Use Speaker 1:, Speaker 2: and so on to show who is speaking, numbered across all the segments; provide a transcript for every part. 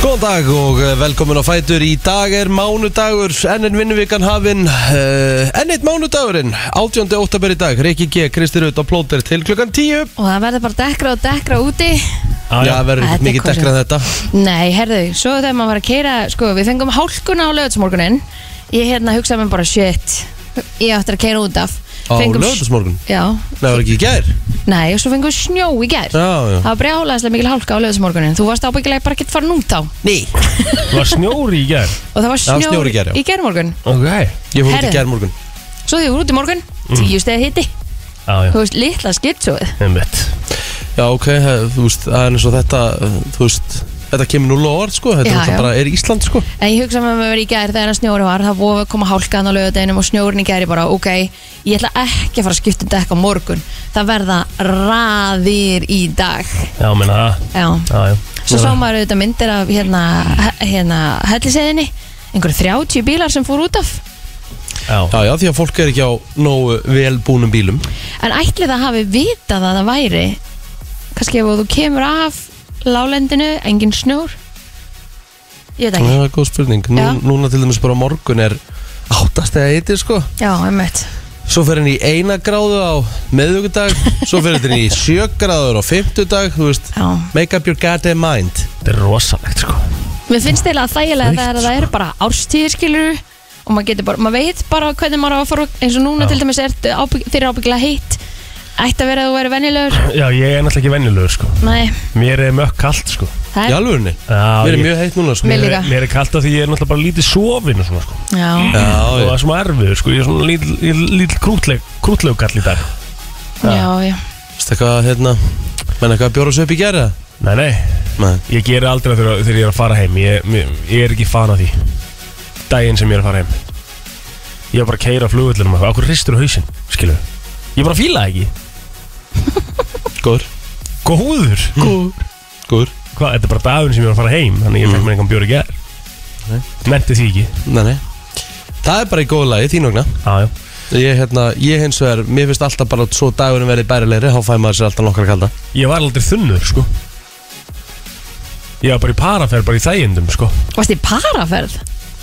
Speaker 1: Góðan dag og eh, velkomin á Fætur Í dag er mánudagur, enn einn vinnuvíkan hafin uh, Enn einn mánudagurinn 18. óttabur í dag, Rikki G, Kristi Rutt og Plóter til klukkan 10
Speaker 2: Og það verður bara dekra og dekra úti
Speaker 1: Já, það verður
Speaker 2: Þetta
Speaker 1: ekkert
Speaker 2: er
Speaker 1: mikið
Speaker 2: kosið.
Speaker 1: dekrað þetta
Speaker 2: Nei, herðu, svo þegar maður var að keira Sko, við fengum hálkuna á lögutsmorgunin Ég hérna hugsaði mér bara, shit Ég átti að keira út af
Speaker 1: Á
Speaker 2: Fengum-
Speaker 1: lögutasmorgun
Speaker 2: Já,
Speaker 1: Nei, það var ekki í gær
Speaker 2: nei, og svo fengum við snjó í gær
Speaker 1: Já, já
Speaker 2: Það var brjálæðislega mikil hálka á lögutsmorgunin Þú varst ábyggilega bara ekki farin út á
Speaker 1: Ný
Speaker 3: Það var snjóri í gerð
Speaker 2: Og það var
Speaker 1: Það var
Speaker 2: snjór,
Speaker 1: snjór í gær, já.
Speaker 2: í gærmorgun
Speaker 3: Ok
Speaker 1: Ég fór út í
Speaker 2: Herðu.
Speaker 1: gær morgun
Speaker 2: Svo þegar við vorum út í morgun,
Speaker 1: Mm.
Speaker 2: tíu stegið hitti
Speaker 3: Já, já,
Speaker 2: Þú veist, litla skiptsóið
Speaker 3: einmitt
Speaker 1: Já, ok, eh, þú veist, það er eins og þetta eh, Þú veist, þetta kemur núl á orð, sko Þetta
Speaker 2: Já,
Speaker 1: náttúrulega
Speaker 2: já.
Speaker 1: bara er Ísland, sko
Speaker 2: En ég hugsa með mér í gær þegar snjóri var Það voru að koma hálkan á lögadeginum og snjórin í gær Ég bara, ok, ég ætla ekki að fara að skipta um dekk á morgun Það verða raðir í dag
Speaker 3: Já, menna það
Speaker 2: Já
Speaker 3: Já, já
Speaker 2: Svo sá maður auðvitað myndir af hérna, he- hérna helliseiðinni Einhverju 30 bílar sem fór út af
Speaker 3: Já,
Speaker 1: Já, já, því að fólk er ekki á nógu velbúnum bílum
Speaker 2: En ætli það hafi vitað að það væri kannski ef þú kemur af Lálendinu, engin snjór Ég veit
Speaker 1: Já,
Speaker 2: ekki
Speaker 1: það er góð spurning Nú,
Speaker 2: Já.
Speaker 1: Núna til dæmis bara á morgun er áttast eða eitir sko
Speaker 3: Mm.
Speaker 2: Já, einmitt
Speaker 1: Svo fer henni í eina gráðu á meðugudag Svo fer henni í sjö gráður á fimmtudag Þú veist,
Speaker 2: Já
Speaker 1: make up your goddamn mind
Speaker 3: þetta er rosalegt sko
Speaker 2: Mér finnst eiginlega þægilega
Speaker 3: Veikt,
Speaker 2: þegar það er bara árstíðir skilur og maður getur bara, maður veit bara hvernig maður á að fara út, eins og núna
Speaker 3: Já.
Speaker 2: til dæmis er þeir ábyggilega heitt ætti að vera að þú væri venjulegur
Speaker 3: Já, ég er náttúrulega ekki venjulegur sko
Speaker 2: Nei,
Speaker 3: Mér er mökk kalt sko
Speaker 1: Í
Speaker 2: það er
Speaker 1: alvörunni,
Speaker 3: Já,
Speaker 1: mér er
Speaker 3: ég-
Speaker 1: mjög heitt núna sko
Speaker 2: Mér
Speaker 3: Mér
Speaker 2: líka.
Speaker 3: er, mér er kalt af því ég er náttúrulega bara lítið sofin og svona sko
Speaker 2: Já,
Speaker 1: Já,
Speaker 3: Og það
Speaker 1: já.
Speaker 3: er svona erfiður sko Ég er svona lítill lítil, lítil krútleg, krútlegukall í dag
Speaker 2: já, já,
Speaker 1: Veistu eitthvað, hérna Menn eitthvað að bjóra svo upp í gera?
Speaker 3: Nei, nei
Speaker 1: Nei,
Speaker 3: Ég geri aldrei það þegar, þegar ég er að fara heim Ég, mér, ég er ekki fan af því Daginn sem ég er að fara heim Ég er bara að keira á flugvöllunum og eitthvað. Á hverju ristur á hausinn, skilur Ég bara fíla það ekki
Speaker 1: góður,
Speaker 3: Góður
Speaker 1: góður
Speaker 3: Hvað, þetta er bara dagurinn sem ég var að fara heim Þannig ég fekk mér einhvern bjór í gerð
Speaker 1: Mm. Nei.
Speaker 3: Nefndi því ekki
Speaker 1: Nei, nei Það er bara í góðu lagi, þín okna
Speaker 3: Já, já
Speaker 1: Ég, hérna, ég hins vegar, mér finnst alltaf bara svo dagurinn verið bærilegri, þá fæ maður sér alltaf nokkra kalda
Speaker 3: Ég var aldrei þunnur, sko Ég var bara í paraferð, bara í þægindum, sko
Speaker 2: Varst í paraferð?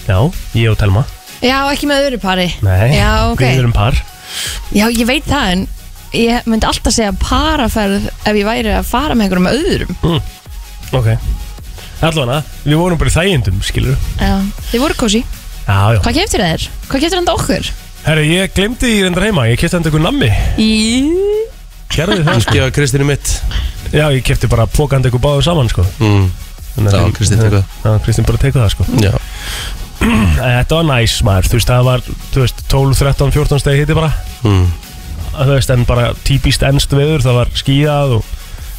Speaker 3: Já, ég og Telma
Speaker 2: Já, ekki með öðru pari
Speaker 3: Nei,
Speaker 2: Já, ok.
Speaker 3: við erum par
Speaker 2: Já, ég veit það en ég myndi alltaf segja paraferð ef ég væri að fara með einhverjum með öðrum
Speaker 3: Ok Allavega, við vorum bara í þægindum, skilur
Speaker 2: Já, þið voru kósi
Speaker 3: Já, já
Speaker 2: Hvað keftir þeir? Hvað keftir hann okkur?
Speaker 3: Herra, ég glemdi því reyndar heima Ég kefti enda ykkur nammi
Speaker 2: Í...
Speaker 3: Gerði það,
Speaker 1: Kannski að Kristínu mitt
Speaker 3: sko Já, ég kefti bara pókandi ykkur báðu saman, sko
Speaker 1: mm.
Speaker 3: Þannig að
Speaker 1: Já,
Speaker 3: ég-
Speaker 1: Kristín tekur það.
Speaker 3: Já, Kristín bara tekur það, sko
Speaker 1: Já,
Speaker 3: Æ, Þetta var næs, maður Þú veist, það var, þú veist, 12, 13, 14 stegi hitti bara
Speaker 1: mm.
Speaker 3: að þú veist, en bara típist ennst veður, það var skíðað og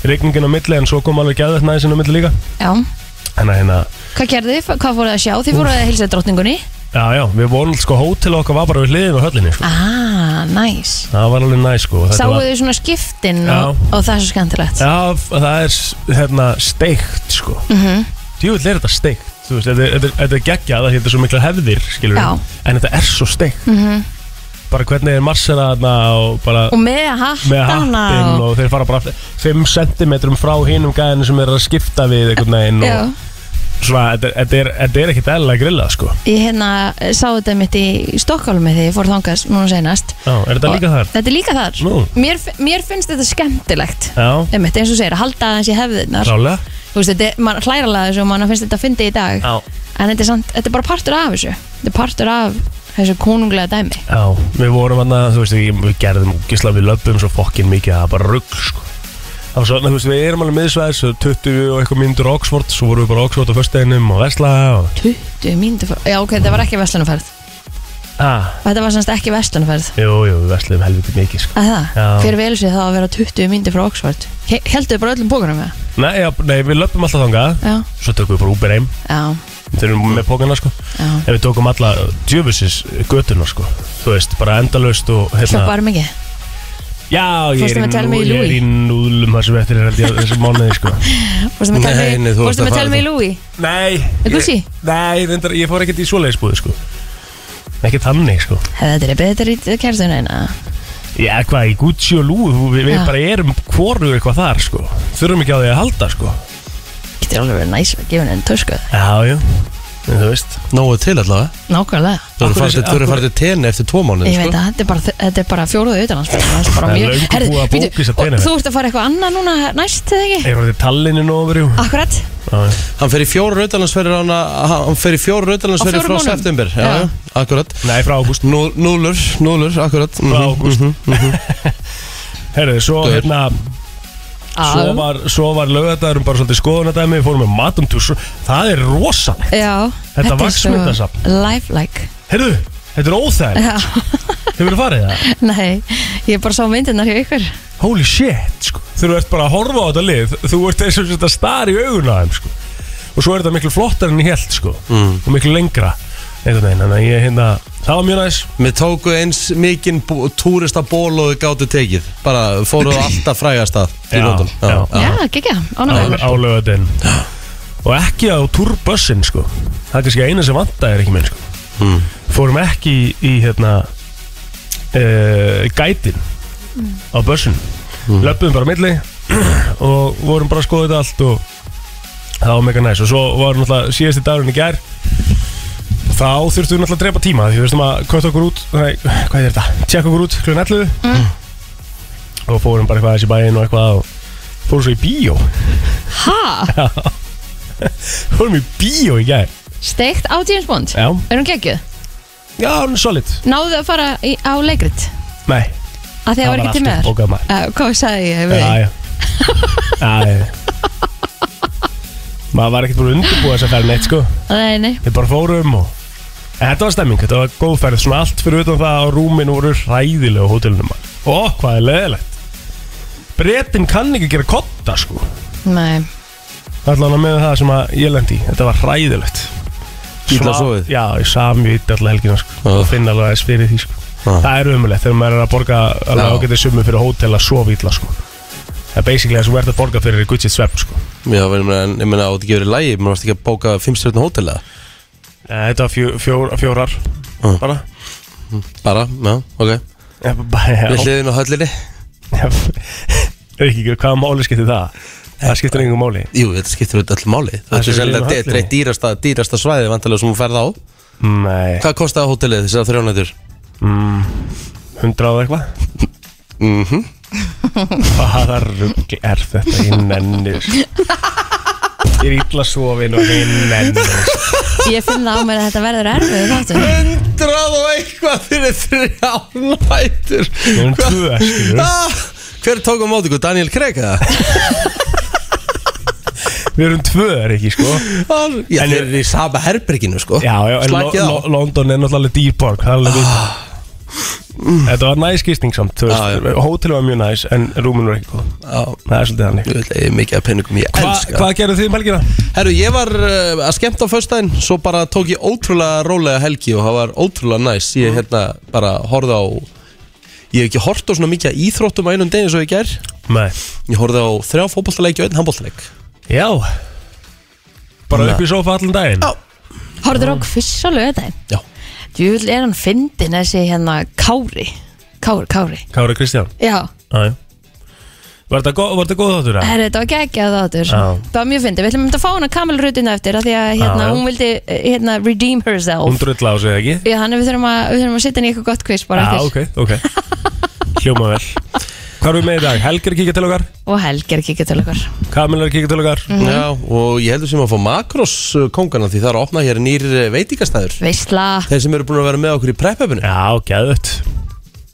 Speaker 3: rigningin á milli, en svo kom alveg gæðið næðisinn á milli líka.
Speaker 2: Já,
Speaker 3: Þannig að hérna,
Speaker 2: hvað gerði þið? Hvað fóruð þið að sjá? Þið fóruð að hilsa drottningunni
Speaker 3: já, já, við vorum sko, hótel okkar var bara við hliðin á höllinni, sko.
Speaker 2: Ah, næs
Speaker 3: Það var alveg næ, sko. og þetta
Speaker 2: Sáu
Speaker 3: var,
Speaker 2: þið svona skiptin
Speaker 3: Já.
Speaker 2: og, og það er svo skemmtilegt
Speaker 3: Já, f- það er, s- hérna, steikt, sko. Mm
Speaker 2: Mhm.
Speaker 3: -hmm. Djúvill er þetta steikt, þú veist, þetta, þetta, þetta er geggjað, það þetta er svo mikla hefðir, skilur
Speaker 2: Já. Mhm.
Speaker 3: En þetta er svo steikt. Mm -hmm. Bara hvernig er marsera þarna og bara...
Speaker 2: Og með
Speaker 3: með
Speaker 2: hattana
Speaker 3: hattinn
Speaker 2: og...
Speaker 3: og þeir fara bara 5 cm frá hinum gæðinu sem þeir eru að skipta við einhvern veginn og,
Speaker 2: Já,
Speaker 3: svona, þetta- þetta er, þetta er ekkert eðlilega grillað sko
Speaker 2: ég hérna eh, sá þetta mitt í Stokkálmi þegar ég fór þangað núna senast
Speaker 3: Já, er þetta líka þar?
Speaker 2: Þetta er líka þar
Speaker 3: Nú.
Speaker 2: mér, fi- mér finnst þetta skemmtilegt
Speaker 3: Já,
Speaker 2: Einmitt, eins og segir, að halda aðeins í hefðirnar
Speaker 3: rálega
Speaker 2: Þú veist, þetta er, mann hlæralega þessu og mann finnst þetta að fyndi í dag
Speaker 3: Já,
Speaker 2: En þetta er, samt, þetta er bara partur af þessu Þetta er partur af þessu konunglega dæmi
Speaker 3: já við vorum hann þú veist, við, við gerðum gísla við löpum svo fokkin mikið að það var bara rugg sko Það var svona, þú veist, við erum alveg miðsvæðis svo 20 og eitthvað myndur á Oxford svo vorum við bara á Oxford á föstudeginum og vesla og
Speaker 2: 20 mínútur frá- Já, ok, þetta var ekki veslunarferð
Speaker 3: ah,
Speaker 2: Þetta var semst ekki veslunarferð
Speaker 3: Jú, jú, við vesluðum helviti mikið sko
Speaker 2: Að það?
Speaker 3: Já.
Speaker 2: Hver vel sér það að vera 20 myndir frá Oxford? He heldur þið bara öllum bókunum með?
Speaker 3: Nei, já, nei við löpum alltaf þangað
Speaker 2: Já,
Speaker 3: svo tökum við bara Uber heim
Speaker 2: já,
Speaker 3: þeir eru með pókana sko
Speaker 2: já.
Speaker 3: en við tókum alla djöfusis götuna sko þú veist, bara endalaust og hérna,
Speaker 2: Hlappaður mikið?
Speaker 3: Já, ég
Speaker 2: Fórstu
Speaker 3: er, í
Speaker 2: með Tell Me
Speaker 3: nú, ég er
Speaker 2: Louie?
Speaker 3: í núðlum það sem eftir er held ég þessi mánuði sko
Speaker 2: Fórstu með
Speaker 1: Nei, nei,
Speaker 2: telmi,
Speaker 1: þú varst
Speaker 2: fórstu
Speaker 1: að
Speaker 2: með
Speaker 1: fara
Speaker 2: telmi í
Speaker 1: þá.
Speaker 2: Lúi?
Speaker 3: Nei
Speaker 2: Er Gucci?
Speaker 3: ég- Nei, reyndar, ég fór ekkert í svoleiðisbúði sko Ekki þannig sko
Speaker 2: Hefði þetta er betur í kerstuna en að
Speaker 3: Já, hvað, í Gucci og Lúi, þú- við, við
Speaker 2: Já.
Speaker 3: bara erum hvoru eitthvað þar sko Þurfum ekki á því að halda sko
Speaker 2: Ekki getur alveg verið næs að gefa henni törsku
Speaker 3: Já, já, en þú veist
Speaker 1: Nóðu til allavega
Speaker 2: Nákvæmlega
Speaker 1: Þú eru
Speaker 3: Akkur-
Speaker 1: farið, akkur... farið til tenni eftir tvo mánuði sko.
Speaker 2: Ég veit að þetta er bara, þetta er bara fjóruðu utanlandsferð Það er bara
Speaker 3: Sko. Það er
Speaker 2: mjög-
Speaker 3: löngu
Speaker 2: Herðu,
Speaker 3: búið að
Speaker 2: bíddu,
Speaker 3: bóka þessa
Speaker 2: og
Speaker 3: Tenerife.
Speaker 2: Þú ert að fara eitthvað annað núna næst eða ekki?
Speaker 3: Ég var þetta tallinu nú ofur, jú
Speaker 2: Akkurat
Speaker 3: Já, já.
Speaker 1: Hann fer í fjóru rautalandsferðir hann, hann fer í fjóru
Speaker 2: Á
Speaker 1: rautalandsferðir
Speaker 2: fjórum
Speaker 1: frá
Speaker 2: mánuðum?
Speaker 1: september Já,
Speaker 2: Já.
Speaker 1: já, akkurat
Speaker 3: Nei, frá ágúst
Speaker 1: Nú, Núlur, núlur, akkurat mm
Speaker 3: Frá ágúst Herðu, svo
Speaker 1: Gaur.
Speaker 3: hérna Svo
Speaker 2: Á,
Speaker 3: var, svo var lögadagurinn bara svolítið skoðunadæmi Við fórum með matum tús Það er rosalegt
Speaker 2: Já
Speaker 3: Þetta
Speaker 2: er svo
Speaker 3: vaxmyndasafn.
Speaker 2: Lifelike
Speaker 3: Herðu, þetta er óþægilegt
Speaker 2: Já,
Speaker 3: Hefur þú farið það?
Speaker 2: nei Ég bara sá myndirnar hjá ykkur
Speaker 3: Holy shit, sko Þegar þú ert bara að horfa á þetta lið Þú ert eins og þetta star í augun á þeim, sko Og svo er þetta miklu flottar enn ég held, sko mm. Og miklu lengra Einhvern veginn, þannig að ég hérna Það var mjög næs
Speaker 1: Mér tóku eins mikinn bú- túrista ból og þau gátu tekið Bara fóruðu alltaf frægast að í
Speaker 3: Já,
Speaker 1: London
Speaker 3: já.
Speaker 2: Já, gegja, ánægður
Speaker 3: á lögadinn og ekki á túrbössin sko það er kannski eina sem vanta er ekki minn sko fórum ekki í, í hérna uh, gætin á bössin mm. löpum bara á milli og vorum bara að skoða þetta allt og það var mega næs og svo var náttúrulega síðasti dagurinn í gær þá þurftum við náttúrulega að drepa tíma því við veistum að kvötta okkur út nei, hvað er þetta, tjekka okkur út klun 11 og fórum bara eitthvað aðeins í bæinn og eitthvað og fórum svo í bíó
Speaker 2: Ha,
Speaker 3: fórum í bíó í gær
Speaker 2: steikt á James Bond
Speaker 3: Já,
Speaker 2: Er hún geggjuð?
Speaker 3: já, hún er solid
Speaker 2: Náðu að fara í, á leikrit
Speaker 3: Nei,
Speaker 2: Að því að var ekki til með þér
Speaker 3: bókað maður
Speaker 2: Eh, Hvað sagði ég við?
Speaker 3: Já, já Já, já Maður var ekkert búin að undirbúa þess að ferð neitt sko
Speaker 2: Nei, nei
Speaker 3: Við bara fórum og En þetta var stemming, þetta var góð ferð Svona allt fyrir utan það að rúmin voru hræðilega á hótelunum maður. Ó, hvað er leðilegt Bretin kann ekki gera kotta sko
Speaker 2: Nei,
Speaker 3: Það er alveg með það sem að ég lendi í Þetta var hræðilegt
Speaker 1: Ítla
Speaker 3: Svaf-
Speaker 1: sofið
Speaker 3: Já, ég saf mjög ítla alltaf helgina sko
Speaker 1: Já.
Speaker 3: Og finna alveg aðeins fyrir því sko
Speaker 1: Já.
Speaker 3: Það er umulegt þegar maður er að borga alveg
Speaker 1: Já.
Speaker 3: ágætið summu fyrir hótel að sofa illa sko Það er basically það sem verður að borga fyrir er gutsið svepp sko
Speaker 1: Já, ég meina, en ég meina, átt ekki verið lægi Mér varst ekki að bóka 5 stjórn hótel eða
Speaker 3: Eh, Þetta var fjó, fjór, fjórar
Speaker 1: Já.
Speaker 3: bara
Speaker 1: Bara, já, ok
Speaker 3: Já, bara- já.
Speaker 1: Við hliðin á höllinni
Speaker 3: Já. Er ekki ekki, hvaða máli skiptir það? Það skiptir engum máli
Speaker 1: Jú, þetta skiptir auðvitað öll máli
Speaker 3: Það
Speaker 1: Þetta
Speaker 3: sé
Speaker 1: er
Speaker 3: við
Speaker 1: sennilega
Speaker 3: hliðina á
Speaker 1: þetta er eitt dýrasta, dýrasta svæði vantilega sem hún ferð á
Speaker 3: Nei,
Speaker 1: Hvað kostaði hótelið þessar þrjónætur?
Speaker 3: hundrað og eitthvað
Speaker 1: Mhm.
Speaker 3: Hvaða rugg er þetta í nennir? Ég er illa sofin og ég nennir
Speaker 2: ég finn það á mér að þetta verður erfið þáttur
Speaker 1: Hundrað og eitthvað fyrir þrjónætur
Speaker 3: Við erum tvö, skilur
Speaker 1: ah, Hver tók á móti ykkur? Daniel Craig eða?
Speaker 3: Við erum tvö, er ekki, sko
Speaker 1: Já,
Speaker 3: En-
Speaker 1: þeir eru í sama herberginu sko
Speaker 3: Já, já, en Lo
Speaker 1: Slakið á
Speaker 3: Lo London er náttúrulega dýrborg Það er alveg vitað Þetta var næs gistning samt, þú
Speaker 1: Já,
Speaker 3: veist
Speaker 1: já.
Speaker 3: Hótel var mjög næs, en rúmin var ekki góð
Speaker 1: Já,
Speaker 3: Það er svolítið þannig
Speaker 1: Ég vil eigi mikið af penningum ég
Speaker 3: Hva,
Speaker 1: elska
Speaker 3: Hvað gerðu þið um helgina?
Speaker 1: Herru, ég var uh, að skemmta á föstudaginn Svo bara tók ég ótrúlega rólega helgi Og það var ótrúlega næs Ég hérna bara horfði á Ég hef ekki hort á svona mikið að íþróttum á einum degi Svo ég ger
Speaker 3: Nei
Speaker 1: Ég horfði á þrjá fótboltaleik og einn handboltaleik
Speaker 3: Já Bara
Speaker 1: Nei.
Speaker 3: upp í sofa allan daginn
Speaker 1: Já.
Speaker 2: Horður okkur fyrst á lögðaðin
Speaker 1: Já
Speaker 2: Djúvill er hann fyndin þessi hérna Kári Kári, Kári
Speaker 3: Kára Kristján
Speaker 2: Já,
Speaker 3: Já, já Var þetta góð, var þetta góð þáttur það?
Speaker 2: herri, þetta var geggjað þáttur
Speaker 3: Já.
Speaker 2: Það var mjög fyndið, við ætlum einmitt að fá hana kamelrutinu eftir af Því að hérna,
Speaker 3: Já, já.
Speaker 2: hún vildi eh, hérna, redeem herself
Speaker 3: Hún drull á sig eða ekki?
Speaker 2: Já, þannig við þurfum að, við þurfum að setja henni í eitthvað gott quiz bara
Speaker 3: Já,
Speaker 2: eftir
Speaker 3: ok, ok Hljóma vel Hvað erum við með í dag? Helgi er að kíkja til okkar
Speaker 2: Og Helgi er að kíkja til okkar
Speaker 3: Kamil er að kíkja til okkar
Speaker 1: Já, og ég heldur sem að fá makros kongana Því það er að opna hér nýr eh, veitingastæður
Speaker 2: Veistla,
Speaker 1: Þeir sem eru búin að vera með okkur í prep-öfunu
Speaker 3: Já, gæðut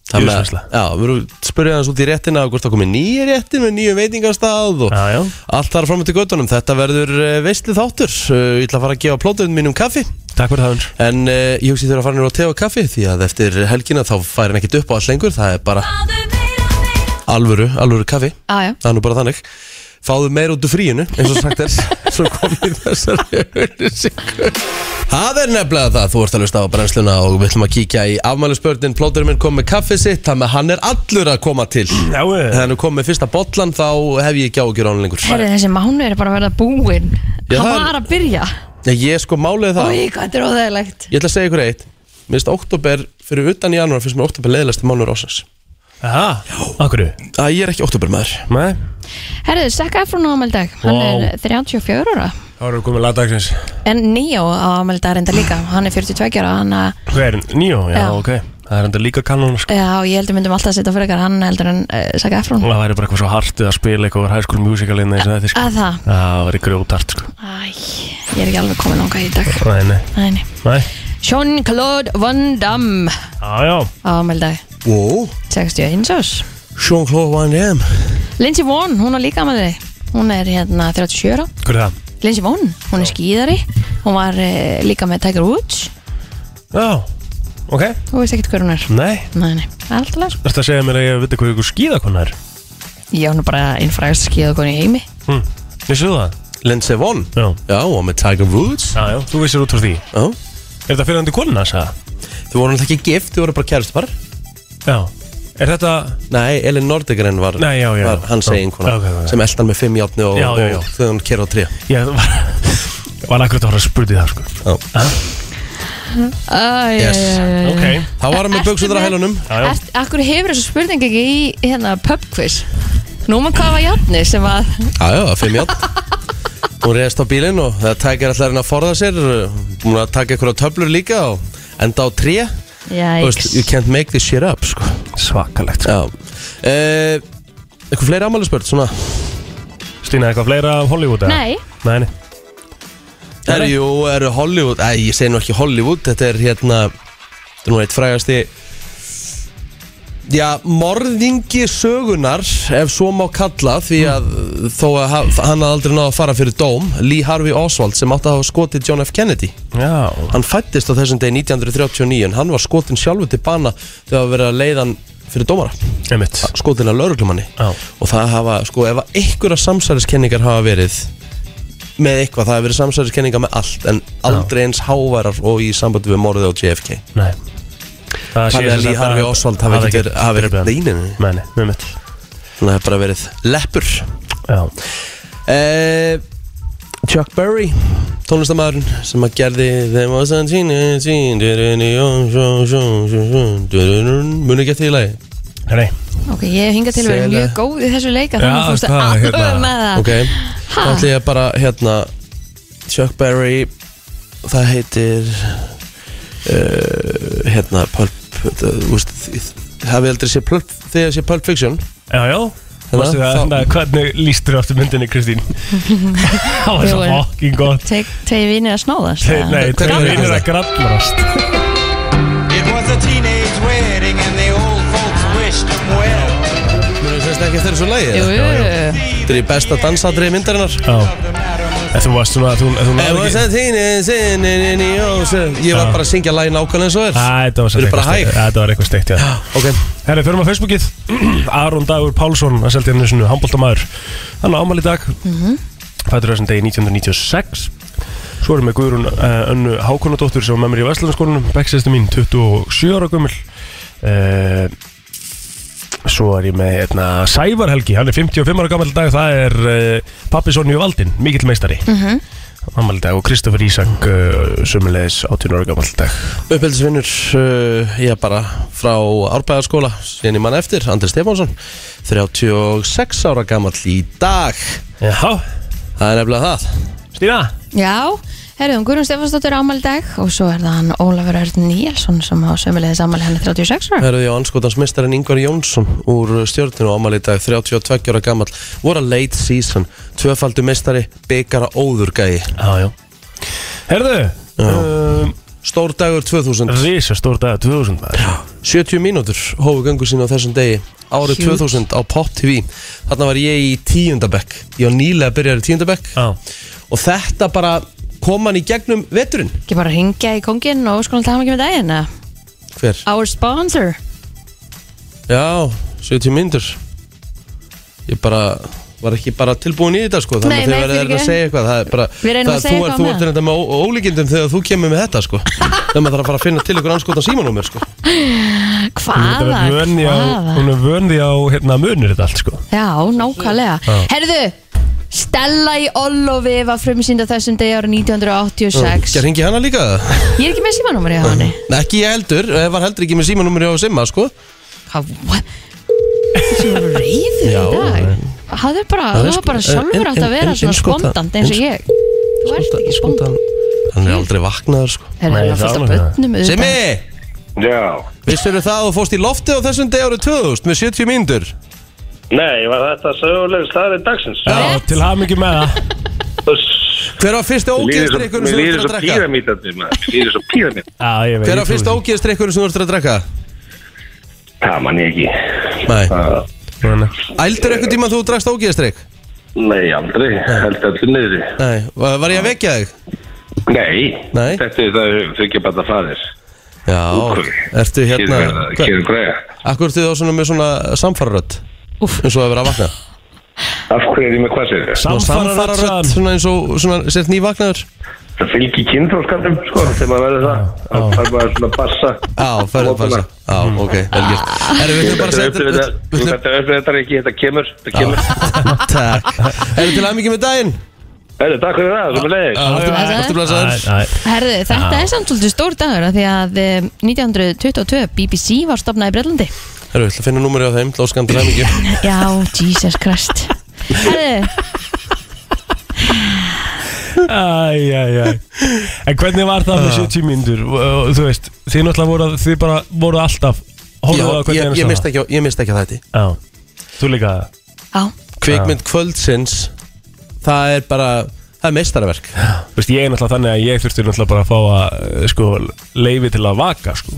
Speaker 1: Þannig að,
Speaker 3: Júsveisla.
Speaker 1: já, við erum spurðið hans út í réttina og hvort það komið nýja réttin með nýju veitingastað og
Speaker 3: Já, já
Speaker 1: allt þar fram til göttunum. Þetta verður veistlið þáttur. Eh, Ég ætla að fara að gefa plóturinn mínum kaffi
Speaker 3: Takk fyrir það hans
Speaker 1: en eh, ég hugsi þurfa að fara nýra á te og kaffi því að eftir helgina þá fær hann ekkit upp á allt lengur. Það er bara alvöru, alvöru kaffi.
Speaker 2: aðja
Speaker 1: Það er nú bara þannig. Fáðu meir út úr fríinu eins og sagt er svo komið þessari auðlýsingu. Það er nefnilega það, þú ert að lusta á brennsluna og við ætlum að kíkja í afmælusbörnin, plóturinn minn kom með kaffið sitt, þannig að hann er allur að koma til.
Speaker 3: Já, eh,
Speaker 1: Þegar hann kom með fyrsta bollan þá hef ég ekki ágjur á hann lengur
Speaker 2: Herri, þessi mánu er bara að verða búinn
Speaker 1: Já,
Speaker 2: Hann
Speaker 1: það er-
Speaker 2: var að byrja
Speaker 1: Nei, ég sko málið það
Speaker 2: Í, hvað þetta er óþægilegt
Speaker 1: Ég ætla að segja ykkur eitt Mér finnst oktober, fyrir utan í janúar finnst mér oktober leiðilegst mánuður ásins
Speaker 3: Aha, okkur
Speaker 1: Æ, ég er ekki oktober maður
Speaker 3: Nei,
Speaker 2: Herðu, Zac Efron á afmæli í dag Hann
Speaker 3: Vá.
Speaker 2: er 34 ára
Speaker 3: Það eru komið lagdagsins
Speaker 2: En Neo á afmæli í dag reynda líka Hann er 42 ára Hann eh, að
Speaker 3: Hvað er hann? Níó? Já,
Speaker 2: Já.
Speaker 3: ok Það er enda líka kanon sko.
Speaker 2: Já, ég heldur myndum alltaf að setja frekar hann heldur en uh, Zac Efron
Speaker 3: Það væri bara eitthvað svo hartið að spila eitthvað úr High School Musical innan þessu þetta sko.
Speaker 2: Að það
Speaker 3: Það væri grjótart sko.
Speaker 2: Æ, ég er ekki alveg komin langa í dag
Speaker 3: Nei, nei,
Speaker 2: Nei, nei.
Speaker 3: nei
Speaker 2: Jean-Claude Van Damme
Speaker 3: Já, já
Speaker 2: á afmæli í dag
Speaker 1: Wow,
Speaker 2: 61 árs
Speaker 1: Jean-Claude Van Damme
Speaker 2: Lindsay Vonn, hún á líka afmæli í dag Hún er hérna 37 ára
Speaker 3: Hver er það?
Speaker 2: Lindsay Vonn, hún er skýðari Hún var uh, líka með Tiger Woods
Speaker 3: Já, ok
Speaker 2: Þú veist ekkert hver hún er
Speaker 3: Nei
Speaker 2: Nei, nei, það er alltaf leir
Speaker 3: Þetta segja mér að ég veit hvað ykkur skýða hvað er
Speaker 2: Ég hún er bara einn frægast skýða konu í heimi
Speaker 3: hm. Vissu það?
Speaker 1: Lindsay Vonn
Speaker 3: Já
Speaker 1: Já, og með Tiger Woods
Speaker 3: Já, já, þú vissir út frá því
Speaker 1: Já.
Speaker 3: Er þetta fyrir hendur konuna, sagða?
Speaker 1: Þau voru náttúrulega ekki gift, þau voru bara kærust bara
Speaker 3: Já Er þetta
Speaker 1: Nei, Elin Nordegren var,
Speaker 3: Nei, já, já,
Speaker 1: var
Speaker 3: já.
Speaker 1: hans
Speaker 3: Já.
Speaker 1: eigin kona
Speaker 3: Já, ok, ok.
Speaker 1: sem eldan með fimm játni og,
Speaker 3: Já, já, já.
Speaker 1: og þau hann kerði á tré
Speaker 3: Ég var Var akkurat að fara að spurði það, sko
Speaker 1: Já.
Speaker 2: Æ,
Speaker 1: Yes.
Speaker 3: Ok
Speaker 1: Þá var hann með
Speaker 2: Ertu
Speaker 1: buksundar á
Speaker 2: með-
Speaker 1: hælunum
Speaker 3: Já, já
Speaker 2: Ert, akkur hefur þessu spurning ekki í hérna pub quiz Núma hvað var jafni sem að
Speaker 1: Já, já, fimm játn Hún reyðist á bílinn og það tækir allar henni að forða sér Hún að taka einhverja töflur líka og enda á tré Þú veist, You can't make this shit up, sko
Speaker 3: Svakalegt,
Speaker 1: Já eh, Eitthvað fleiri ámæli spurt, svona
Speaker 3: sko Stína, eitthvað fleira af Hollywood, eða?
Speaker 2: Nei,
Speaker 3: Nei, nei
Speaker 1: Eru, jú, eru Hollywood Æ, ég segi nú ekki Hollywood Þetta er hérna Þetta er nú eitt frægasti Já, morðingi sögunar Ef svo má kalla Því að þó að ha- hann hafði aldrei náða að fara fyrir dóm Lee Harvey Oswald sem átti að hafa skotið John F. Kennedy
Speaker 3: Já
Speaker 1: Hann fættist á þessum degi 1939 En hann var skotin sjálfu til bana Þegar að vera leiðan fyrir dómara
Speaker 3: Einmitt
Speaker 1: Skotin að lauruglumanni
Speaker 3: Já
Speaker 1: og það hafa, sko, ef einhverja samsæriskenningar hafa verið með eitthvað, það hafa verið samsæriskenningar með allt en aldrei eins háværar og í sambandi við morðið á JFK
Speaker 3: Nei Það sé
Speaker 1: Þannig
Speaker 3: sem
Speaker 1: að Lee
Speaker 3: sagt
Speaker 1: Harvey Oswald hafi
Speaker 3: hafi
Speaker 1: ekkert verið- hafi verið
Speaker 3: drepið hann.
Speaker 1: neinin
Speaker 3: Nei, nei, einmitt
Speaker 1: þannig að það hafi bara verið leppur
Speaker 3: Já
Speaker 1: eh, Chuck Berry tónlistamæðurinn sem að gerði Þeim að sann sín muni ekki eftir í lagi
Speaker 3: Nei, nei
Speaker 2: ok, ég hef hingað til að vera
Speaker 1: Sele.
Speaker 2: mjög góð í þessu leika
Speaker 3: Já,
Speaker 2: Þannig að fórstu
Speaker 3: það,
Speaker 2: alveg
Speaker 3: hérna.
Speaker 2: með það
Speaker 1: Ok, þá ætlum ég bara hérna Chuck Berry Það heitir uh, Hérna Pulp það- Þú veist þið- Hafið aldrei sé Pulp Þegar sé Pulp Fiction
Speaker 3: Já, já Vastu það,
Speaker 1: þá-
Speaker 3: hérna, hvernig lístur aftur myndinni, Kristín? það var svo
Speaker 2: Jú, en-
Speaker 3: fokkin gott
Speaker 2: Teg- Tegi vinir að snóðast
Speaker 3: Þeir- Nei,
Speaker 1: Hvernig
Speaker 3: það
Speaker 1: er
Speaker 3: er
Speaker 1: það?
Speaker 3: að grallast
Speaker 4: It was a teenage wedding and the old folks wished him well.
Speaker 1: Mér finnst ekki eftir þessu lagi
Speaker 2: Jú,
Speaker 1: eða?
Speaker 2: jú,
Speaker 1: Þetta er í besta dansadri myndarinnar
Speaker 3: Já En þú varst svona, þú, þú
Speaker 1: Ég var
Speaker 3: náðu ekki
Speaker 1: að tíni sinni inni í ós. Ég var bara að syngja lagi nákvæmlega eins og
Speaker 3: Æ,
Speaker 1: er
Speaker 3: þetta var
Speaker 1: Þú
Speaker 3: samt
Speaker 1: eru bara
Speaker 3: eitthvað steikt.
Speaker 1: hæg.
Speaker 3: Æ, Þetta var eitthvað steikt, já
Speaker 1: Ok,
Speaker 3: Herri, förum á Facebookið Aron Dagur Pálsson, að seldi henni svona handbóltamæður Hann á ámæli í dag mm -hmm. Fættur þessum degi 1996 Svo erum við Guðrún uh, Önnu Hákonadóttur sem var með mér í Vestlandskólanum Beksistu mín, 27 ára gömul uh, Svo er ég með hérna, Sævar Helgi, hann er 55 ára gammal dag Það er uh, pappi Sonju Valdin, mikill meistari mm -hmm. Ámæli í dag og Kristoffer Ísak uh, Sumulegis 18 ára gammal dag
Speaker 1: Uppeldisvinnur, uh, ég er bara frá árbæðarskóla, síðan ég mann eftir, Andri Stefánsson, 36 ára gamall í dag.
Speaker 3: Já,
Speaker 1: Það er nefnilega það.
Speaker 3: Stína
Speaker 2: Já, herruðum Guðrún Stefansdóttir ámæli í dag og svo er það hann Ólafur Örn Níelsson sem á sömulegðis ámæli hann er 36 ára
Speaker 1: Herðu ég á anskotans Ingvar Jónsson úr stjórninu á ámali í dag, 32 ára gamall, voru að late season, tvöfaldu mistari, byggara óður gæi.
Speaker 3: Já, já Herðu um,
Speaker 1: Stór dagur 2000,
Speaker 3: Rísa stór dag 2000 maður
Speaker 1: 70 mínútur, hófu göngu sín á þessum degi, árið
Speaker 2: Huge.
Speaker 1: 2000 á Pop TV. Þarna var ég í tíundabekk, ég var nýlega að byrja í tíundabekk
Speaker 3: Já
Speaker 1: og þetta bara kom hann í gegnum veturinn.
Speaker 2: Ekki bara ringja í kongin og skoðum það ekki með um daginn eða?
Speaker 1: Hver?
Speaker 2: Our sponsor
Speaker 1: Já, 70 myndur Ég bara var ekki bara tilbúin í þetta sko
Speaker 2: Nei,
Speaker 1: þannig að
Speaker 2: nei,
Speaker 1: þið verður að
Speaker 2: fyrirgefðu.
Speaker 1: segja eitthvað það er bara,
Speaker 2: Við reynum
Speaker 1: það,
Speaker 2: að segja
Speaker 1: þú, er,
Speaker 2: eitthvað
Speaker 1: þú
Speaker 2: með
Speaker 1: ert þetta með ó- ólíkindum þegar þú kemur með þetta sko þegar maður þarf að fara að finna til ykkur anskotan símanúmer sko
Speaker 3: Hún
Speaker 2: Hvaða,
Speaker 3: er vön því á, hún er vön því á hérna munir þetta allt sko
Speaker 2: Já, nákvæmlega Herðu, Stella í Ollofi var frumsýnd á þessum degi árið 1986
Speaker 1: Ég ringi hana líka það
Speaker 2: Ég er ekki með símanúmeri á henni
Speaker 1: Nei, ekki ég heldur, eh, var heldur ekki með símanúmeri á Simma sko
Speaker 2: Hvað, what? Þú er reyður í
Speaker 1: Já,
Speaker 2: dag hafðu bara,
Speaker 1: Það er
Speaker 2: þú var
Speaker 1: sko-
Speaker 2: bara sjálfur
Speaker 1: en-
Speaker 2: átt að
Speaker 1: en-
Speaker 2: vera
Speaker 1: en- sko
Speaker 2: svona
Speaker 1: innskota-
Speaker 2: skondant eins og ég Þú ert ekki skondant
Speaker 1: Skotan, hann er aldrei vaknaður sko
Speaker 2: Það
Speaker 3: Nei,
Speaker 2: er
Speaker 3: það er
Speaker 2: fullt af
Speaker 3: alveg það.
Speaker 2: bönnum
Speaker 1: Simmi,
Speaker 5: Já,
Speaker 1: vissur það að þú fórst í lofti á þessum deg árið 2000 með 70 mínútur?
Speaker 5: nei, var þetta söguleg staðarinn dagsins?
Speaker 3: Já, til hafa mikið með það
Speaker 5: Uss,
Speaker 1: Hver var fyrsti
Speaker 5: Mér líður svo-
Speaker 1: ógeðstrykkurinn
Speaker 5: mér
Speaker 1: sem þú
Speaker 5: líður
Speaker 1: ert að
Speaker 5: svo
Speaker 1: drekka?
Speaker 5: píramítandi, maður. Mér líður svo píramítandi.
Speaker 3: Já, ég
Speaker 1: Hver
Speaker 3: veit ég
Speaker 1: var
Speaker 3: trúi
Speaker 1: fyrsti
Speaker 3: því.
Speaker 1: ógeðstrykkurinn sem þú ert að drekka?
Speaker 5: Það mann ég ekki.
Speaker 1: Nei,
Speaker 5: Það-
Speaker 3: Svona.
Speaker 1: ældur eitthvað tíma þú drakst ógeðstryk?
Speaker 5: Nei, aldrei. Held allir niðri.
Speaker 1: Nei, var var ég að vekja þig?
Speaker 5: Nei,
Speaker 1: Nei.
Speaker 5: þetta er það þykja bara það faðir.
Speaker 1: Já, ertu hérna hver-
Speaker 5: Kýrum græða.
Speaker 1: Akkur ertu þá svona með svona samfararödd eins og að vera að vakna
Speaker 5: Af hverju er ég með hvað sér þetta?
Speaker 1: Samfararödd,
Speaker 3: Samfararödd
Speaker 1: svona eins og svona sért nývaknaður
Speaker 5: Það fylgir kynþróskandum, sko, þegar maður verður það. Það fær maður svona bassa.
Speaker 1: Já, ferðu bara
Speaker 5: Morgunna.
Speaker 1: Já, ok, vel gert Erum við ætlum bara að
Speaker 5: Þetta
Speaker 1: setja
Speaker 5: er uppið þetta,
Speaker 1: við ætlum-
Speaker 5: þetta er uppið þetta ekki, þetta kemur, þetta kemur.
Speaker 1: Takk Erum til aðmyggjum með daginn?
Speaker 5: Herru, takk fyrir það, þú með leiðis.
Speaker 2: já.
Speaker 1: Ertu blæsaður?
Speaker 3: Æ, æ.
Speaker 2: Herðu, þetta er samt svolítið stór dagur af Því að eh, 1922 BBC var stopnað í Breitlandi
Speaker 1: Erum við ætlum að finna númur á þeim Lóskan til aðmyggjum
Speaker 2: Já, Jesus Christ Herðu,
Speaker 3: Æ, æ, æ. En hvernig var það með 70 mínútur? Og, Þú veist, þið náttúrulega voru, þið bara voru alltaf Hóðuðu að hvernig
Speaker 1: Ég, ég mista ekki, á- ég mista ekki að þetta
Speaker 3: Já, þú líka
Speaker 2: já,
Speaker 1: Kvikmynd kvöldsins Það er bara Það er meistaraverk
Speaker 3: Þú veist, ég er náttúrulega þannig að ég þurfti náttúrulega bara að fá að eh, sko, leifi til að vaka sko.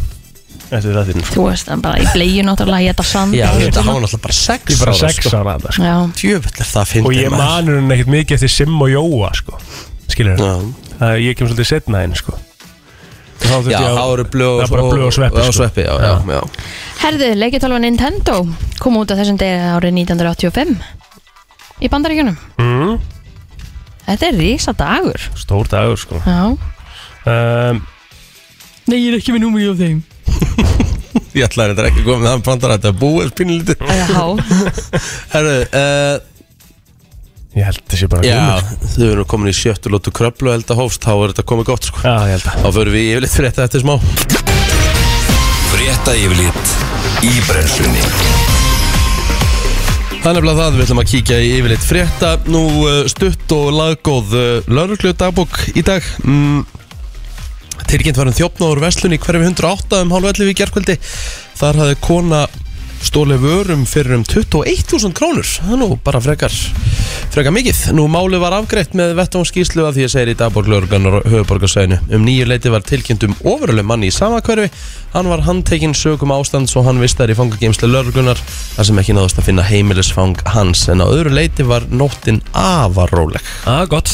Speaker 3: Eftir það þinn
Speaker 2: þú veist, hann bara í bleið náttúrulega að geta sand
Speaker 1: Já,
Speaker 2: og-
Speaker 1: þetta hafa náttúrulega bara sex
Speaker 3: Ég er bara 6 ára að það sko.
Speaker 2: Já,
Speaker 1: Tjöfull er það að
Speaker 3: Og
Speaker 1: finna
Speaker 3: ég manur henni ekkert mikið eftir Sim og Jóa sko. Skilur
Speaker 1: Já.
Speaker 3: það? Það- Ég kem svolítið setna henni sko. Já,
Speaker 1: Já, það eru blöð
Speaker 3: Það er bara blöð og sveppi
Speaker 1: Og
Speaker 3: sko.
Speaker 1: sveppi, já, já, já
Speaker 2: Herðu, leikjartölva Nintendo kom út á þessum degi árið 1985 í Bandaríkjunum
Speaker 3: Mm,
Speaker 2: Þetta er rísa dagur
Speaker 3: Stór dagur sko.
Speaker 2: Já
Speaker 3: um,
Speaker 2: Nei, ég er ekki með númur í á þeim
Speaker 1: Ég ætlaði þetta ekki að koma með það Brandar að þetta er búið pínlítið
Speaker 2: Já,
Speaker 1: Herru, uh,
Speaker 3: Ég held þessi bara
Speaker 1: já,
Speaker 3: gómið
Speaker 1: þau eru komin í sjöttu lótu kröplu held að hófst, þá er þetta komið gott sko.
Speaker 3: Já, ég held að
Speaker 1: Þá förum við í yfirleitt fyrir þetta eftir smá
Speaker 6: Frétta yfirlit í brennslunni
Speaker 1: Þannig að það við ætlum að kíkja í yfirleitt frétta Nú uh, stutt og laggóð uh, lauruglu dagbók í dag mm, Tilkynnt var um þjófnáður verslun í hverfi 108 um hálf 11 í gerkvöldi Þar hafði kona stólið vörum fyrir um 21.000 krónur Það er nú bara frekar, frekar mikið Nú máli var afgreitt með vettvángskíslu að því að segir í dagbók lauruglunar höfuborgarsæðinu Um nýju leiti var tilkynnt um ofuruleg manni í sama hverfi Hann var handtekinn sögum ástand svo hann vistar í fangageimslu lauruglunar Þar sem ekki náðust að finna heimilisfang hans En á öðru leiti var nóttin afar róleg
Speaker 3: Já, gott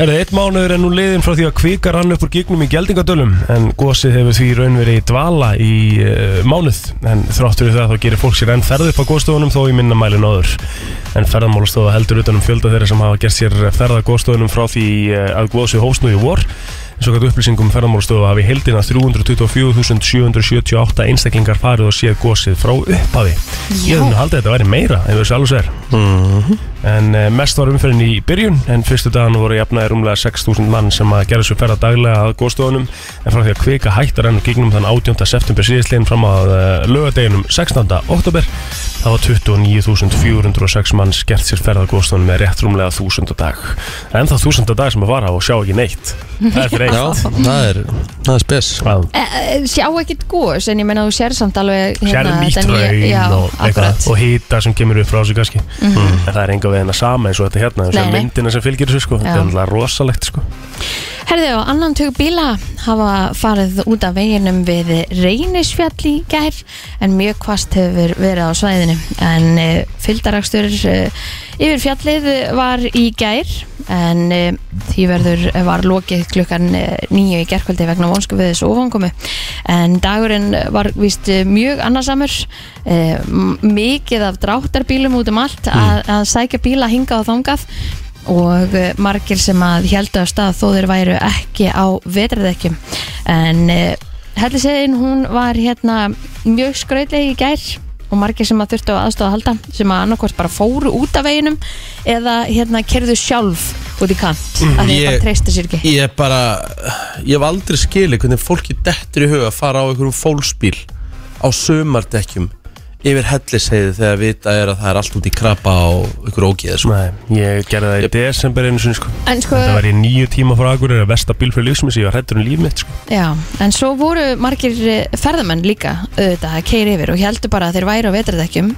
Speaker 3: Herðu, eitt mánuður er nú liðin frá því að kvika rann upp úr gignum í geldingadölum en gosið hefur því í raun verið í dvala í uh, mánuð en þráttur í það þá gerir fólk sér enn ferð upp á góðstofunum þó í minna mælin áður en ferðamálastofa heldur utanum fjölda þeirra sem hafa gert sér ferða góðstofunum frá því uh, að góðsið hófsnu í vor Svo gætu upplýsingum ferðamálastofu hafi heildina 324.778 einstaklingar farið og séð gosið frá upphafi. Ég hefði nú haldið að þetta væri meira ef þessu alveg er. En eh, mest var umferðin í byrjun en fyrstu dagann voru jafnaði rúmlega 6.000 mann sem að gera svo ferða daglega að góðstofunum en frá því að kvika hættar enn gegnum þann 18. september síðislegin fram að eh, lögadeginum 16. oktober þá var 29.406 mann skert sér ferða að góðstofunum með rétt rúmlega 1000 á dag en þá 1000 á dag sem að vara og sjá ekki neitt það er fyrir eitt
Speaker 1: Já, það er, það er spes
Speaker 3: Að-
Speaker 2: Eh, sjá ekkit góðs en ég menna þú sér samt alveg
Speaker 3: sérðu
Speaker 2: Hérna,
Speaker 3: nýtt
Speaker 2: þetta nýja- Já,
Speaker 3: raun og,
Speaker 2: akkurat Mhm.
Speaker 3: eitthvað, og hýta sem kemur upp frá þessu kannski en það er enga veginn að sama eins og þetta hérna eins
Speaker 2: Nei,
Speaker 3: og
Speaker 2: nei.
Speaker 3: myndina sem fylgir þessu sko, þetta er
Speaker 2: Já.
Speaker 3: alltaf rosalegt sko.
Speaker 2: Herðu, á annan tök bíla hafa farið út af veginum við reynisfjall í gær en mjög kvast hefur verið á svæðinu en e, fylgdarakstur e, yfir fjallið var í gær en e, því verður e, var lokið klukkan e, nýju í gærkvöldi vegna vonsku við þessu ofankomi en dagurinn var víst eh, mjög annarsamur e, mikið af dráttarbílum út um allt að, að sækja bíla hingað og þangað og eh, margir sem að heldu af stað þó þeir væru ekki á vetrardekkjum en uh, hellisegin hún var hérna mjög skrautleg í gær og margir sem að þurftu á aðstofa að halda sem að annarkvort bara fóru út af veginum eða hérna kerðu sjálf út í kant mm, að þeir
Speaker 1: ég-
Speaker 2: bara treysta sér ekki
Speaker 1: Ég bara, ég hef aldrei skilið hvernig fólki dettur í huga að fara á einhverjum fólksbíl á sömardekkjum yfir hellisheiði þegar vita er að það er allt út í krabba og ykkur ógeð sko.
Speaker 3: Nei, ég gerði það í desember einu sinni sko
Speaker 2: En sko,
Speaker 3: Þetta var í nýju tíma frá Akureyri að versta bíl fyrir lífsmis Ég var hrættur um líf mitt sko
Speaker 2: já, en svo voru margir eh, ferðamenn líka auðvitað að keira yfir og heldur bara að þeir væri á vetardekjum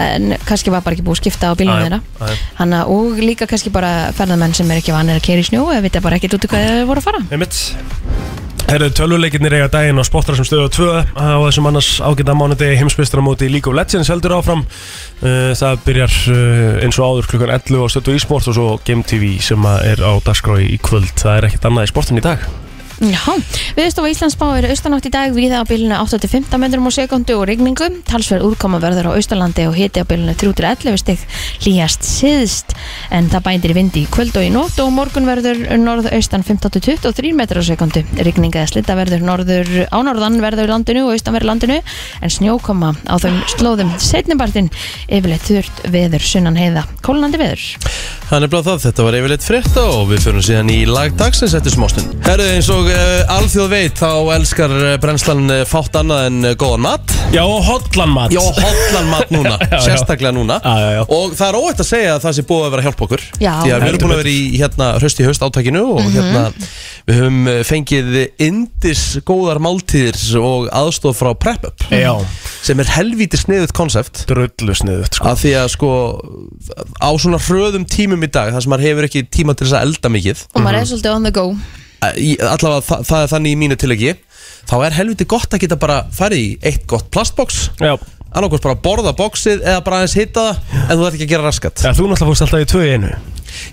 Speaker 2: en kannski var bara ekki búið að skipta á bílunum þeirra
Speaker 3: Aðeim.
Speaker 2: Hanna, og líka kannski bara ferðamenn sem er ekki vanir að keira í snjó eða vita bara ekkert út í hvað þeir voru að fara
Speaker 3: Einmitt Herðu tölvuleikirnir eiga daginn á spottar sem stöðu á 2 og þessum annars ágæta mánudegi heimsbyrstara móti League of Legends heldur áfram Uh, Það byrjar uh, eins og áður klukkan 11 á stöðu í sport og svo Game TV sem að er á dagskrái í kvöld Það er ekkert annað í sportin í dag
Speaker 2: Já, viðstofa Íslands spáir austanátt í dag viða á bylunu 8-15 metrum á sekundu og rigningu, talsverð úrkoma verður á austalandi og hiti á bylunu 3-11 stig líjast síðst en það bændir í vindi í kvöld og í nótt og á morgun verður norðaustan 15-23 metrum á sekundu, rigninga eða slita verður norður, á norðan verður landinu og austan verður landinu en snjókoma á þeim slóðum setnibartin yfirleitt þurft veður sunnan heiða kólnandi veður
Speaker 7: Mhm.
Speaker 1: Það er bara það, þetta var yfirleitt frétta og við fyrir síðan í lagdagsins eftir smástund. Herðu eins og uh, alþjóð veit þá elskar uh, brennslan uh, fátt annað en uh, góðan mat.
Speaker 3: Já, hotlan mat
Speaker 1: Já, hotlan mat núna,
Speaker 3: Já, já.
Speaker 1: sérstaklega núna.
Speaker 3: Já, já, já.
Speaker 1: Og það er óvægt að segja að það sé búið að vera að hjálpa okkur. Því
Speaker 2: Já.
Speaker 1: að við erum
Speaker 3: Heldur
Speaker 1: búin að vera í hérna hraust í haust átakinu og hérna við höfum uh, fengið indis góðar máltíðir og aðstof frá PrepUp
Speaker 3: Já,
Speaker 1: sem er helvítið sniðut konsept
Speaker 3: drullu sniðut sko
Speaker 1: að því að sko á svona hröðum tímum í dag þar sem maður hefur ekki tíma til þess að elda mikið eh,
Speaker 2: og maður er svolítið on the go
Speaker 1: í- allavega það, það er þannig í mínu tilöki þá er helviti gott að geta bara farið í eitt gott plastboks
Speaker 3: Já,
Speaker 1: annarkvist bara borða boksið eða bara aðeins hitta það en þú þarf ekki að gera raskat
Speaker 3: Ja, þú náttúrulega fórst alltaf í tvö í einu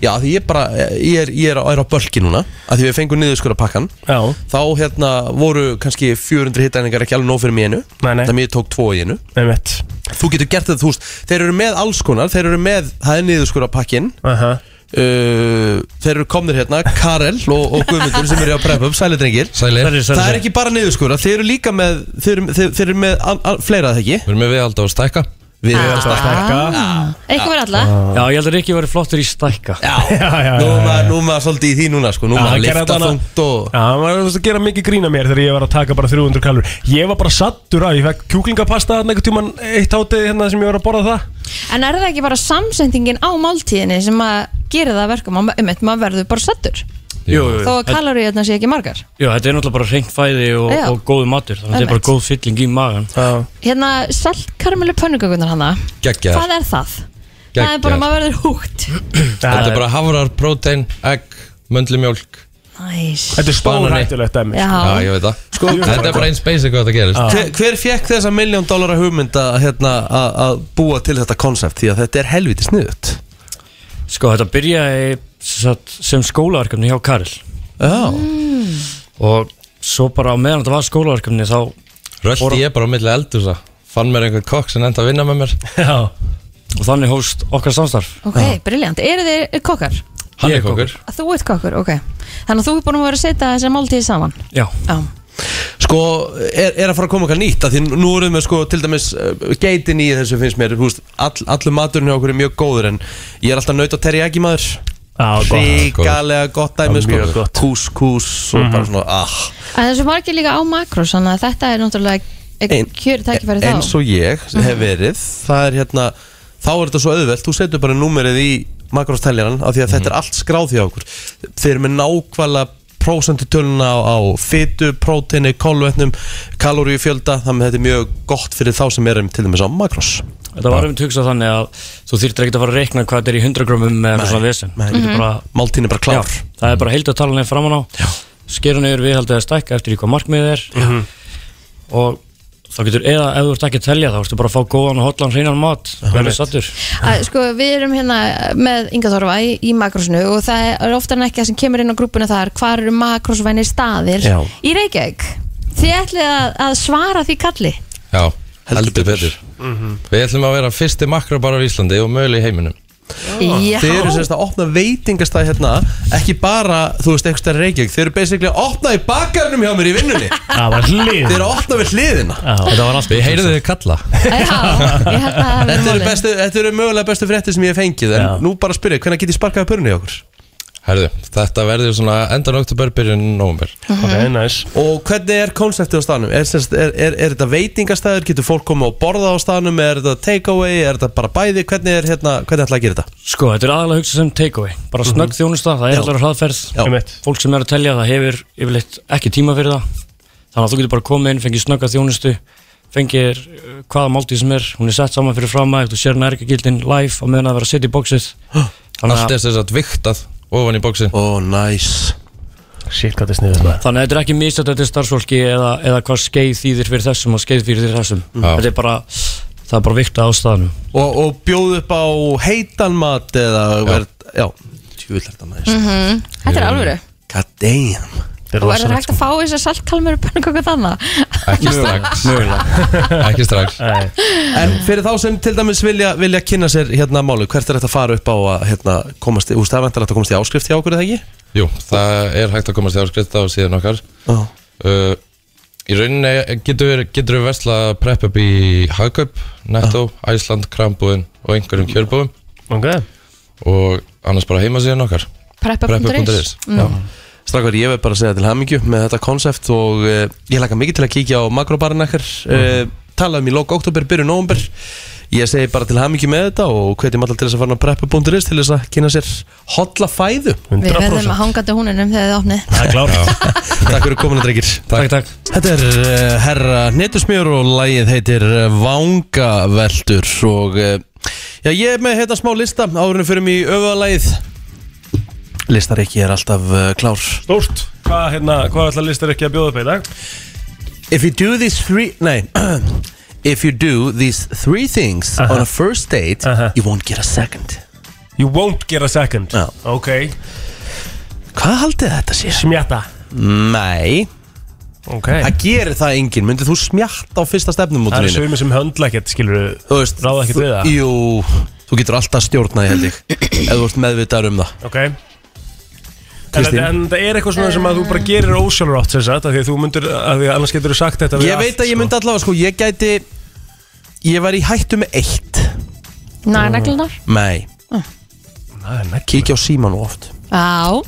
Speaker 1: já því ég bara, ég er, ég er, er á bölki núna að því við fengum niður skora pakkan
Speaker 3: Já,
Speaker 1: þá hérna voru kannski 400 hittæningar ekki alveg nóg fyrir mig einu
Speaker 3: Nei, nei.
Speaker 1: þannig ég tók tvo í einu
Speaker 3: einmitt
Speaker 1: þú getur gert þetta þú veist þeir eru með alls konar þeir eru með það er niður skora pakkin
Speaker 3: Aha.
Speaker 1: uh, þeir eru komnir hérna Karel og, og Guðmundur sem eru á prepum, sælidrengir
Speaker 8: Sælir,
Speaker 3: Sælir,
Speaker 1: það er ekki bara niðurskura, þeir eru líka með þeir eru, þeir, þeir eru með an, an, fleira að það ekki
Speaker 8: við erum með viðhald á að stækka
Speaker 1: við erum að
Speaker 2: ah, eitthvað verður alla
Speaker 7: Já, ég held að Rikki verið flottur í stækka
Speaker 3: Já, já,
Speaker 1: Nú er
Speaker 3: já, já.
Speaker 1: maður- nú er maður svolítið í því núna sko, nú er
Speaker 3: Já,
Speaker 1: maður að
Speaker 3: hann gerði
Speaker 1: lifta
Speaker 3: þetta annað-
Speaker 1: þungt og
Speaker 3: Já, hann var að gera mikið grína mér þegar ég var að taka bara 300 kalur Ég var bara sattur að, ég fekk kjúklingapasta þarna einhvern tíman eitt hátið hérna sem ég var að borða það
Speaker 2: En er það ekki bara samsendingin á máltíðinni sem að gera það að verkum að um maður verður bara sattur
Speaker 7: Jú, jú,
Speaker 2: þó að kaloríunar sé ekki margar
Speaker 7: jú, þetta er náttúrulega bara reynd fæði og,
Speaker 2: Já.
Speaker 7: og góð matur Þannig að þetta er bara
Speaker 2: Einmitt.
Speaker 7: góð fylling í magan
Speaker 2: Hérna saltkarmelu pönnukökunar hana
Speaker 8: Geggjar
Speaker 2: Hvað er það? Það er
Speaker 8: Geggjaðar.
Speaker 2: bara að maður verður húgt
Speaker 8: Þetta er
Speaker 3: bara
Speaker 8: bara hafrar, prótein, egg, möndlumjólk
Speaker 2: Næs
Speaker 3: Þetta er stór hættulegt dæmi
Speaker 2: Já,
Speaker 3: sko.
Speaker 8: Já, ég veit það Þetta er bara eins basic hvað þetta gerist
Speaker 1: Hver, hver fekk þessa miljón dólara hugmynd að, hérna, að, að búa til þetta konsept því að þetta er helviti sniðut
Speaker 7: Sko, þetta byrjaði sem sagt, sem skólaverkefni hjá Karel
Speaker 1: Já,
Speaker 7: Og svo bara á meðan þetta var skólaverkefni þá
Speaker 8: Röldi ég bara á milli eldur Fann mér einhvern kokk sem enda að vinna með mér
Speaker 3: Já.
Speaker 7: Og þannig hófst okkar samstarf
Speaker 2: Ok, briljant Eru þið kokkar?
Speaker 8: Hann
Speaker 7: Ég
Speaker 8: er kokkur
Speaker 2: Þú ert kokkur, ok Þannig að þú er búin að vera að setja þessar máltíði saman
Speaker 7: Já,
Speaker 2: Já
Speaker 1: sko, er, er að fara að koma eitthvað nýtt að því nú erum við sko, til dæmis uh, geitin í þessu finnst mér, húst, all, allur maturinn hjá okkur er mjög góður en ég er alltaf naut að terja ekki maður
Speaker 3: Já, gott
Speaker 1: ríkalega gott dæmi sko,
Speaker 3: Mjög gott. Mhm.
Speaker 1: kús, kús og bara svona, ah
Speaker 2: En þessu margir líka á makrós Þannig að þetta er náttúrulega
Speaker 1: Ein-
Speaker 2: Kjör takkifæri þá Mhm.
Speaker 1: eins og ég hef verið það er hérna, þá er þetta svo auðvelt þú setur bara númerið í makróstæljaran af því að þetta er
Speaker 8: Mhm.
Speaker 1: allt skráð hjá okkur þeir eru með nákvæmlega prósentutöluna á, á fitu, próteini, kolvetnum kaloríufjölda, þannig að þetta er mjög gott fyrir þá sem erum til dæmis á makrós
Speaker 7: þetta var um hugsað þannig að þú þýrtir ekkert að fara að reikna hvað þetta er í 100 grömmum með eitthvað svona vesen
Speaker 1: nei.
Speaker 7: Þetta er bara,
Speaker 8: Mm-hmm.
Speaker 1: Máltíðin er bara klár
Speaker 7: já, það er bara heilt að tala nefn framan á Skera neyður viðhaldið að stækka eftir í hvað markmiðið er
Speaker 8: Mhm.
Speaker 7: Og þá getur, eða ef þú ert ekki að telja þá ertu bara að fá góðan og hotlan hreinan mat Verður sattur
Speaker 2: að, sko, við erum hérna með Inga Þorfa í, í makrósinu og það er oftar en ekki það sem kemur inn á grúpuna þar hvar eru makrósvænir staðir
Speaker 1: Já.
Speaker 2: í Reykjavík þið ætlið að, að svara því kalli
Speaker 8: Já, heldur betur Við ætlum að vera fyrsti makrobar á Íslandi og möguleg í heiminum
Speaker 2: Já,
Speaker 1: Þeir eru semst að opna veitingastæð hérna Ekki bara, þú veist, eitthvað reykjöng Þeir eru basically að opna í bakarnum hjá mér í vinnunni
Speaker 3: Það var hlið
Speaker 1: Þeir eru að opna við hliðina
Speaker 8: Þetta var allt Við heyrðum þið kalla
Speaker 2: já, ég held að
Speaker 1: Þetta
Speaker 2: það verður
Speaker 1: eru,
Speaker 2: málið
Speaker 1: bestu, þetta eru mögulega bestu frétti sem ég hef fengið En
Speaker 3: Já.
Speaker 1: nú bara að spyrja, hvernig get ég sparkaði pörunni hjá okkur?
Speaker 8: Herðu, þetta verður svona endan oktober, byrjun november
Speaker 3: Ok, næs
Speaker 1: Og hvernig er konseptið á staðnum? Er, semst- er, er, er þetta veitingastæður? Getur fólk komið og borða á staðnum? Er þetta takeaway? Er þetta bara bæði? Hvernig er hérna, hvernig ætla að gera þetta?
Speaker 7: Sko, þetta er aðalega hugsað sem takeaway Bara snögg þjónusta, það er allar hraðferð
Speaker 1: Já.
Speaker 3: Einmitt.
Speaker 7: Fólk sem er að telja, það hefur yfirleitt ekki tíma fyrir það Þannig að þú getur bara komið inn, fengið snögga þjónustu Fengið uh, hvaða máltíð sem er Hún er sett saman fyrir framæg, þú sér nærgagildin live Á meðan að vera að setja í bóksið Þannig
Speaker 8: Allt
Speaker 7: að
Speaker 8: er þess að viktað ofan í bóksi
Speaker 1: Ó, oh, nice
Speaker 3: Shit, hvað þetta er sniður maður
Speaker 7: Þannig að þetta er ekki mistætt þetta er starfsfólki eða, eða hvað skeið þýðir fyrir þessum og skeið fyrir þessum
Speaker 8: Já.
Speaker 7: Þetta er bara, það er bara vikta ástæðanum
Speaker 1: Og, og bjóð upp á heitan mat eða verð Já, tjúvill er þetta nice
Speaker 2: Þetta er alvöru
Speaker 1: God damn
Speaker 3: Þetta er
Speaker 2: Og er það
Speaker 3: rosalegt,
Speaker 2: hægt að fá þess að saltkalmur Pönnkaka þannig
Speaker 8: Ekki strax Ekki strax
Speaker 1: En fyrir þá sem til dæmis vilja, vilja kynna sér hérna málu Hvert er þetta að fara upp á að hérna, komast í Úst, það er vantar að komast í áskrift hjá okkur, er það ekki?
Speaker 8: Jú, það er hægt að komast í áskrift á síðan okkar
Speaker 1: Já
Speaker 8: uh, Í rauninni eh, getur, getur við versla prep up í Hagkaup, Netto,
Speaker 9: Ah.
Speaker 8: Æsland, Krambúðin og einhverjum kjörbúðum
Speaker 3: ok
Speaker 8: og annars bara heimasíðan okkar
Speaker 2: Preppa.is
Speaker 9: Mm.
Speaker 1: Strákar, ég verð bara að segja til hamingju með þetta konsept og uh, ég laka mikið til að kíkja á makrobarinn ekkert uh,
Speaker 7: Mhm.
Speaker 1: tala um í lók oktober, byrju nóvember ég segi bara til hamingju með þetta og hvetjum alltaf til þess að fara á preppu.is til þess að kynna sér hotla fæðu
Speaker 2: Við
Speaker 3: 100%
Speaker 2: verðum að hanga til húninum þegar þið opnið
Speaker 3: Það er klárt
Speaker 1: Takk fyrir komuna, drengir
Speaker 7: Takk, takk
Speaker 1: Þetta er uh, herra Netusmjör og lagið heitir eh, Vangaveltur og uh, já, ég er með hérna smá lista árunum fyrir mig í öfuðalagið Listarikki er alltaf uh, klár
Speaker 3: Stórt Hvað hérna, hvað ætla listar ekki að bjóða upp í dag?
Speaker 1: If you do these three Nei If you do these three things
Speaker 3: Aha.
Speaker 1: on a first date
Speaker 3: Aha.
Speaker 1: You won't get a second
Speaker 3: You won't get a second
Speaker 1: Já.
Speaker 3: Ok
Speaker 1: Hvað haldið þetta sé?
Speaker 3: Smjata
Speaker 1: Nei
Speaker 3: Ok
Speaker 1: Það gerir það enginn Myndið þú smjatt á fyrsta
Speaker 3: Það
Speaker 1: stefnumótur
Speaker 3: er sumir sem höndla ekkert, skilur við
Speaker 1: Þú veist
Speaker 3: ráða ekkert
Speaker 1: þú-
Speaker 3: við það.
Speaker 1: Jú Þú getur alltaf stjórnað, ég held ég Ef þú ert meðvitaður um það
Speaker 3: Ok En
Speaker 1: Kristín?
Speaker 3: þetta- En það er eitthvað svona sem að þú bara gerir ósjálfur átt sem sagt af Því að þú myndir, að því að annars getur þú sagt þetta við
Speaker 1: Ég
Speaker 3: allt,
Speaker 1: veit að ég
Speaker 3: sko.
Speaker 1: myndi allavega sko Ég gæti Ég var í hættu með eitt
Speaker 2: Næ, reglunar
Speaker 1: Nei
Speaker 3: Það er nekki
Speaker 1: Kíkja á síman oft
Speaker 2: Já,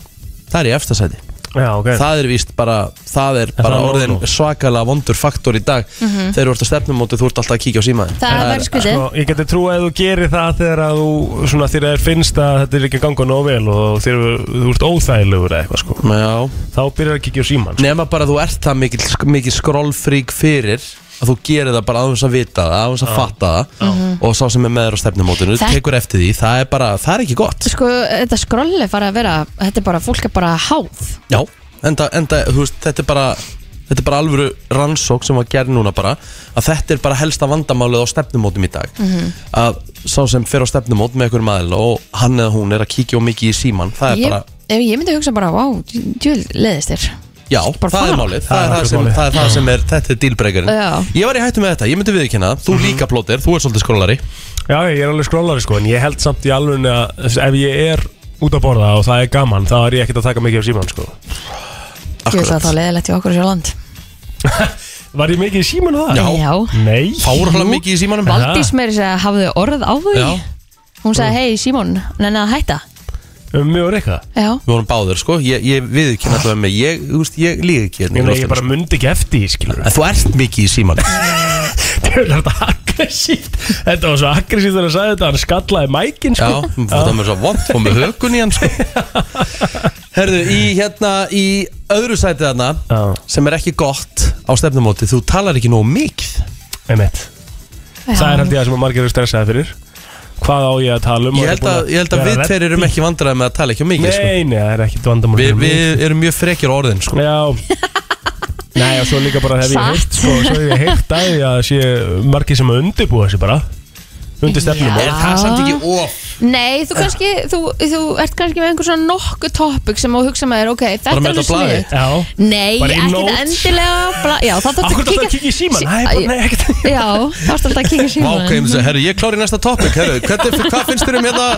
Speaker 1: Það er í efstasæti
Speaker 3: Já, ok
Speaker 1: það er víst bara það er bara
Speaker 3: það er
Speaker 1: orðin
Speaker 3: nóg nú.
Speaker 1: svakalega vondur faktor í dag þegar þú ert að stefnum og þú ert alltaf að kíkja á símaðin
Speaker 2: það er verið skvitið
Speaker 3: Sko, ég geti trú að þú gerir það þegar að þú svona þegar þér finnst að þetta er ekki að ganga nóg vel og þegar þú ert óþægilegur eða eitthvað sko
Speaker 1: Já,
Speaker 3: þá byrjar að kíkja á síman sko.
Speaker 1: nema bara þú ert það mikil, mikil skrollfrík fyrir að þú gerir það bara aðeins að vita það, aðeins að fatta það og sá sem er með þér á stefnumótinu
Speaker 2: Þetta-
Speaker 1: tekur eftir því, það er bara, það er ekki gott
Speaker 2: Sko, þetta skrolli fara að vera Þetta er bara, fólk er bara háð
Speaker 1: Já, enda, enda þú veist, þetta er bara þetta er bara alvöru rannsók sem var gerð núna bara að þetta er bara helsta vandamálið á stefnumótum í dag
Speaker 2: Mhm.
Speaker 1: að sá sem fer á stefnumót með einhverjum aðeins og hann eða hún er að kíkja og mikið í síman það er
Speaker 2: ég,
Speaker 1: bara
Speaker 2: ef ég myndi hugsa bara, vá, djúl, leðist þér
Speaker 1: Já,
Speaker 2: Bara
Speaker 1: það er
Speaker 2: fara.
Speaker 1: málið Það er
Speaker 3: Það er
Speaker 1: það sem,
Speaker 3: málið.
Speaker 1: það er, það sem er, þetta er dílbrekarinn
Speaker 2: Já. Mhm.
Speaker 1: Ég var í hættu með þetta, ég myndi viðkynna það. Þú líka plótir, þú ert svolítið skrólari
Speaker 3: Já, ég er alveg skrólari sko en ég held samt í alveg að ef ég er út að borða og það er gaman þá er ég ekkert að taka mikið á síman sko
Speaker 2: Djúl, það er þá leðilegt í okkur sjálfland
Speaker 3: Var ég mikið í síman á það?
Speaker 1: Já.
Speaker 2: Já,
Speaker 3: Nei
Speaker 1: Fárhala mikið í símanum
Speaker 2: Valdís meiri segja, hafðu orð á því Mm.
Speaker 1: Já.
Speaker 2: Hún sagði, hei Simon, nenni að hætta
Speaker 3: Um mig og Rikka
Speaker 2: Já,
Speaker 1: Við vorum báður, sko, ég, ég viðkynna allavega með Ég, þú veist, ég líði ekki hérna í
Speaker 3: Ég, meina,
Speaker 1: loftinu,
Speaker 3: ég bara myndi ekki eftir því skilur
Speaker 1: sko. En þú ert mikið í símanum
Speaker 3: Þetta var þetta aggressíft Þetta var svo aggressíft þegar að sagði þetta Hann skallaði mækin
Speaker 1: Já, um
Speaker 3: sko
Speaker 1: það með svo vond Fór með hökun í hann, sko Herðu, í hérna, í öðru sæti þarna
Speaker 3: Já.
Speaker 1: Sem er ekki gott á stefnumóti Þú talar ekki nógu mikið
Speaker 3: Einmitt. Það er held ég að sem að margir eru stressaði fyrir Hvað á ég að tala um
Speaker 1: Ég
Speaker 3: Og
Speaker 1: held
Speaker 3: er
Speaker 1: að,
Speaker 3: búin
Speaker 1: ég held að
Speaker 3: vera
Speaker 1: við
Speaker 3: redd-
Speaker 1: tveir erum ekki vandræði með að tala ekki á mikið, sko
Speaker 3: Nei, nei, það er ekkit vandamál
Speaker 1: Við,
Speaker 3: fyrir mig.
Speaker 1: við erum mjög frekjur orðin sko.
Speaker 3: Já Nei, og svo líka bara hef ég
Speaker 2: Satt.
Speaker 3: heilt sko, Svo hef ég heilt að því að sé margir sem að undirbúa þessi bara Undir stefnum
Speaker 2: Já.
Speaker 1: Er það samt ekki of
Speaker 2: Nei, þú kannski, þú, þú ert kannski með einhver svona nokku topic sem þú hugsa með þér, ok, þetta
Speaker 1: Bara
Speaker 2: er
Speaker 1: með
Speaker 2: alveg
Speaker 1: þetta á blaði?
Speaker 2: sniðugt.
Speaker 3: Já
Speaker 2: Nei,
Speaker 3: Bara í
Speaker 2: ekkert
Speaker 3: notes?
Speaker 2: endilega bla, Já, þá þarf
Speaker 3: Akkur þetta að kíkja í síman Nei, bara, nei, ekkert
Speaker 2: Já, þá þarf þetta að kíkja í
Speaker 1: Vá,
Speaker 2: síman
Speaker 1: hvað ég myndi segja, herru, ég klári næsta topic herru, hvernig, Hvað finnst þér um hérna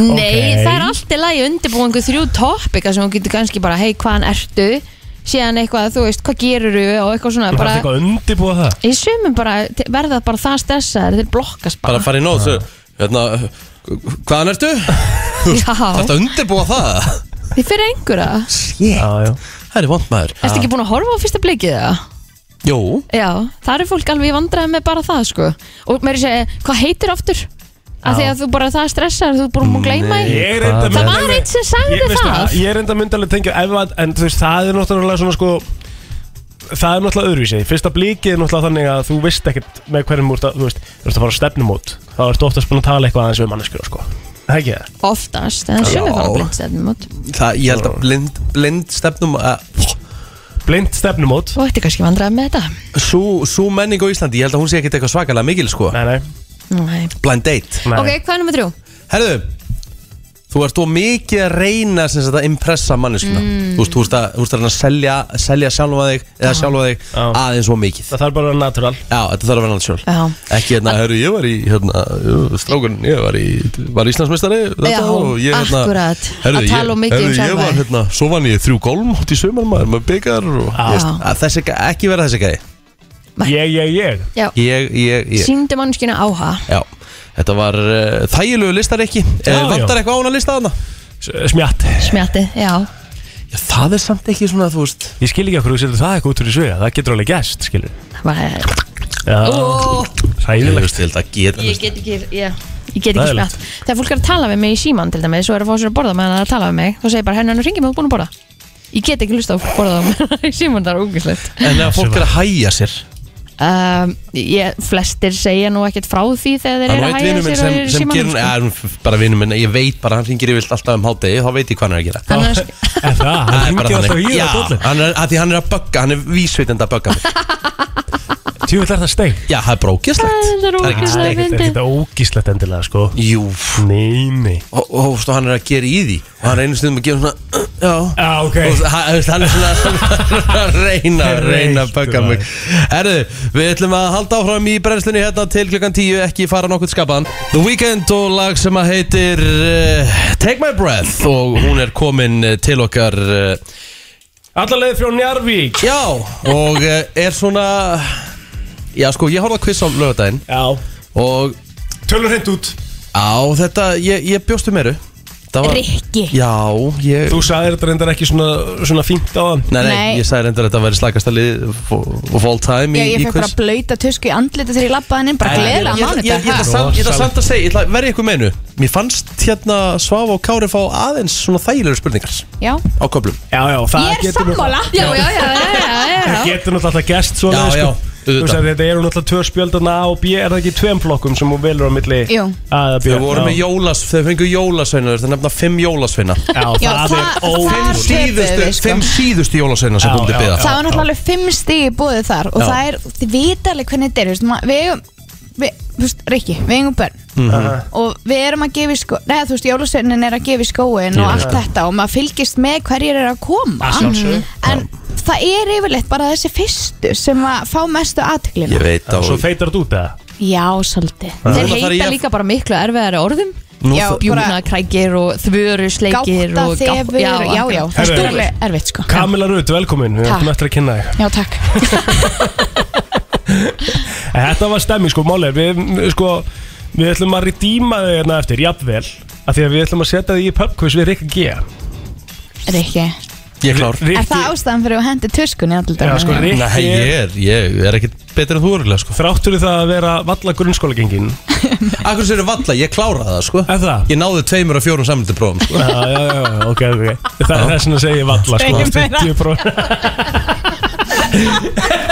Speaker 2: Nei,
Speaker 3: Ok.
Speaker 2: það er allt í lagi undirbúið einhver þrjú topika sem þú getur kannski bara, hei, hvaðan ertu síðan eitthvað, þú veist, hvað gerurðu og eitthvað svona,
Speaker 3: Það er
Speaker 2: bara
Speaker 3: eitthvað að undirbúa það
Speaker 2: í sumum bara, te- verða bara það stressaðir, þeir blokkast
Speaker 1: Bara
Speaker 2: bara
Speaker 1: að fara í nót svo, hérna, Hvaðan ertu? Þetta
Speaker 2: Já,
Speaker 1: undirbúa það
Speaker 2: þið fyrir einhverja
Speaker 1: Shit.
Speaker 3: Já, já
Speaker 1: Það er vond maður
Speaker 2: Ertu ekki búin að horfa á fyrsta blikið það?
Speaker 1: Jú
Speaker 2: Já, það er fólk alveg í vandræði með bara það sko Og mér er segja, hvað heitir aftur? Af því að þú bara það stressar, þú er búin að gleyma því
Speaker 3: Ég er enda
Speaker 2: Það
Speaker 3: mynd-
Speaker 2: var einn sem sagði
Speaker 3: Ég- veistu
Speaker 2: það.
Speaker 3: Ég er enda myndalega tengja ef að, En þú veist, það er náttúrulega svona sko Það er náttúrulega öðruvísi Fyrsta blíkið er náttúrulega þannig að þú veist ekkert Með hverjum úr það, þú veist Þú veist að fara á stefnumót Þá ertu oftast búin að tala eitthvað aðeins við manneskjur sko. Það er ekki það
Speaker 2: Oftast, en sumir fara blindstefnum út
Speaker 1: Það, ég held að blind, blind stefnum að
Speaker 3: Blind stefnumót
Speaker 2: Þú ætti kannski vandræði með þetta
Speaker 1: Sú, sú menning á Íslandi, ég held að hún sé ekkert eitthvað svakalega mikil sko
Speaker 3: Nei, nei,
Speaker 2: Nei.
Speaker 1: Blind date
Speaker 3: nei.
Speaker 2: Ok, hvað er nummer þrjú?
Speaker 1: Herðu, þú ert þó mikið að reyna sem sagt að impressa manneskuna
Speaker 2: Mm.
Speaker 1: Þú veist, þú ert að, þú ert að, reyna að selja, selja sjálfa þig eða sjálfa þig
Speaker 3: Já.
Speaker 1: aðeins og mikið
Speaker 3: Það þarf bara að vera natural
Speaker 1: Já, þetta þarf að vera náttúrulega
Speaker 2: Já.
Speaker 1: Ekki hérna, herru, ég var í, hérna, strákun, ég var í, var Íslandsmeistari þetta
Speaker 2: Já,
Speaker 1: og ég, hérna
Speaker 2: akkúrat.
Speaker 1: herru,
Speaker 2: Að
Speaker 1: ég-
Speaker 2: tala of mikið um
Speaker 1: herru,
Speaker 2: sjálfa
Speaker 1: Ég var,
Speaker 2: þig.
Speaker 1: hérna, svo vann ég þrjú gólmót í sumar maður, maður byggar og
Speaker 3: Já.
Speaker 1: Þú veist, að Þessi, gæ- ekki vera þessi gæði
Speaker 3: Ég, ég, ég
Speaker 2: Já,
Speaker 1: Ég, ég, ég
Speaker 2: síndu mannskina áha
Speaker 1: Já, þetta var uh, þægilegu listareikki
Speaker 3: Já,
Speaker 1: uh, Vantar
Speaker 3: já.
Speaker 1: eitthvað á hún að lista þarna?
Speaker 3: S- Smjatt
Speaker 2: Smjatti, já
Speaker 1: Já, það er samt ekki svona, þú veist
Speaker 3: Ég skil ekki okkur þú setur það eitthvað út úr í svega Það getur alveg gæst, skilur
Speaker 2: Það var-
Speaker 3: Já,
Speaker 2: Ó,
Speaker 1: Ég
Speaker 3: Sæðilegt
Speaker 1: veist, ég held að geta
Speaker 2: Ég get ekki, já Ég get ekki
Speaker 3: Hræðilegt.
Speaker 2: smjatt Þegar fólk er að tala við mig í síman til dæmis og er að fá sér að borða meðan það er að tala við mig þá segir bara henni hann ringið mig og búin að borða Ég get ekki hlusta á að borða meðan í síman það er ógæslegt
Speaker 1: En að fólk er að hæja sér
Speaker 2: um, ég, Flestir segja nú ekkert frá því þegar þeir
Speaker 1: Það er nú
Speaker 2: eru
Speaker 1: eitt
Speaker 2: að hægja
Speaker 1: vinur minn
Speaker 2: sér og
Speaker 1: sem,
Speaker 2: eru í
Speaker 1: sem
Speaker 2: símanum
Speaker 1: gerir, ja,
Speaker 2: sko.
Speaker 1: er, bara vinur minn, ég veit bara, hann ringir yfirlt alltaf um hádegi, þá veit ég hvað hann er að gera
Speaker 2: Hann er-
Speaker 3: En það, hann
Speaker 1: er
Speaker 3: hringir
Speaker 1: bara
Speaker 3: alltaf í
Speaker 1: Já,
Speaker 3: það dollin
Speaker 1: hann er, að því hann er að bögga, hann er vísvitandi að bögga mig.
Speaker 3: Tjúvill er það steik
Speaker 1: Já, það er brókislegt
Speaker 2: Það er
Speaker 1: Það er ekki
Speaker 2: ógeðslega
Speaker 1: steik
Speaker 3: Þetta er
Speaker 2: fyndið.
Speaker 3: ekki ógíslegt endilega, sko
Speaker 1: Jú,
Speaker 3: Nei, nei
Speaker 1: og, og, og svo hann er að gera í því og hann reynir stundum að gera svona Já,
Speaker 3: Já, ok
Speaker 1: og það- þú veist, hann er svona að reyna, reyna að bögga mig Herðu, við ætlum að halda áfram í brennslunni hérna til klukkan 10 ekki fara nokkuð skapaðan The Weeknd og lag sem að heitir uh, Take My Breath og hún er komin eh, til okkar uh,
Speaker 3: Allarleið frá Njarvík
Speaker 1: Já, og uh, er svona Já, sko, ég horfði að quiz á lögadaginn
Speaker 3: Já
Speaker 1: og
Speaker 3: Tölur hreint út
Speaker 1: á þetta, ég, ég bjóstu meiru Það var-
Speaker 2: Rikki
Speaker 1: Já, ég
Speaker 3: Þú sagðir þetta reyndar ekki svona, svona fínt á hann
Speaker 1: Nei, nei,
Speaker 9: Nei.
Speaker 1: ég sagði reyndar að þetta væri slagasta lið of all time
Speaker 9: Já,
Speaker 1: í,
Speaker 9: ég
Speaker 1: í
Speaker 9: fekk bara
Speaker 1: quiz.
Speaker 9: blöyta tusku í andlita þegar ég labbaði inn bara
Speaker 1: En
Speaker 9: gleðilega
Speaker 1: ég- ég- ég- Ég ætla
Speaker 9: mánudag
Speaker 1: samt- ég ætla samt að segja, ég ætla að verja ykkur meinu Mér fannst hérna Svafa og Kári fá aðeins svona þægilegur spurningar
Speaker 9: Já,
Speaker 1: á köflum
Speaker 3: Já, já, það
Speaker 9: ég er
Speaker 3: getur nú-
Speaker 9: sammála
Speaker 2: Já, já, já, já, já, já.
Speaker 3: Það getur náttúrulega alltaf gest svona
Speaker 1: Já,
Speaker 3: sko.
Speaker 1: já,
Speaker 3: Þú
Speaker 1: auðvitað.
Speaker 3: veist að þetta eru náttúrulega tvö spjöldana A og B Er það ekki tveim flokkum sem hún velur á milli
Speaker 9: Jú.
Speaker 3: A eða B
Speaker 1: Þau voru með
Speaker 3: Já,
Speaker 1: jólas, þau fengu jólasveinar Þau nefna fimm jólasveina
Speaker 3: Já,
Speaker 9: Já, það-
Speaker 3: það er
Speaker 9: það-
Speaker 3: ótrúlega
Speaker 9: Þar töpuðu
Speaker 1: síðustu,
Speaker 9: við, sko.
Speaker 1: Fimm síðustu jólasveina sem
Speaker 3: Já,
Speaker 1: þú myndir
Speaker 3: já,
Speaker 1: byggja
Speaker 9: Það var náttúrulega alveg fimm stig í bóðið þar og
Speaker 1: Já.
Speaker 9: það er, þið vita alveg hvernig þetta er, þú veist, ma- við eigum, við, þú veist, Rikki, við eigum börn og við erum að gefa í skó, neða þú veist, jólasveinin er að gefa í skóin og allt þetta og maður fylgist með hverjir er að koma Mhm. en það er yfirleitt bara þessi fyrstu sem að fá mestu
Speaker 1: Ég
Speaker 9: aðtöklina.
Speaker 1: veit á
Speaker 3: Svo feitar þetta út eða
Speaker 9: Já, svolítið.
Speaker 1: Núna
Speaker 2: Þeir
Speaker 1: þarf ég
Speaker 2: heita
Speaker 1: að-
Speaker 2: líka bara miklu erfiðari orðum
Speaker 1: Nú
Speaker 9: Já,
Speaker 1: þ-
Speaker 9: bara
Speaker 2: Bjúnakrækir og þvörusleikir
Speaker 9: gáta
Speaker 2: og
Speaker 9: þefur, já, já, já, það
Speaker 3: Herðu,
Speaker 9: er alveg erfitt sko.
Speaker 3: Kamila Rut, velkomin, við
Speaker 9: Takk.
Speaker 3: ætlum eftir að kynna þig
Speaker 9: Já, takk.
Speaker 3: En Þetta var stemming sko, málið er, við, sko, við ætlum að redeema þig hérna eftir, jafnvel Af því að við ætlum að setja þig í pubquiz við Rikki G
Speaker 9: Rikki,
Speaker 1: Ég er klár
Speaker 9: er það ástæðan fyrir að hendi tuskunni allir
Speaker 3: Já, sko,
Speaker 9: dagana?
Speaker 3: Rikki
Speaker 1: Nei, ég er, ég er ekkert betur en þú örgulega sko
Speaker 3: Þrátt fyrir það að vera valla grunnskóla gengin
Speaker 1: Akkur sér valla, ég kláraði það sko
Speaker 3: Er það?
Speaker 1: Ég náði tveimur og fjórum samlítið prófum sko
Speaker 3: Já, já, já, já, ok, ok Það er þess að segja valla sko,
Speaker 9: Ekki meira.
Speaker 3: 50%.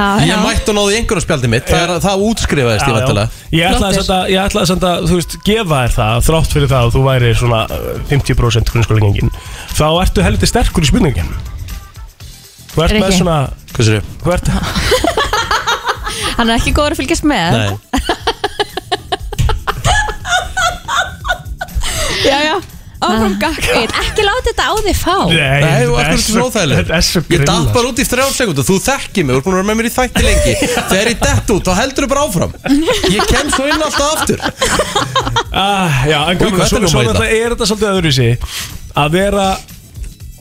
Speaker 1: Ég
Speaker 2: já.
Speaker 1: mætti og náði einhverjum spjaldi mitt Það, er, það útskrifaðist ég
Speaker 3: Já, já.
Speaker 1: vantilega
Speaker 3: Ég ætlaði samt að, ég ætlaði samt að, þú veist, gefa þér það Þrátt fyrir það að þú væri svona uh, 50% grunnskóla gengin Þá ertu heldur sterkur í spurningin Þú ert með
Speaker 2: Rikki.
Speaker 3: svona,
Speaker 1: Hvað sér ég?
Speaker 3: þú ert,
Speaker 2: Hann er ekki góður að fylgjast með
Speaker 1: Nei
Speaker 9: Já, já, áfram gagn. Ekki láta þetta á þig fá.
Speaker 1: Nei, þú ert
Speaker 3: þetta er
Speaker 1: ekki svona
Speaker 3: Þetta er svo
Speaker 1: óþægileg Ég datt
Speaker 3: grilla
Speaker 1: bara út í þrjá sekundu Þú þekkir mig, þú ert búin að vera með mér í þætti lengi Þegar ég dett út, þá heldur þú bara áfram Ég kem svo inn alltaf aftur
Speaker 3: Ah, já, en
Speaker 1: Új, hvað
Speaker 3: gamla,
Speaker 1: þetta
Speaker 3: svona,
Speaker 1: hljómar
Speaker 3: svona
Speaker 1: illa.
Speaker 3: þetta er þetta svolítið öðruvísi að vera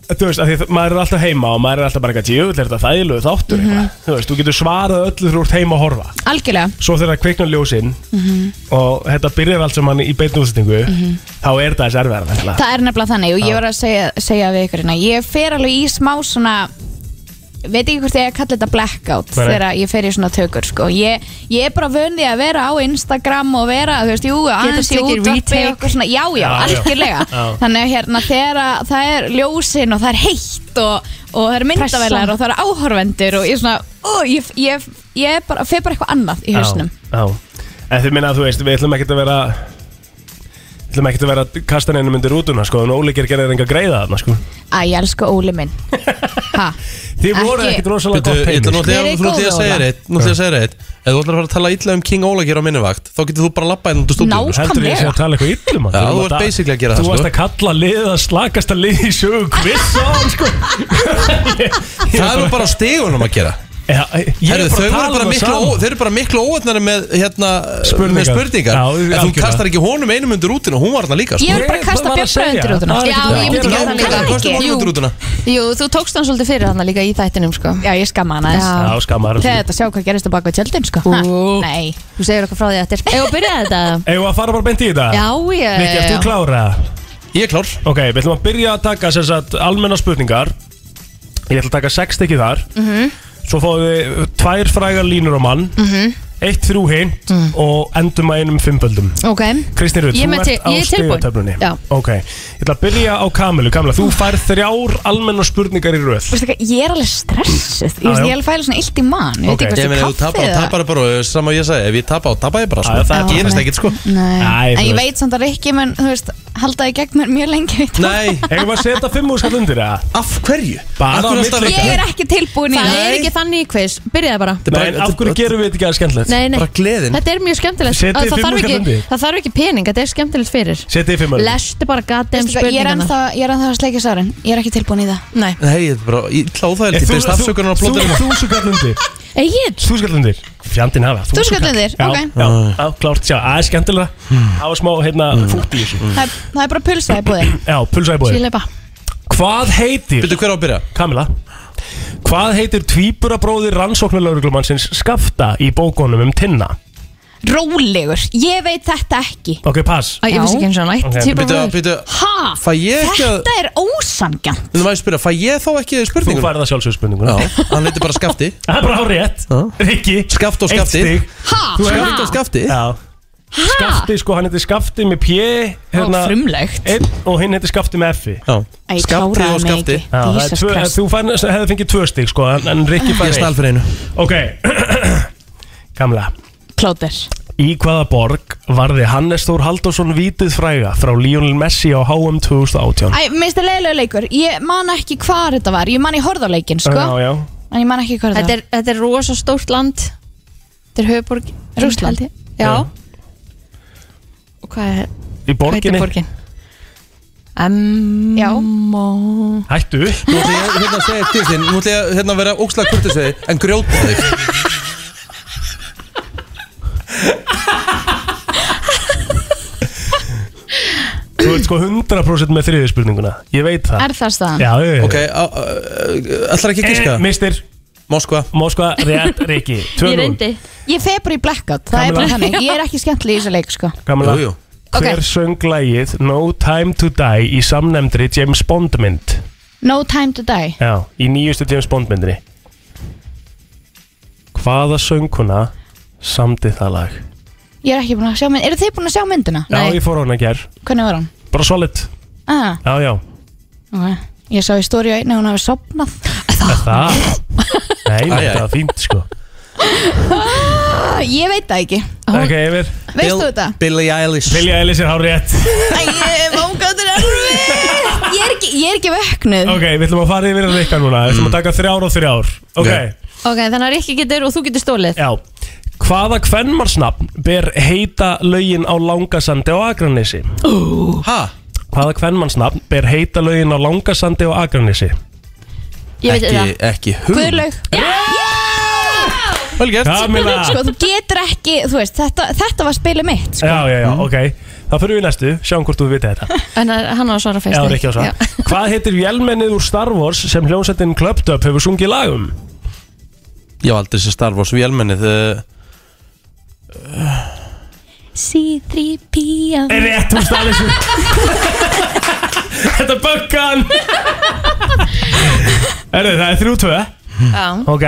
Speaker 3: þú veist, að því að maður er alltaf heima og maður er alltaf bara eitthvað djöfull, er þetta þægilegu þáttur
Speaker 9: Mhm.
Speaker 3: mm þú veist, þú getur svarað öllu þú ert heima að horfa
Speaker 9: algjörlega
Speaker 3: svo þegar það kviknar ljósin
Speaker 9: Mhm.
Speaker 3: og þetta byrjar allt saman í beinu útsendingu þá er það þessi erfiðar það...
Speaker 9: Það er nefnilega þannig og ég var að segja, segja við ykkur hérna Ég fer alveg í smá svona veit ekki hvort ég að kalla þetta blackout
Speaker 3: Nei.
Speaker 9: þegar ég fer í svona tökur sko. ég, ég er bara vöndi að vera á Instagram og vera, þú veist, jú, aðeins í
Speaker 2: tekið
Speaker 9: útvarpi
Speaker 2: retake.
Speaker 9: og eitthvað svona, já, já,
Speaker 3: Já, já.
Speaker 9: algjörlega
Speaker 3: Já.
Speaker 9: þannig að hérna, þegar að það er ljósin og það er heitt og, og það er myndavelar
Speaker 2: Pressa.
Speaker 9: og það er áhorvendur og ég er svona, ó, ég, ég, ég er bara, fer bara eitthvað annað í hausnum
Speaker 3: já. en þið minna að þú veist, við ætlum ekkert að vera við ætlum ekkert að vera að kasta neinum undir rútuna sko, en ólíkir gerir enga greiða þarna sko.
Speaker 9: Æ, ég elsku Óli minn Ha,
Speaker 3: þið voru
Speaker 9: Ekki-
Speaker 3: ekkert rosalega
Speaker 1: Býtu,
Speaker 3: gott
Speaker 1: ég ætla nú
Speaker 3: teimi sko.
Speaker 1: að-
Speaker 9: Verið
Speaker 1: þú nú til
Speaker 9: góð,
Speaker 1: að segja
Speaker 9: Óla.
Speaker 1: reitt Nú til að segja reitt Ef þú ætlar að fara að tala illa um King Óla hér á minni vakt Þá getur þú bara að labba hérna en þú stúdíu
Speaker 9: Ná.
Speaker 3: Heldur ég sé að tala eitthvað illum hann?
Speaker 1: Já,
Speaker 3: Þú
Speaker 1: þú
Speaker 3: varst
Speaker 1: ert
Speaker 3: að-
Speaker 1: basically að gera það,
Speaker 3: Þú
Speaker 1: sko.
Speaker 3: varst að kalla liða slakasta lið í sögu kvissan sko.
Speaker 1: Það eru bara stegunum að gera
Speaker 3: Já, ég er
Speaker 1: Herru, þau
Speaker 3: bara að
Speaker 1: eru
Speaker 3: tala
Speaker 1: bara
Speaker 3: um það
Speaker 1: miklu, ó,
Speaker 3: saman
Speaker 1: þeir eru bara miklu óöfnari með, hérna,
Speaker 3: Spurningar.
Speaker 1: með spurningar
Speaker 3: Já,
Speaker 1: En þú
Speaker 3: algjörlega.
Speaker 1: kastar ekki honum einum undir rútuna, hún var þarna líka
Speaker 9: Ég
Speaker 1: sko.
Speaker 9: vil bara
Speaker 3: Ég
Speaker 9: kasta
Speaker 3: var að
Speaker 9: Björn
Speaker 3: segja.
Speaker 9: undir út
Speaker 3: Það er ekkert
Speaker 2: Já, ég myndi gera
Speaker 1: Já,
Speaker 2: það líka
Speaker 1: það kostar honum undir rútuna
Speaker 2: Jú, þú tókst hann svolítið fyrir hann líka í þættinum sko.
Speaker 9: Já, ég skamma hann aðeins
Speaker 2: Já.
Speaker 3: Já, sko. skamar
Speaker 9: Þegar þetta sjá hvað gerist á baka tjöldin sko ha,
Speaker 2: Ú.
Speaker 9: Nei
Speaker 2: Þú segir okkur frá því eftir Ef við byrjaði þetta
Speaker 3: Eða að fara bara beint í þetta?
Speaker 2: Já, ég
Speaker 3: Viki, ert þú klára?
Speaker 1: Ég er klár
Speaker 3: Ok, við ætlum að byrja að taka sem sagt almennar spurningar Ég ætla að taka sex stykki þar Svo fáum við tvær frægar línur á mann Eitt þrjú hint og endum að einum fimmöldum
Speaker 2: Ok
Speaker 3: Kristín Rutt,
Speaker 2: Ég
Speaker 3: þú
Speaker 2: með til-
Speaker 3: ert á
Speaker 2: ég er tilbúin.
Speaker 3: stigatöflunni
Speaker 2: Já.
Speaker 3: Ok, ég ætla að byrja á Kamilu Kamila, þú færð þrjár almennar spurningar í röð
Speaker 9: Vistu hvað, ég er alveg stressuð Ég,
Speaker 3: Já,
Speaker 9: veist,
Speaker 3: já.
Speaker 9: ég er alveg fæla svona illt í mann Ég veit
Speaker 3: Ok.
Speaker 9: ekki
Speaker 1: Ég meina, ef þú
Speaker 9: hvort
Speaker 1: tapar,
Speaker 9: kaffið
Speaker 1: þá tapar bara eh, og saman ég sagði, ef ég tapar, þá tapar ég bara
Speaker 3: Já,
Speaker 1: sko.
Speaker 3: það er
Speaker 1: Það gerist
Speaker 9: þannig.
Speaker 1: ekkert, sko
Speaker 9: Nei,
Speaker 3: Æ,
Speaker 9: en
Speaker 3: þú
Speaker 9: ég
Speaker 3: veist.
Speaker 9: veit samt að Rikki menn, þú veist, haldaði gegn mér mjög lengi við það.
Speaker 1: Nei,
Speaker 3: Hefum við að setja fimm úrskall undir það?
Speaker 1: af hverju?
Speaker 3: Bara
Speaker 1: Af hverju er
Speaker 3: á milli
Speaker 1: alltaf-
Speaker 9: Ég er ekki tilbúin í
Speaker 2: Það
Speaker 9: það
Speaker 2: er ekki þannig í quiz Byrjaði bara
Speaker 1: Þetta er
Speaker 3: Nei,
Speaker 1: bara-
Speaker 3: en af hverju gerum við þetta ekki að skemmtilegt?
Speaker 2: Nei, nei
Speaker 1: Bara gleðin.
Speaker 2: Þetta er mjög skemmtilegt
Speaker 3: Setið
Speaker 2: það,
Speaker 3: fimm
Speaker 2: þarf
Speaker 3: þúsund
Speaker 2: ekki,
Speaker 3: undir.
Speaker 2: það þarf ekki pening Þetta er skemmtilegt fyrir
Speaker 3: Setja í fimmöldum
Speaker 2: Lestu bara goddamn
Speaker 9: Veistu hvað, Ég er
Speaker 2: spurningana
Speaker 9: ennþá ég er ennþá að sleika sárin Ég er ekki tilbúin í það
Speaker 2: Nei
Speaker 1: Nei, ég er bara illa óþægilegt, ég byrst afsökunar á plóðinu
Speaker 3: Þú skall undir
Speaker 2: Egil
Speaker 3: Þú skall undir Fjandinn hafa
Speaker 9: Þú skall undir,
Speaker 3: Já,
Speaker 9: ok.
Speaker 3: Já, já, klárt, sjá, það er skemmtilega Það var smá, hérna, fútt í þessu
Speaker 9: Það er- það er bara pulsa í búði
Speaker 3: Já, pulsa í bóði
Speaker 2: Svíleipa
Speaker 3: Hvað heitir,
Speaker 1: Byrju, hver á að byrja?
Speaker 3: Kamila Hvað heitir tvíburabróðir rannsóknarlauruglumannsins Skafta í bókunum um Tinna?
Speaker 9: Rólegur, ég veit þetta ekki
Speaker 3: Ok, pass
Speaker 2: Æ, ég vissi
Speaker 9: Já.
Speaker 2: ekki eins og
Speaker 3: Ok,
Speaker 2: nætt
Speaker 1: Byrju, byrju,
Speaker 9: Ha,
Speaker 1: fæ ég ekki að
Speaker 9: þetta er ósangjant
Speaker 1: Nú maður spyrja, fæ ég þá ekki
Speaker 3: Þú
Speaker 1: spurningum?
Speaker 3: færða sjálfsögspurninguna
Speaker 1: Já, hann heitir bara skafti
Speaker 3: Það er bara á rétt Rikki
Speaker 1: Skaft og skafti.
Speaker 3: Eitt stig
Speaker 9: Ha,
Speaker 3: Þú
Speaker 1: Hann
Speaker 3: hefur
Speaker 1: heitir skafti
Speaker 3: Já Skafti, sko, hann heitir Skafti með P hérna,
Speaker 9: frumlegt
Speaker 3: einn, Og hinn heitir Skafti með F-i
Speaker 1: Já,
Speaker 9: Æ, ég
Speaker 1: skafti
Speaker 9: kláraði
Speaker 1: og
Speaker 9: mig
Speaker 1: skafti
Speaker 9: ekki.
Speaker 3: Já, það er
Speaker 9: Jesus
Speaker 3: tvö,
Speaker 9: Christ.
Speaker 3: þú fær, hefði fengið tvö stig sko, en, en Rikki fær
Speaker 1: Ég stál fyrir einu
Speaker 3: Ok, Kamla
Speaker 9: Plóter
Speaker 3: Í hvaða borg varði Hannes Þór Halldórsson vítið fræga frá Lionel Messi á HM 2018?
Speaker 9: Æ, minnst það leiðilega leikur Ég man ekki hvað þetta var Ég man í horðarleikin, sko
Speaker 3: Já, já
Speaker 9: En ég man ekki hvað
Speaker 2: Þetta
Speaker 9: þetta
Speaker 2: er, þetta er rosa stórt land Þetta er höfuborg
Speaker 9: Rússland.
Speaker 2: held ég. Já Og hvað er hvað
Speaker 3: Í
Speaker 2: heitir
Speaker 3: borginni
Speaker 2: borgin? Um,
Speaker 9: Já.
Speaker 2: Mó-
Speaker 3: Hættu
Speaker 1: Nú ætla ég hérna að segja til þín Nú ætla ég hérna að vera ókslega kurtis við þig En grjóta þig
Speaker 3: Þú ert sko 100% með þriðið spurninguna Ég veit það
Speaker 9: Er það staðan?
Speaker 3: Já, já, já
Speaker 1: Ok, á- á- ætlar ekki að
Speaker 3: Eh,
Speaker 1: giska?
Speaker 3: Mister,
Speaker 1: Moskva
Speaker 3: Moskva, rétt, Rikki
Speaker 2: Ég
Speaker 3: 2-0
Speaker 2: reyndi
Speaker 9: Ég feg bara í blackout, það er
Speaker 3: Kamilla.
Speaker 9: bara þannig Ég er ekki skemmtileg í þessu leik, sko
Speaker 3: Kamla,
Speaker 1: Jú, jú
Speaker 9: Ok.
Speaker 3: hver söng lagið No Time To Die í samnefndri James Bond mynd?
Speaker 9: No time to die
Speaker 3: Já, í nýjustu James Bond myndinni Hvaða sönguna samdi það lag?
Speaker 9: Ég er ekki búin að sjá mynd Eru þið búin að sjá myndina?
Speaker 3: Já, ég fór á hana að ger
Speaker 9: Hvernig var hún?
Speaker 3: Bara solid
Speaker 9: Ah,
Speaker 3: Já, já
Speaker 9: ok Ég sá í stóri á einu að hún hafi sopnað
Speaker 3: Er það? Nei,
Speaker 1: Æ,
Speaker 3: nei,
Speaker 1: æ.
Speaker 3: það var fínt sko
Speaker 9: ah, Ég veit það ekki
Speaker 3: Ok, yfir
Speaker 9: Veist þú þetta?
Speaker 1: Billie Eilish
Speaker 3: Vilja Elis er hár rétt
Speaker 9: Æ, ég- vágáttur er erfitt. Ég er ekki- Ég er ekki vöknuð
Speaker 3: Ok, við ætlum að fara yfir að rikka núna Við
Speaker 1: Mm.
Speaker 3: ætlum að taka þrjár og þrjár Ok,
Speaker 1: Ok.
Speaker 2: Ok, þannig að Rikki getur og þú getur stólið
Speaker 3: já Hvaða kvenmarsnafn ber heita lögin á Langasandi og Akranesi?
Speaker 1: Ha?
Speaker 3: Hvaða kvenmannsnafn ber heita lögin á Langasandi og Akranesi?
Speaker 2: Ég veit
Speaker 1: Ekki,
Speaker 2: það
Speaker 1: ekki hug
Speaker 9: Guðlaug
Speaker 1: Vel gert
Speaker 3: Kamila
Speaker 2: Sko, þú getur ekki, þú veist, þetta, þetta var spilið mitt sko.
Speaker 3: Já, já, já, ok Þá fyrir við í næstu, sjáum hvort þú vitið þetta
Speaker 10: En að- hann á að svara fyrst
Speaker 3: Já, Rikki Ása Hvað heitir vélmennið úr Star Wars sem hljómsættin Club Dub hefur sungið um? lagum?
Speaker 1: Ég var aldrei sem Star Wars vélmennið uh,
Speaker 10: C3P
Speaker 3: Er rétt úr Star Wars Þetta er böggan Erðu, það er 3-2
Speaker 10: Já,
Speaker 3: Ok,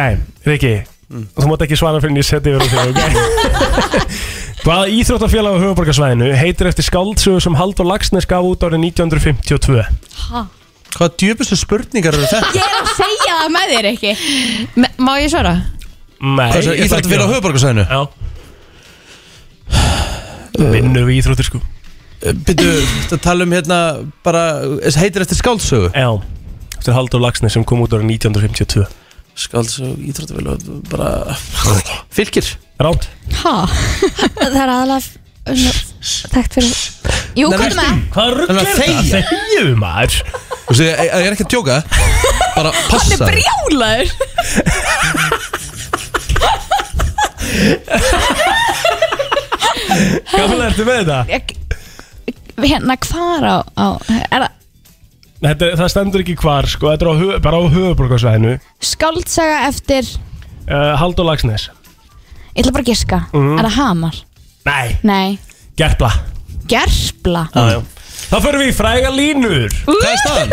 Speaker 3: Rikki
Speaker 1: Mm.
Speaker 3: Þú mátt ekki svara fyrir en ég seti yfir á þig okay? Hvað íþróttafélag á höfuborgarsvæðinu heitir eftir skáldsögu sem Haldur Laxnes gaf út árið 1952?
Speaker 10: ha
Speaker 1: Hvaða djöfustu spurningar eru þetta?
Speaker 2: Ég er að segja það með þér ekki
Speaker 10: Me- Má ég svara?
Speaker 3: Nei,
Speaker 1: Hvað er
Speaker 3: ég ætla
Speaker 1: þetta
Speaker 3: ekki
Speaker 1: fyrir á
Speaker 3: að-
Speaker 1: höfuborgarsæðinu?
Speaker 3: Já
Speaker 1: Uh.
Speaker 3: Vinnur við íþróttir sko
Speaker 1: Býttu, Eh, þetta tala um hérna bara, þess heitir eftir skáldsögu
Speaker 3: Já Eftir Haldur Laxnes sem kom út árið 1952
Speaker 1: Skáldsögu, íþróttavélag, bara Fylgir
Speaker 3: Rátt
Speaker 2: ha.
Speaker 10: Það er aðalega Takk fyrir
Speaker 2: Jú,
Speaker 1: Nei,
Speaker 2: komdu með
Speaker 3: Hvað rugl
Speaker 1: Þannig
Speaker 3: er
Speaker 1: að
Speaker 3: þetta?
Speaker 1: þegja.
Speaker 3: Þegjum maður
Speaker 1: Þú sé, ég ég er ekki að djóka eh? Bara passa
Speaker 2: Brjálaður
Speaker 3: Gamla ertu með þetta?
Speaker 2: Ég- Hérna, hvar á, á Er það
Speaker 3: þetta er- Það stendur ekki hvar sko Þetta er á, hö- bara á höfuborgarsvæðinu
Speaker 2: skáldsaga eftir
Speaker 3: uh, Haldur Laxnes
Speaker 2: Ég ætla bara að giska
Speaker 1: Mhm.
Speaker 2: Er það hamar?
Speaker 3: Nei
Speaker 2: Nei
Speaker 3: Gerpla
Speaker 2: Gerpla
Speaker 3: ah, Þá förum við í fræga línur
Speaker 1: Hvað er staðan?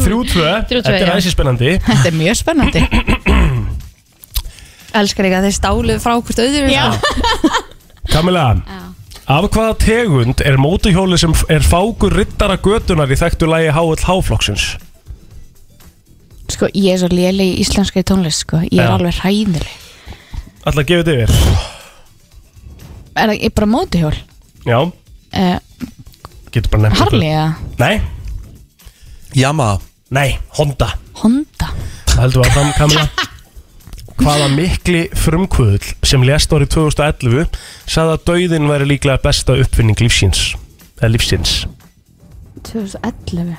Speaker 1: 3-2
Speaker 3: 3-2
Speaker 10: 3-2,
Speaker 3: Þetta er
Speaker 10: já.
Speaker 3: aðeins spennandi
Speaker 2: Þetta er mjög spennandi
Speaker 10: Elskar ekki að þeir stálu frá hvort öðru
Speaker 2: Já.
Speaker 3: Kamila Af hvaða tegund er mótuhjóli sem f- er fákur rittara götunar í þekktu lagi HL Háflokksins?
Speaker 2: Sko, ég er svo léleg í íslenskri tónlist sko. Ég er
Speaker 3: Já.
Speaker 2: alveg hræðileg
Speaker 3: Ætla að gefa þetta yfir
Speaker 2: Er það ég er bara mótuhjól?
Speaker 3: Já,
Speaker 2: Uh,
Speaker 3: getur bara nefnt
Speaker 2: Harley eða
Speaker 3: þetta. Nei,
Speaker 1: Yamaha
Speaker 3: nei, Honda
Speaker 2: Honda
Speaker 3: Það heldur við að fram Kamila Hvaða mikli frumkvöðl sem lést árið 2011 sagði að dauðin væri líklega besta uppfinning lífsins eða lífsins
Speaker 2: 2011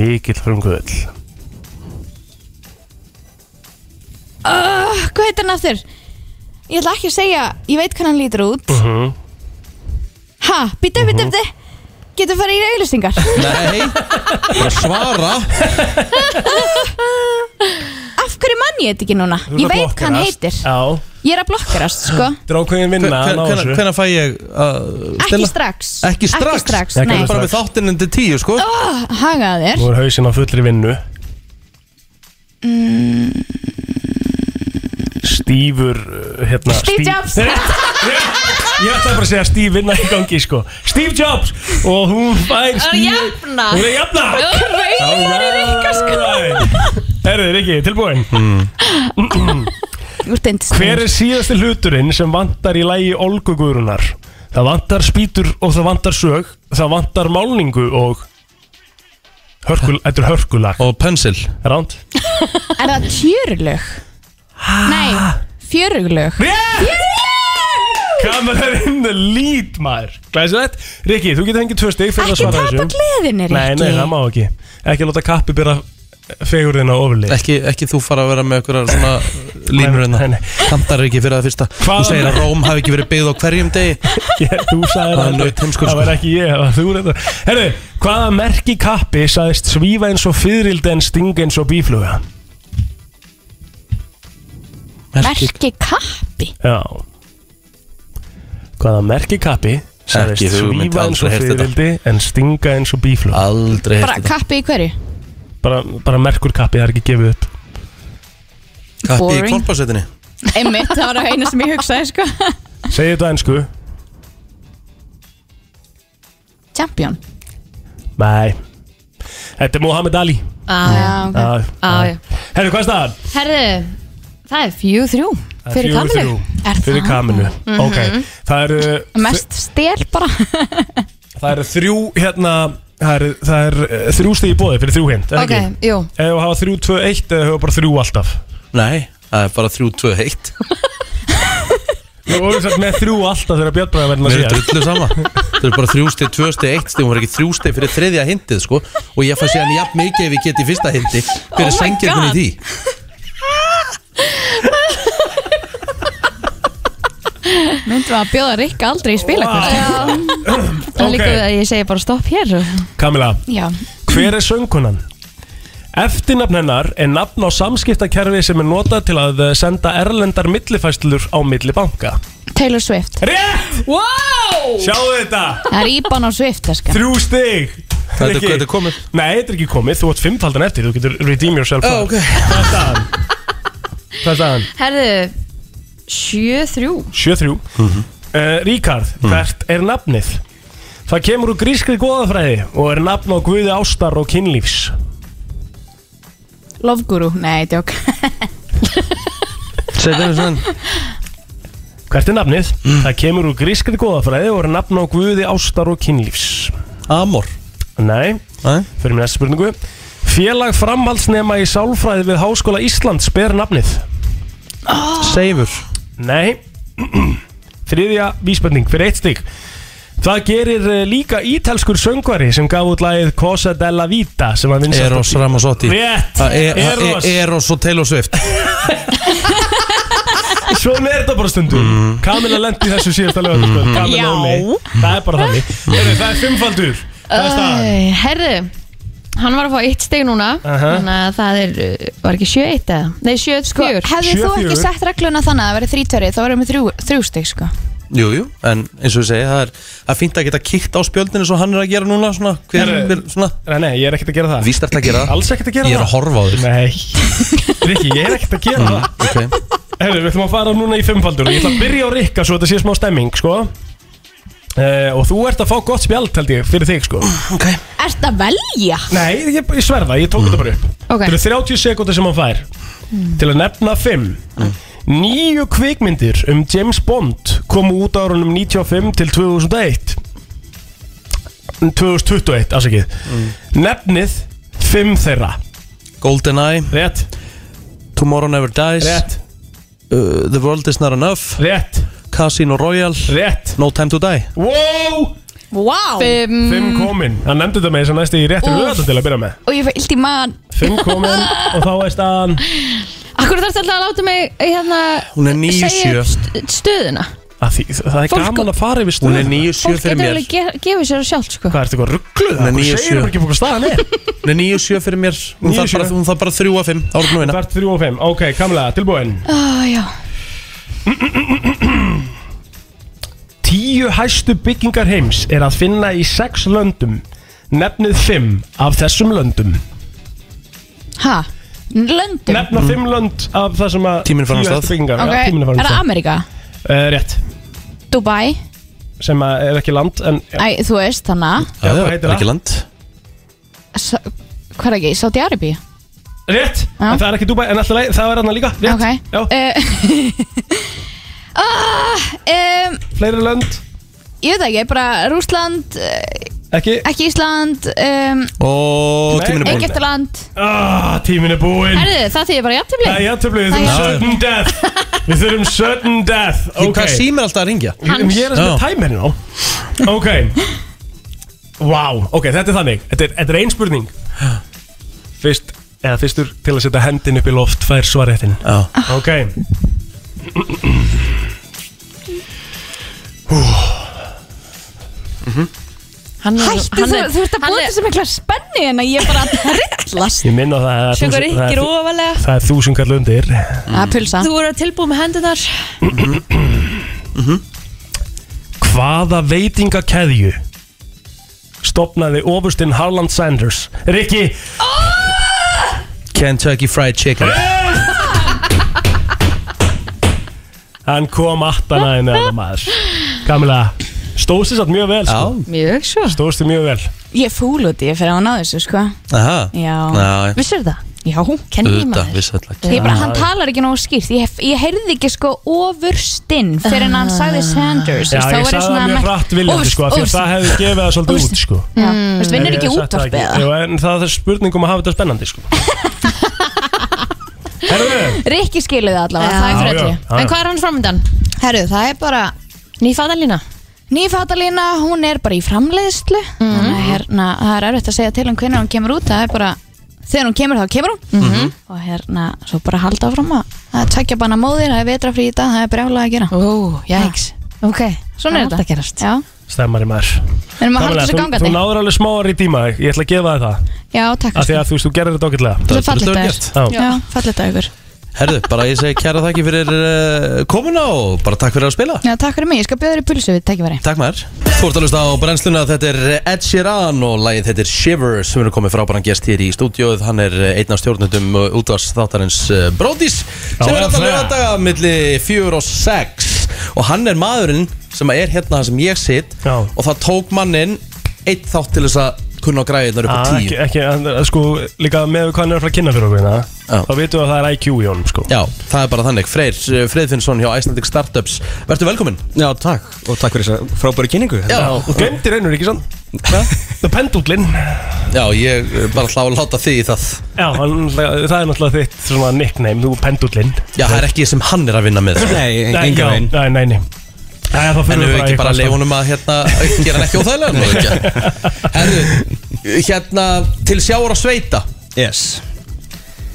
Speaker 3: mikill frumkvöðl
Speaker 2: uh, Hvað heitir hann aftur? Ég ætla ekki að segja Ég veit hvernig hann lítur út uh
Speaker 3: Mhm.
Speaker 2: Ha, býta, býta, býta Getur farið í auðlistingar
Speaker 1: Nei, bara svara
Speaker 2: Af hverju mann ég þetta ekki núna?
Speaker 3: Þú ert
Speaker 2: Ég
Speaker 3: að
Speaker 2: veit hvað hann
Speaker 3: blokkerast.
Speaker 2: heitir
Speaker 3: Já,
Speaker 2: Ég er að blokkarast, sko
Speaker 3: þetta er ákveðin vinna að ná þessu.
Speaker 1: Hvernig fæ ég að
Speaker 2: Ekki strax
Speaker 1: Ekki strax?
Speaker 2: Ekki strax,
Speaker 3: Ekki
Speaker 2: nei
Speaker 3: strax.
Speaker 1: Bara með þáttinn undir tíu, sko
Speaker 2: Hagaða þér
Speaker 3: Nú er hausinn á fullri vinnu Stífur uh, hérna,
Speaker 2: Steve Jobs.
Speaker 3: Rétt, rétt. Ég ætlaði bara að segja stíf vinna í gangi sko Steve Jobs Og hún fær stíf
Speaker 10: jafna.
Speaker 3: Hún er jafna
Speaker 2: Rauðar er sko. eitthvað
Speaker 3: Alright. Herðu, Rikki, tilbúin
Speaker 2: Þú ert endist
Speaker 3: Hver er síðasti hluturinn sem vantar í lægi Olgu Guðrunar? Það vantar spýtur og það vantar sög Það vantar málningu og Hörkul, Þetta er hörkulag
Speaker 1: Og pensil
Speaker 3: Ránt
Speaker 2: Er það tjörlög? Nei, fjöruglög
Speaker 3: Kamera er in the lead maður Glæsilegt Rikki, þú getur hengið tvö stig
Speaker 2: Ekki
Speaker 3: fyrir að svara
Speaker 2: tapa
Speaker 3: þessu
Speaker 2: gleðinni,
Speaker 3: Nei, nei, það
Speaker 2: Rikki
Speaker 3: má ekki Ekki láta kappi byrja fegurðina ofurlið
Speaker 1: ekki, ekki þú fara að vera með einhverjar svona línur
Speaker 3: Nei, nei,
Speaker 1: hérna
Speaker 3: nei.
Speaker 1: Kantar ekki fyrir það fyrsta
Speaker 3: Hvaðan-
Speaker 1: Þú segir að Róm hafi ekki verið byggð á hverjum degi
Speaker 3: Ég- Þú sagði
Speaker 1: Það er
Speaker 3: það aldrei.
Speaker 1: naut heimskur,
Speaker 3: Það
Speaker 1: sko.
Speaker 3: var ekki ég, það var þú reynda Herru, hvaða merki kappi sagðist svífa eins og fyririldi en stinga eins og bífluga?
Speaker 2: Merki kappi
Speaker 3: Já Hvaða merki kappi sagðist
Speaker 1: Ekki hugmynd,
Speaker 3: svífa eins og
Speaker 1: aldrei heyrt þetta.
Speaker 3: fyririldi en stinga eins og bífluga?
Speaker 1: Aldrei
Speaker 2: Bara
Speaker 1: hefði þetta
Speaker 2: kappi í hverju?
Speaker 3: Bara, bara merkur kappi, það er ekki gefið upp
Speaker 1: Kappi í
Speaker 2: boring.
Speaker 1: korpasetinni
Speaker 2: Einmitt, það var að eina sem ég hugsaði sko
Speaker 3: Segðu þetta einsku
Speaker 2: Champion
Speaker 3: Nei Þetta er Muhammad Ali
Speaker 10: Já,
Speaker 2: Ah, Já, ok
Speaker 3: Já, Ah.
Speaker 10: já, já.
Speaker 3: Herru, hvað er staðan?
Speaker 10: Herðu, það er fjú þrjú
Speaker 3: Það er
Speaker 10: Fyrir
Speaker 3: fjögur
Speaker 10: kamilu
Speaker 3: þrjú.
Speaker 2: Er
Speaker 3: Fyrir
Speaker 2: það?
Speaker 3: kaminu,
Speaker 10: Mhm.
Speaker 3: ok Það eru,
Speaker 2: Mest stel bara
Speaker 3: það eru þrjú hérna Það eru, það eru eh, þrjú stig í bóði fyrir þrjú hint
Speaker 10: Ok, jú
Speaker 3: Eða þú hafa þrjú, tvö, eitt eða þú hafa bara þrjú alltaf
Speaker 1: Nei, það er bara 3-2-1
Speaker 3: Þú voru satt með þrjú alltaf þegar Björn hérna Bræði verðin að
Speaker 1: Mér er
Speaker 3: segja
Speaker 1: drullu sama Það er bara þrjústi, tvösti, eitsti Hún var ekki þrjústi fyrir þriðja hindið sko Og ég fæ síðan jafn mikið ef ég get í fyrsta hindi Hver er
Speaker 2: Oh my
Speaker 1: sengir hún í
Speaker 2: God.
Speaker 1: því?
Speaker 2: Myndum við að bjóða Rikka aldrei í spilakvöld
Speaker 11: Það er líka við að ég segi bara stopp hér
Speaker 3: Kamila,
Speaker 2: Já,
Speaker 3: hver er söngkonan? Eftirnafn hennar er nafn á samskiptakerfi sem er notað til að eh, senda erlendar millifæslur á milli banka.
Speaker 2: Taylor Swift
Speaker 3: Rétt!
Speaker 2: Wow!
Speaker 3: Sjáu þetta!
Speaker 2: Það er íban á Swift, það skal
Speaker 3: Þrjú stig!
Speaker 1: Þetta
Speaker 3: Rikki.
Speaker 1: er- þetta er komið.
Speaker 3: Nei, þetta er ekki komið. Þú átt fimmfaldan eftir. Þú getur redeem yourself.
Speaker 1: Ó, ok.
Speaker 3: Hvað er staðan? Hvað er staðan?
Speaker 11: Herðu, 7-3
Speaker 3: 7-3 uh, Ríkard, hvert er nafnið? Það kemur úr grískri goðafræði og er nafn á guði ástar og kynlífs
Speaker 2: Love Guru, nei, djók
Speaker 1: Setjum við svona
Speaker 3: Hvert er nafnið? Það kemur úr grískri goðafræði og er nafn á guði ástar og kynlífs
Speaker 1: Amor
Speaker 3: Nei,
Speaker 1: Nei.
Speaker 3: fyrir mér næsta spurningu Félag framhaldsnema í sálfræði við Háskóla Íslands ber nafnið
Speaker 1: Seifur
Speaker 3: Nei Þriðja vísbending fyrir eitt stig Það gerir eh, líka ítalskur söngvari sem gaf út lagið Cosa della Vita sem að vinsa
Speaker 1: Eros Ramazzotti
Speaker 3: Rétt,
Speaker 1: Það er- það
Speaker 3: Eros.
Speaker 1: er- Eros og Taylor Swift
Speaker 3: Svona er þetta bara stundum mm.
Speaker 1: Mhm.
Speaker 3: Kamila lendi í þessu síðasta lögataskvöld mm.
Speaker 2: Já.
Speaker 3: Kamila og mig, það er bara þannig
Speaker 1: Mhm.
Speaker 3: Heyrðu, Það er fimmfaldur Það er staðan
Speaker 11: Æ, Herðu, hann var að fá eitt steg núna
Speaker 3: Aha.
Speaker 11: Þannig að það er, uh, var ekki 7-1 eða? Nei, 7-4
Speaker 2: Sko, hefði þú ekki
Speaker 3: 7-4.
Speaker 2: sett regluna þannig að það verið þrítöri þá verið með þrjú, þrjú stygg, sko
Speaker 1: Jú, jú, en eins og ég segi Það er, það er fínt að geta kikt á spjöldinu Svo hann er að gera núna Svona, hver,
Speaker 3: Herru.
Speaker 1: hver, svona
Speaker 3: Nei, nei, ég er ekkert að gera það
Speaker 1: Víst ert að gera það
Speaker 3: Alls ekkert að gera
Speaker 1: Ég er að horfa Mhm. á þig
Speaker 3: Nei, Rikki, ég er ekkert að gera það
Speaker 1: Ok,
Speaker 3: Herru, við ætlum að fara núna í fimmfaldur og Ég ætla að byrja á Rikka svo þetta sé smá stemming, sko Uh, og þú ert að fá gott spjald held ég fyrir þig sko
Speaker 1: okay.
Speaker 2: Ert að velja?
Speaker 3: Nei, ég, ég sverða, ég tók þetta bara upp
Speaker 11: Ok.
Speaker 3: Þetta eru 30 sekúndir sem hann fær Til að nefna 5 Nýju kvikmyndir um James Bond komu út árunum 95 til 2001 2021, afsakið Nefnið 5 þeirra
Speaker 1: Golden Eye
Speaker 3: Rétt,
Speaker 1: Tomorrow Never Dies
Speaker 3: rétt,
Speaker 1: uh, The World Is Not Enough
Speaker 3: rétt,
Speaker 1: Casino Royale
Speaker 3: rétt
Speaker 1: No Time To Die
Speaker 3: Wow,
Speaker 2: Wow!
Speaker 11: Fimm.
Speaker 3: 5 komin Hann nefndi þetta með þess að næstu í réttu
Speaker 2: Úff.
Speaker 3: lögata til að byrja með
Speaker 2: Og ég fyrir illt í mann
Speaker 3: 5 komin og þá er staðan
Speaker 11: Akkur þarfst alltaf að láta mig eh, hérna,
Speaker 1: Hún er 9-7.
Speaker 11: segja upp st- Stöðuna
Speaker 3: að því, Það er
Speaker 11: Fólk-
Speaker 3: gaman að fara yfir
Speaker 1: Hún
Speaker 3: stöðuna
Speaker 1: er 9-7
Speaker 11: Fólk
Speaker 1: fyrir
Speaker 11: getur
Speaker 1: mér
Speaker 11: alveg ge- gefið sér sjálf sko.
Speaker 3: Hvað ertu eitthvað ruggluð?
Speaker 1: Hún er
Speaker 3: Hvað
Speaker 1: 9-7.
Speaker 3: segir ekki hvað staðan er?
Speaker 1: Hún er 9-7 fyrir mér Hún
Speaker 3: 9-7.
Speaker 1: þarf bara, hún þarf bara 3-5 Árið nú eina
Speaker 3: Hvert 3 og 5, ok, Kamla, tilbúin
Speaker 11: Ó, já.
Speaker 3: 10 hæstu byggingar heims er að finna í 6 löndum Nefnið 5 af þessum löndum
Speaker 2: Ha? Löndum?
Speaker 3: Nefna 5 lönd af þessum að
Speaker 1: Tíminn fer
Speaker 3: 10
Speaker 1: af stað.
Speaker 3: hæstu byggingar
Speaker 2: ok,
Speaker 3: já, tíminn
Speaker 2: er
Speaker 3: er
Speaker 2: það
Speaker 3: farin
Speaker 2: Amerika?
Speaker 3: uh, Rétt,
Speaker 2: Dubai?
Speaker 3: sem að er ekki land en já,
Speaker 2: Æ, þú veist, þannig
Speaker 1: Já,
Speaker 3: hvað
Speaker 1: það
Speaker 3: heitir
Speaker 1: er ekki
Speaker 3: það?
Speaker 1: land
Speaker 2: að Sa- Hvað er ekki? Saudi Arabi?
Speaker 3: Rétt,
Speaker 2: Já.
Speaker 3: en það er ekki Dubai, en alltaf leið, það er hann líka Rétt,
Speaker 2: Ok
Speaker 3: já,
Speaker 2: uh, uh, um,
Speaker 3: fleiri lönd,
Speaker 2: Ég veit ekki, bara Rúsland uh,
Speaker 3: ekki
Speaker 2: Ekki Ísland um,
Speaker 1: Og
Speaker 3: Nei.
Speaker 1: tíminn er búinn
Speaker 2: Egyptaland
Speaker 3: ah, Tíminn er búinn
Speaker 11: Herðu, það þýðir bara jafntefli
Speaker 3: Það er jafntöflu, við
Speaker 2: Það
Speaker 3: þurfum
Speaker 1: er-
Speaker 3: sudden death Við þurfum sudden death
Speaker 1: Því
Speaker 3: Ok.
Speaker 1: Hvað símir alltaf að ringja?
Speaker 3: Ég-
Speaker 11: Hans.
Speaker 3: Ég er
Speaker 1: Já.
Speaker 3: að spila tæmir nú Ok Vá, ok, þetta er þannig Þetta er, þetta er ein spurning Fyrst, eða fyrstur til að setja hendin upp í loft fær svaréttin
Speaker 1: Já
Speaker 11: Ah.
Speaker 3: Ok
Speaker 11: Hann er-
Speaker 2: Hættu,
Speaker 11: hann
Speaker 2: þú,
Speaker 11: er-
Speaker 2: þú ert að
Speaker 11: hann
Speaker 2: búið
Speaker 11: er-
Speaker 2: þessu mikla spenni en að ég er bara að trillast
Speaker 3: Ég minna það að
Speaker 11: Sjökur
Speaker 3: það er, Mm.
Speaker 11: ykkur
Speaker 3: þú-
Speaker 11: ofalega
Speaker 3: það er þúsund kall undir
Speaker 2: Það er pulsa
Speaker 11: Þú eru tilbúið með hendunar
Speaker 3: Hvaða veitingakeðju stopnaði ofustinn Harland Sanders Rikki,
Speaker 1: Kentucky Fried Chicken
Speaker 3: hann kom aftana en eða maður Kamila, stóðst þess að mjög vel sko.
Speaker 11: Mjög svo
Speaker 3: Stóðst þið mjög vel
Speaker 2: Ég er fúl út í ég fyrir að ná þessu, sko
Speaker 1: Aha
Speaker 2: Já,
Speaker 1: Já,
Speaker 11: Vissur það?
Speaker 2: já
Speaker 11: Kenni ég
Speaker 1: auðvitað,
Speaker 11: maður?
Speaker 1: vissallega
Speaker 2: Ég bara, hann talar ekki nógu skýrt Ég, ég heyrði ekki sko ofurstinn fyrir en hann sagði Sanders
Speaker 3: Já, ég sagði það mjög hratt viljandi sko, af því að það hefði gefið það svolítið út sko.
Speaker 2: hefði
Speaker 3: En
Speaker 2: Vinnur
Speaker 3: ég
Speaker 2: ekki
Speaker 3: sagði það
Speaker 2: útvarpið
Speaker 3: Jú,
Speaker 2: eða?
Speaker 3: en það er spurningum að hafa þetta spennandi sko. Herðu,
Speaker 2: Rikki skilur það allavega,
Speaker 11: Já.
Speaker 2: það er
Speaker 3: Já,
Speaker 2: fyrir
Speaker 3: já.
Speaker 2: öllu
Speaker 11: En hvað er hann framöndan?
Speaker 2: Herru, það er bara
Speaker 11: Ný fatalína?
Speaker 2: Nýfatalína, hún er bara í framleiðslu Þannig að hérna, það er erfitt að segja til um hvernig hún kemur út Það er bara, þegar hún kemur þá kemur hún Og hérna, svo bara halda áfram að Það er tækja banna móðir, það er vetrafrí í dag Það er brjálega að gera
Speaker 11: Ó, jæks
Speaker 2: Ok,
Speaker 9: Svona er
Speaker 2: það er
Speaker 9: þetta.
Speaker 2: alltaf gerast
Speaker 9: Já,
Speaker 3: Stemmari maður
Speaker 9: við erum að halda
Speaker 3: Kamilla,
Speaker 9: þessu
Speaker 3: þú, þú
Speaker 9: gangandi
Speaker 3: náður alveg smá að rýta í maður Ég ætla að gefa þér það
Speaker 9: Já, takk
Speaker 3: Af því
Speaker 9: Kristi.
Speaker 3: að þú veist, þú gerir þetta ágætlega
Speaker 9: Þetta er fallegt
Speaker 1: vel
Speaker 9: að
Speaker 1: gert.
Speaker 3: Já.
Speaker 9: Já, fallegt að ykkur
Speaker 1: Herðu, bara ég segi kæra þakki fyrir uh, komuna og bara takk fyrir að spila
Speaker 9: Já, takk fyrir mig, ég skal bjóða þér í pulsu við tækifæri
Speaker 1: Takk maður Þú ert að hlusta á brennsluna, þetta er Ed Sheeran og lagið þetta er Shiver sem eru komið frábæran gest hér í stúdíóð Hann er eh, einn af stjórnundum útvars þáttarins Brodís sem er
Speaker 3: Já,
Speaker 1: alltaf
Speaker 3: það.
Speaker 1: lögadaga milli 4 og 6 og hann er maðurinn sem er hérna þar sem ég sitt
Speaker 3: Já.
Speaker 1: og það tók mannin eitt þátt til þess að kunna á græðinar upp á
Speaker 3: Ah,
Speaker 1: 10
Speaker 3: ekki, ekki, en, eh, sko, líka með hvað hann er að fara að kynna fyrir okkur hérna,
Speaker 1: Já.
Speaker 3: þá veitum við að það er IQ í honum sko.
Speaker 1: Já, það er bara þannig Freyr eh, Freyðfinnsson hjá Icelandic Startups Vertu velkominn
Speaker 12: Já, takk og takk fyrir þess að frábæri kynningu
Speaker 3: og glemtir einur ekki sann það pendúlinn
Speaker 1: Já, ég eh, bara hlá að láta þig í það
Speaker 3: Já, hann, það er náttúrulega þitt svona nickname, þú pendúlinn
Speaker 1: Já, það er ekki sem hann er að vinna með sko.
Speaker 12: Nei, enga veginn
Speaker 3: Nei, nei, nei Jæja, þá
Speaker 1: En
Speaker 3: förum
Speaker 1: ef við
Speaker 3: bara
Speaker 1: ekki
Speaker 3: í
Speaker 1: bara
Speaker 3: hvað
Speaker 1: leið
Speaker 3: stað.
Speaker 1: honum að hérna, gera hann ekki óþægilega nú ekki Herðu, hérna til sjáur á sveita
Speaker 12: Yes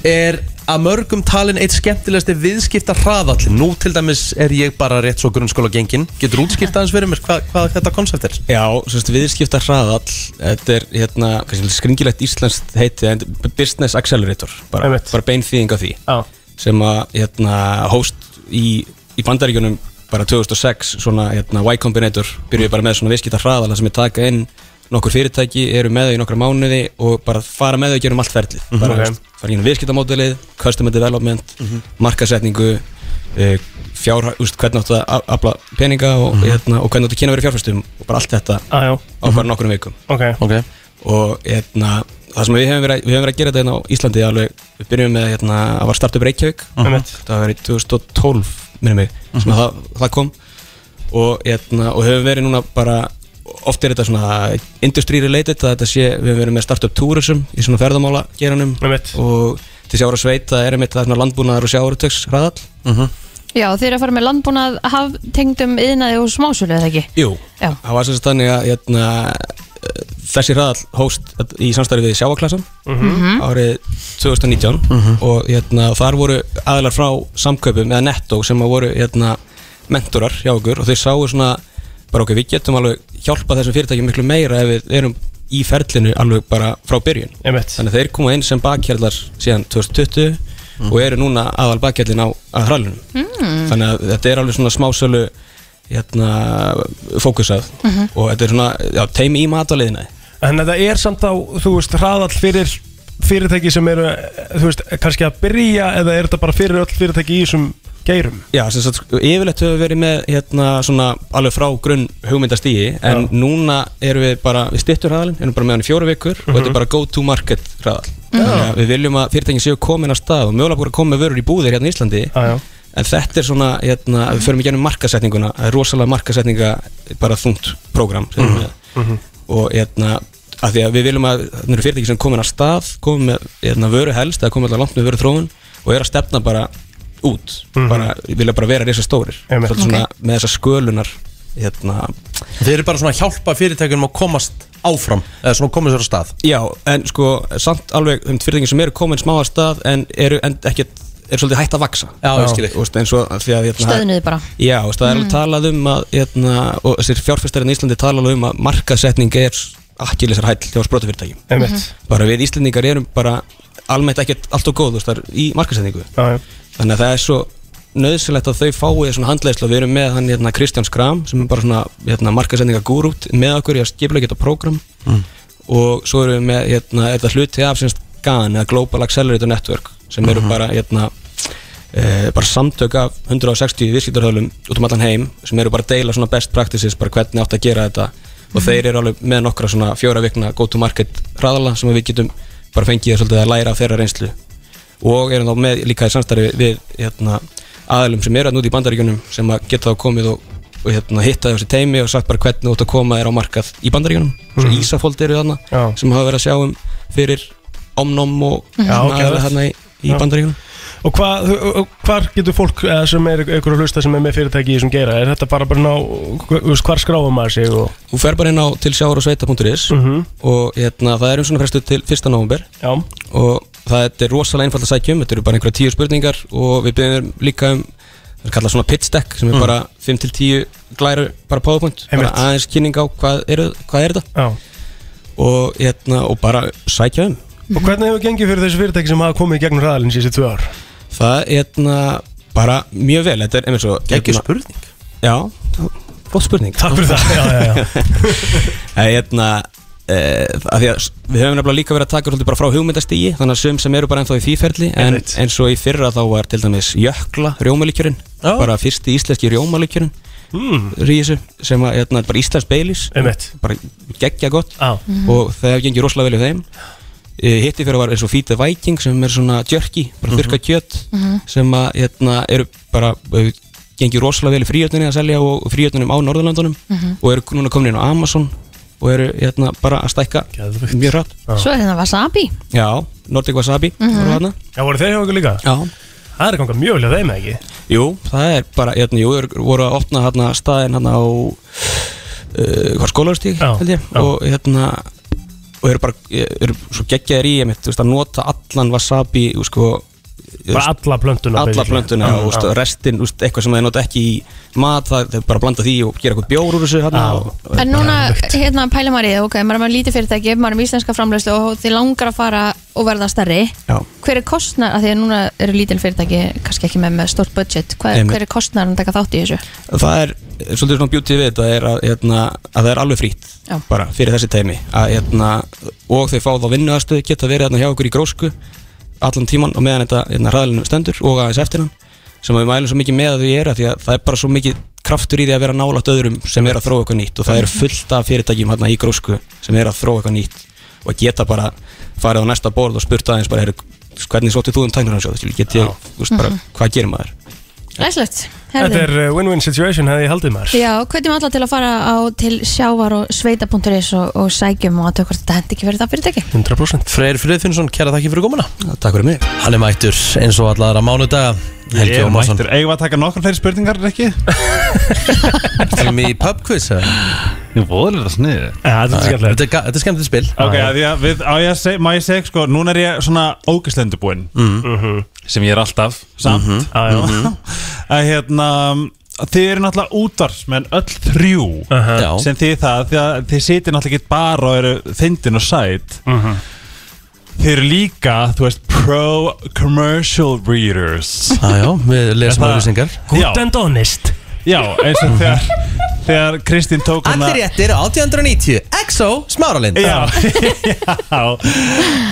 Speaker 1: er að mörgum talin eitt skemmtilegasti viðskipta hraðall Nú til dæmis er ég bara rétt svo grunnskóla gengin Getur útskipta hans fyrir mér hvað, hvað þetta koncept er?
Speaker 12: Já, svo veist, viðskipta hraðall Þetta er hérna, kannski skringilegt íslenskt heiti en þetta er Business Accelerator bara,
Speaker 3: Einmitt.
Speaker 12: bara bein þýðing á því
Speaker 3: Já,
Speaker 12: sem að hérna, host í, í bandaríkjunum bara 2006 svona hérna, Y Combinator byrjuði bara með svona viðskipta hraðal þar sem við taka inn nokkur fyrirtæki, eru með þau í nokkra mánuði og bara fara með þau og gerum allt ferlið bara
Speaker 3: Ok.
Speaker 12: okay. fara í viðskiptamódelið, customer development
Speaker 3: Mhm.
Speaker 12: markasetningu uh, fjár, úst, hvernig áttu að afla peninga og,
Speaker 3: Mhm.
Speaker 12: hérna, og hvernig áttu að kynna verið fjárfæstum og bara allt þetta
Speaker 3: ah, já,
Speaker 12: á bara nokkrum vikum Mhm.
Speaker 3: ok
Speaker 1: Ok
Speaker 12: og hérna, það sem við höfum verið, við höfum verið að gera þetta hérna á Íslandi alveg, við byrjum með hérna, að var startup Reykjavík
Speaker 3: Einmitt.
Speaker 12: það var í 2012 minni mig sem að það, það kom og, etna, og hefur verið núna bara oft er þetta svona industry related að þetta sé, við hefum verið með startup tourism í svona ferðamála geranum
Speaker 3: Einmitt.
Speaker 12: og til sjára sveit það er einmitt það er svona landbúnaðar og sjáratöks hraðall
Speaker 2: Já, þeir eru að fara með landbúnað haftengdum yðnaði og smásölu eða ekki
Speaker 12: Jú,
Speaker 2: Já.
Speaker 12: það var sem sagt þannig að hérna, eh, þessi hraðall hóst í samstarfi við sjáaklasan árið 2019 og hérna, þar voru aðlar frá samkaupum eða nettó sem að voru hérna, mentorar hjá okkur og þau sáu svona bara okkur við getum alveg hjálpa þessum fyrirtækjum miklu meira ef við erum í ferlinu alveg bara frá byrjun
Speaker 3: Einmitt.
Speaker 12: þannig að þeir koma inn sem bakhjarlar síðan 2020 og eru núna aðal bakhjarlin á að hrallunum þannig að þetta er alveg svona smásölu hérna, fókusað og þetta er svona já, teimi í mataliðina
Speaker 3: En þetta er samt á, þú veist, hraðall fyrir fyrirtæki sem eru, þú veist, kannski að byrja eða er þetta bara fyrir öll fyrirtæki í þessum geirum?
Speaker 12: Já, sem sagt, sko, yfirleitt höfum við verið með hérna, svona, alveg frá grunn hugmyndastígi en
Speaker 3: Já.
Speaker 12: núna erum við bara við stittur hraðalinn, erum bara með hann í fjóru vikur og
Speaker 3: Mhm.
Speaker 12: þetta er bara go to market hraðal þannig að við viljum að fyrirtækin séu komin að stað og mögulega búin að koma með vörur í búðir hérna í Íslandi
Speaker 3: Já, já.
Speaker 12: en þetta er svona, hérna, við förum í gennum markasetninguna, það er rosalega markasetninga bara þungt prógram sem við
Speaker 1: Mhm,
Speaker 12: erum með og hérna að því að við viljum að það eru fyrirtæki sem komin að stað komin með hérna, vöru helst eða komin alltaf langt með vöru þróun og er að stefna bara út
Speaker 1: Mhm.
Speaker 12: bara, vilja bara vera reysa stórir
Speaker 3: Einmitt.
Speaker 12: Svolítið svona, með þessa skölunar hérna.
Speaker 1: Þeir eru bara svona að hjálpa fyrirtækjunum að komast áfram eða svona komast þér á stað
Speaker 12: já, en sko samt alveg um fyrirtæki sem eru komin smá að stað en eru en ekki er svolítið hægt að vaksa
Speaker 1: Já, ég skil ekki.
Speaker 12: Þú veist, eins og að því að hérna,
Speaker 2: Stöðnuðu bara
Speaker 12: Já, og það er alveg talað um að hérna, og þessir fjárfæstarinn í Íslandi tala alveg um að markasetning er akkilisar hæll hjá sprótafyrirtækjum
Speaker 3: Einmitt.
Speaker 12: bara við Íslendingar erum bara almennt ekkert allt og góð þú veist, það er í markasetningu
Speaker 3: Já, já.
Speaker 12: þannig að það er svo nöðsilegt að þau fái svona handleyslu við erum með hann hérna Kristján Skram sem er bara svona hérna, markasetninga gúrút með okkur í að skipla geta prógram og svo erum við með hérna, er það hluti af semst GAN eða Global Accelerator Network sem eru bara hérna E, bara samtök af 160 viðskiptarhölum út um allan heim sem eru bara að deila svona best practices bara hvernig átt að gera þetta og þeir eru alveg með nokkra svona fjóra vikna go to market hraðala sem við getum bara fengið svolítið að læra af þeirra reynslu og erum þá með líka í samstarfi við hérna, aðalum sem eru að núti í bandaríkunum sem að geta þá komið og, og hérna, hitta þessi teimi og sagt bara hvernig þú átt að koma þér á markað í bandaríkunum svo
Speaker 3: Mhm.
Speaker 12: Ísafold eru þarna
Speaker 3: Já.
Speaker 12: sem hafa verið að sjá um fyrir omnum og
Speaker 3: Já,
Speaker 12: svona aðila
Speaker 3: geðveikt.
Speaker 12: þarna í, í
Speaker 3: Já.
Speaker 12: bandaríkunum
Speaker 3: Og hvað, og hvar getur fólk eh, sem er ykkur að hlusta sem er með fyrirtæki í þessum geira? Er þetta bara bara ná, hva- þú veist, hvar skráum maður sig og...
Speaker 12: Þú fer bara inn á til sjáur og sveita.is
Speaker 3: Mhm.
Speaker 12: og hérna, það er um svona frestu til 1. november
Speaker 3: Já,
Speaker 12: og það þetta er rosalega einfalt að sækja um, þetta eru bara einhverja tíu spurningar og við byrjum líka um, það er kallað svona pitch deck sem er bara 5-10 glæru bara powerpoint bara
Speaker 3: Mhm. Einmitt.
Speaker 12: aðeins kynning á hvað er, hvað er þetta og, hérna, og bara sækja um
Speaker 3: Og hvernig hefur gengið fyrir þessu fyrirtæki sem hafa komið í gegnum hraðalinn síðan tvö ár?
Speaker 12: það er hérna, bara mjög vel þetta er einmitt svo
Speaker 1: Geggjuð
Speaker 12: hérna-
Speaker 1: spurning.
Speaker 12: já, gott spurning
Speaker 3: Takk fyrir það, já, já, já.
Speaker 12: Það er hérna e, að því að s- við höfum nefnilega líka verið að taka svolítið bara frá hugmyndastígi þannig að sum sem eru bara ennþá í þvíferli en
Speaker 3: Einmitt.
Speaker 12: eins og í fyrra þá var til dæmis Jökla rjómalíkjörinn
Speaker 3: Já.
Speaker 12: bara fyrsti íslenski rjómalíkjörinn
Speaker 3: Mm.
Speaker 12: rísu sem að hérna, bara íslensk beilis
Speaker 3: Einmitt.
Speaker 12: bara geggja gott
Speaker 3: Já. Mhm.
Speaker 12: og það hefði gengið rosalega vel í þeim E, hitti fyrir var eins og fítið viking sem er svona jerky, bara
Speaker 3: Mhm.
Speaker 12: þurka kjöt
Speaker 3: Mhm.
Speaker 12: sem að hérna, eru bara hefur gengið rosalega vel í fríötunni að selja og fríötunum á Norðurlandunum
Speaker 2: Mhm.
Speaker 12: og eru núna komin inn á Amazon og eru hérna, bara að stækka mjög hratt
Speaker 2: Svo er þetta wasabi
Speaker 12: Já, Nordic Wasabi
Speaker 2: Mhm.
Speaker 12: voru þarna.
Speaker 3: Já, voru þeir hjá ykkur líka?
Speaker 12: Já
Speaker 3: Það er gangað mjög vel að þeim ekki
Speaker 12: Jú, það er bara, hérna, jú, þeir voru að opna hérna staðinn hérna á uh, hvað skólaustík,
Speaker 3: Já,
Speaker 12: held ég
Speaker 3: já.
Speaker 12: og hérna og eru bara, eru svo geggjaðir í einmitt, þú veist, að nota allan Wasabi og sko þú
Speaker 3: Bara
Speaker 12: veist,
Speaker 3: alla plöntuna,
Speaker 12: alla
Speaker 3: basically.
Speaker 12: plöntuna
Speaker 3: Já,
Speaker 12: og
Speaker 3: já.
Speaker 12: veist, restin, veist, eitthvað sem þeir nota ekki í mat, það er bara að blanda því og gera eitthvað bjór úr þessu hérna og,
Speaker 2: En núna, hérna pæla maður í það, ok, maður er með lítið fyrirtæki, maður er með íslenska framleyslu og þið langar að fara og verða stærri.
Speaker 12: Já.
Speaker 2: Hver er kostnar, að því að núna eru lítil fyrirtæki, kannski ekki með, með stórt budget, hver,
Speaker 12: Einmitt.
Speaker 2: hver er kostnar að taka þátt í þessu?
Speaker 12: það er svolítið svona beauty við þetta er að, hérna, að það er alveg frýtt
Speaker 2: Já.
Speaker 12: bara fyrir þessi teimi að, hérna, og þau fá þá vinnuðastöð geta verið hérna, hjá okkur í grósku allan tíman og meðan þetta hérna, hraðalinn stendur og aðeins eftir hann sem við mælum svo mikið með að þau gera því að það er bara svo mikið kraftur í því að vera nálat öðrum sem er að þróa eitthvað nýtt og það er fullt af fyrirtækjum hérna í grósku sem er að þróa eitthvað nýtt og geta bara farið á næsta borð og spurt aðeins bara, "Heyrðu, hvernig sóttið þú um tæknarhansjóð get ég, þú veist bara,
Speaker 2: Mhm.
Speaker 12: hvað gerir maður
Speaker 2: Læslegt,
Speaker 3: Þetta
Speaker 2: herðum.
Speaker 3: er uh, win-win situation hefði ég haldið maður
Speaker 2: Já, hvernig maður alla til að fara á til sjávar og sveita.is og, og sækjum og að tökur þetta hendi ekki verið það fyrirtæki.
Speaker 3: 100%
Speaker 1: Freyr Friðfinnsson, kæra þakki fyrir komuna
Speaker 12: Takk fyrir mig
Speaker 1: Hann er mættur eins og allara mánudaga Helgi
Speaker 11: Ég er
Speaker 1: Ómarsson
Speaker 11: mættur, eigum við að taka nokkar fleiri spurningar, ekki?
Speaker 1: Til mig í pub quiz Ég voðalega sniður
Speaker 3: Þetta
Speaker 11: er skemmtilegt.
Speaker 1: Þetta er skemmtilegt spil
Speaker 11: Ok, að því að við, á ég að segja, má ég segja, sko, núna er ég svona ógæslendubúinn
Speaker 1: Mm.
Speaker 3: Mhm.
Speaker 11: sem ég er alltaf, samt
Speaker 3: Mhm. Já, já. Mhm.
Speaker 11: að hérna þið eru náttúrulega útvarsmenn öll þrjú
Speaker 3: Aha. Já.
Speaker 11: sem þið það, því að þið sitið náttúrulega ekki bara og eru fyndin og sæt
Speaker 3: Mhm.
Speaker 11: þið eru líka, þú veist, pro-commercial readers
Speaker 1: Ah, Já, já, við lesum
Speaker 11: Er það-
Speaker 1: auðlýsingar.
Speaker 11: Já.
Speaker 3: Good and honest
Speaker 11: Já, eins og þegar þegar Kristín tók hana
Speaker 1: Allir réttir 1890 EXO Smáralind
Speaker 11: Já, já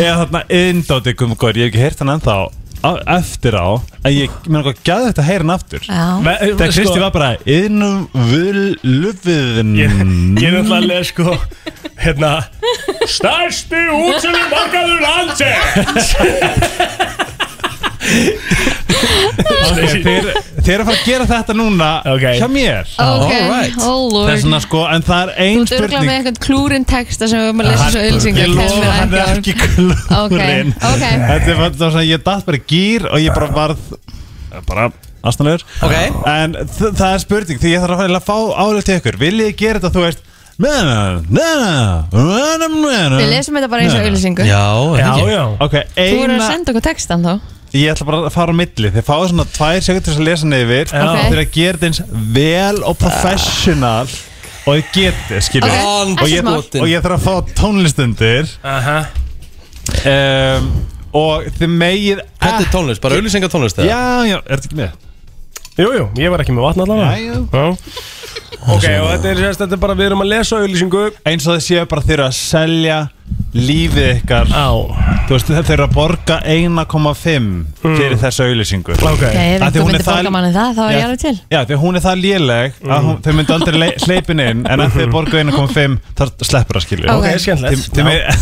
Speaker 11: Eða þarna Indóti Gumgór, ég hef ekki heyrt hann ennþá á, eftir á En ég meina hvað gæði þetta að heyra hann aftur
Speaker 2: Já.
Speaker 3: Me-
Speaker 11: Þegar
Speaker 3: sko-
Speaker 11: Kristi var bara Innum vil lufiðin
Speaker 3: Ég ég er alltaf að leða sko Hérna Stærsti útsölu markaður landsins
Speaker 11: Þeir þeir eru að fara að gera þetta núna okay. Hjá mér
Speaker 2: Ok, Alright. oh lord.
Speaker 11: Það er svona sko, en það er ein
Speaker 2: Þú örgla með
Speaker 11: spurning
Speaker 2: eitthvað klúrin texta sem við erum að lesa svo ylsingar.
Speaker 11: Ég lofa hann er ekki klúrin
Speaker 2: Ok, ok.
Speaker 11: Þetta er bara þetta var svona, ég datt bara í gýr og ég bara varð bara aðstæðanlegur
Speaker 1: okay.
Speaker 11: En þ- það er spurning, því ég þarf að fara að fá álega til ykkur Viljið þið gera þetta, þú veist Við
Speaker 2: Við lesum þetta bara eins og auglýsingu. Já,
Speaker 11: Já, já Ok,
Speaker 2: Þú voru að
Speaker 11: eina
Speaker 2: senda okkur textan þá.
Speaker 11: Ég ætla bara að fara á milli Þið fáið svona tvær sekundur til að lesa niður
Speaker 2: Já.
Speaker 11: Og Þeir að gera þetta eins vel og professional Og þið getið, skilja
Speaker 1: Ok,
Speaker 11: og, ég,
Speaker 1: ekkert mál.
Speaker 11: og ég þarf að fá tónlistundir
Speaker 3: Aha
Speaker 11: um, Og þið megið
Speaker 1: Þetta er tónlist, bara auðlýsingar tónlist
Speaker 11: Já, já, er þetta ekki með?
Speaker 3: Jú, jú, ég var ekki með vatn allavega
Speaker 11: Já,
Speaker 3: já Ok, og þetta er sérst, þetta er bara, við erum að lesa auðlýsingu
Speaker 11: Eins og þið séu bara þeir eru að selja lífið ykkar
Speaker 3: Á
Speaker 11: Þú veist, þeir eru að borga 1,5 fyrir þessa auðlýsingu
Speaker 3: Ok.
Speaker 2: Nei, ef
Speaker 11: Af
Speaker 2: einhver
Speaker 11: því hún er
Speaker 2: myndi
Speaker 11: það-
Speaker 2: borga manni það, þá er
Speaker 11: Já.
Speaker 2: ég alveg til.
Speaker 11: Já, því að hún er það léleg að hún, þau myndu aldrei le- hleypin inn en að þau borgu 1,5 þar sleppur það skilur
Speaker 2: Ok,
Speaker 3: skemmtilegt.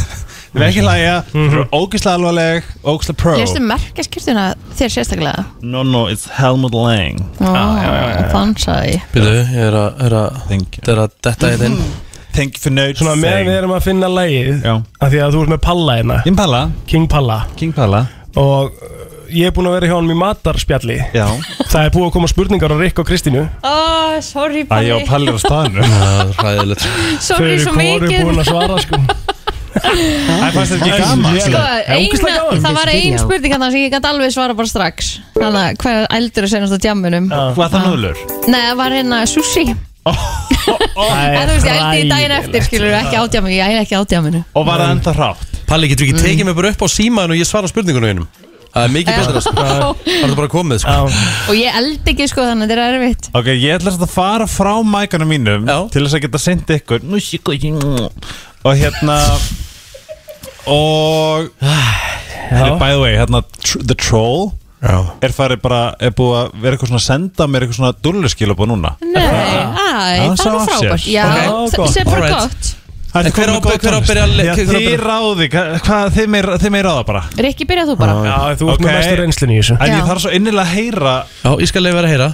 Speaker 11: Þau með ekki hlæja, þau eru ógislega alvarleg ógislega pro
Speaker 2: Lestu merkjaskirtuna þér sérstaklega?
Speaker 11: No, no, it's Helmut Lang Ah,
Speaker 2: Þann sagði ég.
Speaker 1: Býðu, ég er að, er að, þetta er að detta í þinn
Speaker 11: Thank you for noticing
Speaker 3: Svona meðan við erum að finna lægið
Speaker 11: Já.
Speaker 3: Af því að þú ert með Palla hérna
Speaker 11: King Palla
Speaker 3: King Palla
Speaker 11: King Palla
Speaker 3: Og uh, ég er búin að vera hjá hann í matarspjalli
Speaker 11: Já
Speaker 3: Það er búið að koma spurningar á Rikk og Kristínu
Speaker 2: Ó, sorry
Speaker 11: Æ, ég
Speaker 2: Palli.
Speaker 11: og Palli er á staðinu
Speaker 1: Ræðilegt
Speaker 2: Sorry svo
Speaker 3: Þau eru
Speaker 2: mikið.
Speaker 3: hvoru búin að svara sko
Speaker 11: Æ, fannst þetta ekki
Speaker 3: Æ,
Speaker 11: gaman?
Speaker 3: ég-
Speaker 2: Sko,
Speaker 3: Það er ógeðslega
Speaker 2: eina,
Speaker 3: gaman.
Speaker 2: það var ein
Speaker 3: Já.
Speaker 2: spurning þannig sem ég gæti alveg svara bara strax Þannig að hvað eldur er senast á djamunum
Speaker 11: Hvað það núðlur?
Speaker 2: Nei, það var hérna sushi En þú veist, ég ældi í daginn eftir, skilur ekki átjáminu, ég ældi ekki átjáminu
Speaker 1: Og var það enda hrátt Palli, getur ekki tekið mig bara upp á síman og ég svara spurningunum einum Það er mikið
Speaker 2: Mm. Já.
Speaker 1: betra sko. Það er- það er bara komið sko.
Speaker 2: Og ég ældi ekki, sko, þannig að þetta er erfitt
Speaker 11: Ok, ég ætla samt að fara frá mækana mínum til þess að geta sendt ykkur Nú, sí, gó, sí, nú. og hérna og hérna, by the way, hérna tr- The Troll Já. er farið bara, er búið að vera eitthvað svona að senda mér eitthvað svona dulluskilabóð núna
Speaker 2: Nei, æ,
Speaker 11: hann
Speaker 2: það
Speaker 11: sá
Speaker 2: er nú
Speaker 11: af sér.
Speaker 2: frábært Já,
Speaker 11: Ok,
Speaker 2: það
Speaker 11: gott.
Speaker 2: sé bara
Speaker 11: Alright.
Speaker 2: gott
Speaker 11: En hver á
Speaker 1: ábyrgð- hver á að byrja að le-
Speaker 11: Já,
Speaker 1: hver á að
Speaker 11: þið
Speaker 1: byrja-
Speaker 11: ráði, hva- hvað, þið meir, þið meir ráða bara
Speaker 2: Rikki, byrja þú bara
Speaker 11: Já,
Speaker 3: þú ert með mestu reynslunni í þessu.
Speaker 11: En
Speaker 2: Já.
Speaker 11: ég þarf svo innilega að heyra
Speaker 1: Já, ég skal leiða að heyra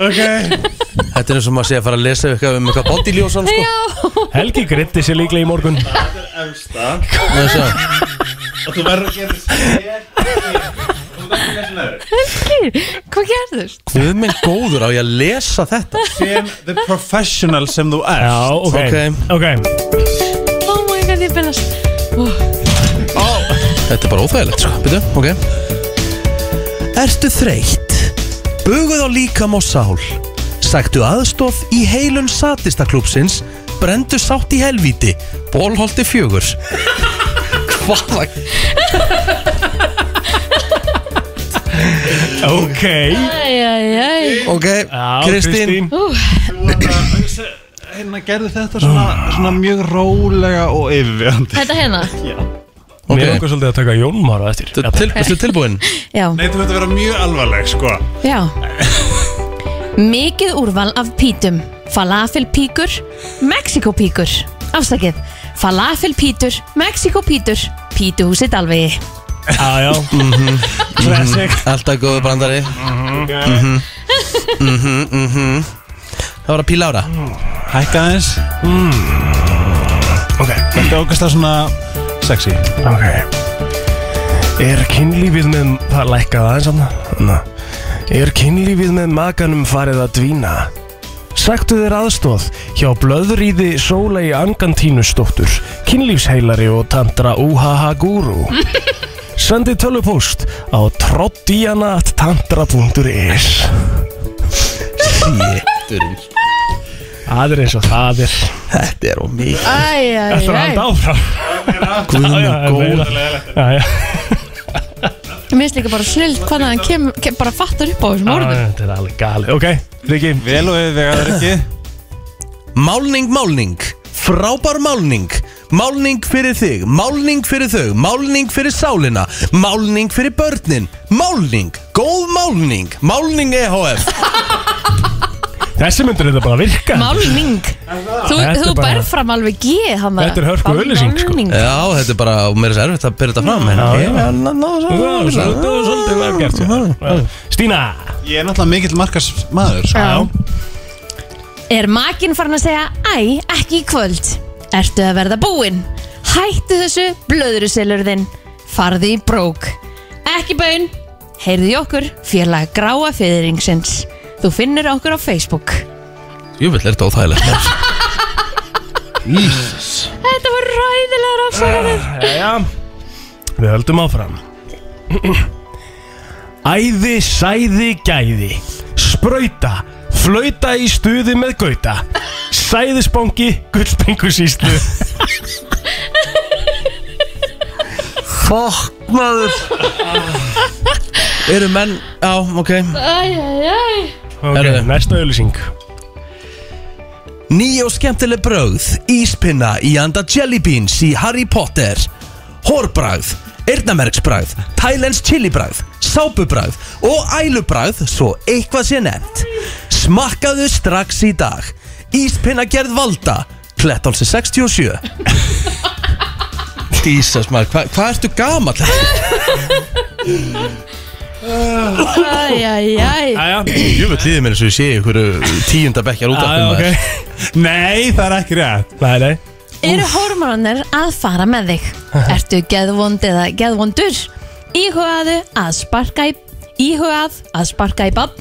Speaker 11: Ok
Speaker 1: Þetta er eins og maður sé að fara að lesa eitthvað um eitthvað bodyljósan sko.
Speaker 3: Helgi gritti sér líklega í morgun
Speaker 11: Þetta er efsta
Speaker 1: Má ég sjá?
Speaker 11: Og þú verður að gera
Speaker 2: Helgi, hvað gerðist?
Speaker 1: Guð minn góður á ég að lesa þetta
Speaker 11: Sem the professional sem þú ert Já,
Speaker 1: ok.
Speaker 3: Ok
Speaker 2: Oh my god, ég byrjast
Speaker 1: Þetta er bara óþægilegt sko. Býtu, ok Ertu þreytt? Buguð á líkam og sál Sæktu aðstof í heilun satistaklúpsins Brendu sátt í helvíti Bólholti fjögur Hvaða
Speaker 3: Ok
Speaker 2: Æjæjæj
Speaker 1: Ok, Kristín.
Speaker 11: Hérna gerði þetta svona, svona mjög rólega og yfirvjönd
Speaker 2: Þetta hérna?
Speaker 3: Mér er okkur svolítið að taka Jón Mára eftir
Speaker 1: til- ertu tilbúinn?
Speaker 2: Já
Speaker 11: Nei, þú veit að vera mjög alvarleg, sko
Speaker 2: Já Mikið úrval af pítum Falafelpíkur, Mexikopíkur Afsakið, falafelpítur, Mexikopítur Pítuhúsi Dalvegi
Speaker 3: Já, já Classic.
Speaker 1: Alltaf góður brandari Mhm. Mhm, mhm. Það var að píla ára
Speaker 11: Hækka aðeins Ok Þetta er ógast að svona sexy
Speaker 3: Ok Er kynlífið með Það lækkað aðeins hann Er kynlífið með makanum farið að dvína? Sæktu þér aðstóð hjá blöðrýði Sólei Angantínusdóttur kynlífsheilari og tantra UHH Guru Sendi tölvupóst á trottianattantra.is
Speaker 1: Séturinn
Speaker 3: Það er eins og það er
Speaker 1: Þetta er ómikið
Speaker 2: Æjæjæj
Speaker 3: Þetta er halda áfram
Speaker 1: Guð minn
Speaker 3: góður Já, já
Speaker 2: Mér finnst líka bara snilt hvernig hann kem, kem, bara fattar upp á þessum orðum
Speaker 3: Þetta er alveg galið Ok, Riki
Speaker 11: Vel og yfirvegaður ekki
Speaker 1: Málning, málning Frábær málning Málning fyrir þig, málning fyrir þau Málning fyrir sálina Málning fyrir börnin Málning, góð málning Málning E EHF
Speaker 3: Þessi myndur þetta bara virka
Speaker 2: Málning Þú,
Speaker 1: Þetta
Speaker 2: þú
Speaker 1: er bara-
Speaker 2: berð fram alveg geð hann
Speaker 1: Þetta er hörku
Speaker 2: auðlýsing sko
Speaker 1: Já, þetta er bara, og mér er sér erfitt að byrja þetta fram En
Speaker 3: Já, já.
Speaker 1: ég er náðu
Speaker 3: Þetta var svolítið vel gert já. Stína
Speaker 11: Ég er náttúrulega mikill markas maður sko.
Speaker 2: Er makinn farin að segja Æ, ekki í kvöld Ertu að verða búinn Hættu þessu blöðruselur þinn Farði í brók Ekki bön Heyrðu í okkur félag gráa fyriringsins Þú finnur okkur á Facebook
Speaker 1: Jú, vel er þetta óþægilegt
Speaker 3: Jesus
Speaker 2: Þetta var ræðilega rafsakarinn
Speaker 3: Jæja Við höldum áfram Æði, sæði, gæði Sprauta Flauta í stuði með gauta Sæðisbangi, gullbengusýslu
Speaker 1: Fokk maður Eru menn, já, ok
Speaker 2: Æjæjæj
Speaker 3: Ok, næsta auðlýsing
Speaker 1: Ný og skemmtileg brögð, íspinna í anda Jelly Beans í Harry Potter Hórbræð, eyrnamerksbræð, Thailands chilibræð, sápubræð og ælubræð svo eitthvað sé nefnt Smakkaðu strax í dag Íspinna gerð valda, Klettálsi 67 Jesus maður, hva- hvað ertu gamall?
Speaker 2: Æjæjæj
Speaker 1: Jú veit líðið mér eins og ég sé ykkur tíunda bekkjar út
Speaker 11: Já, ok. Nei, það er ekki rétt
Speaker 3: Nei, nei
Speaker 2: Eru hormonarnir að fara með þig? Ertu geðvond eða geðvondur? Íhugaðu að sparka í Íhugað að sparka í bann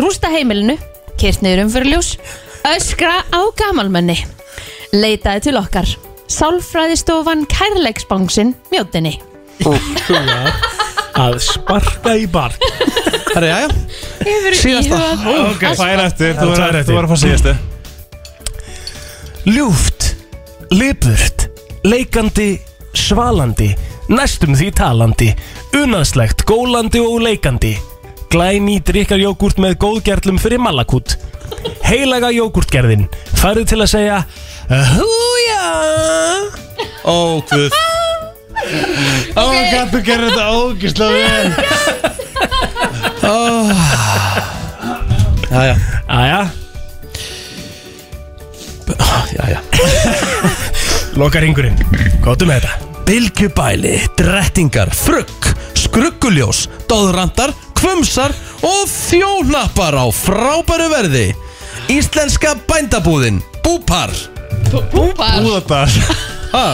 Speaker 2: Rústa heimilinu Kyrtniður umfyrirljós Öskra á gamalmenni Leitaði til okkar Sálfræðistofan kærleiksbangsin Mjótinni
Speaker 3: Að sparka í barn
Speaker 1: Herra, já, já
Speaker 2: Hefur
Speaker 11: Síðasta
Speaker 2: íhugað
Speaker 11: Ok, fær eftir, þú
Speaker 3: Það er tvær
Speaker 11: var
Speaker 3: eftir.
Speaker 11: þú var að fá síðastu
Speaker 3: Ljúft, lipurt, leikandi, svalandi, næstum því talandi, unaðslegt, gólandi og leikandi. Glæný drikkar jógurt með góðgerlum fyrir malakút. Heilaga jógurtgerðin, farið til að segja Húja!
Speaker 1: Ó, guð
Speaker 11: Ó, gæt, þú gerir þetta ógislega vel
Speaker 1: Jæja
Speaker 3: Æja
Speaker 1: Jæja
Speaker 3: Loka ringurinn, gotum með um þetta
Speaker 1: Bilgjubæli, drettingar, frugg, skrugguljós, doðrandar, kvömsar og þjónappar á frábæru verði. Íslenska bændabúðin, búpar.
Speaker 2: Búbar
Speaker 11: Búðardal
Speaker 1: Ha?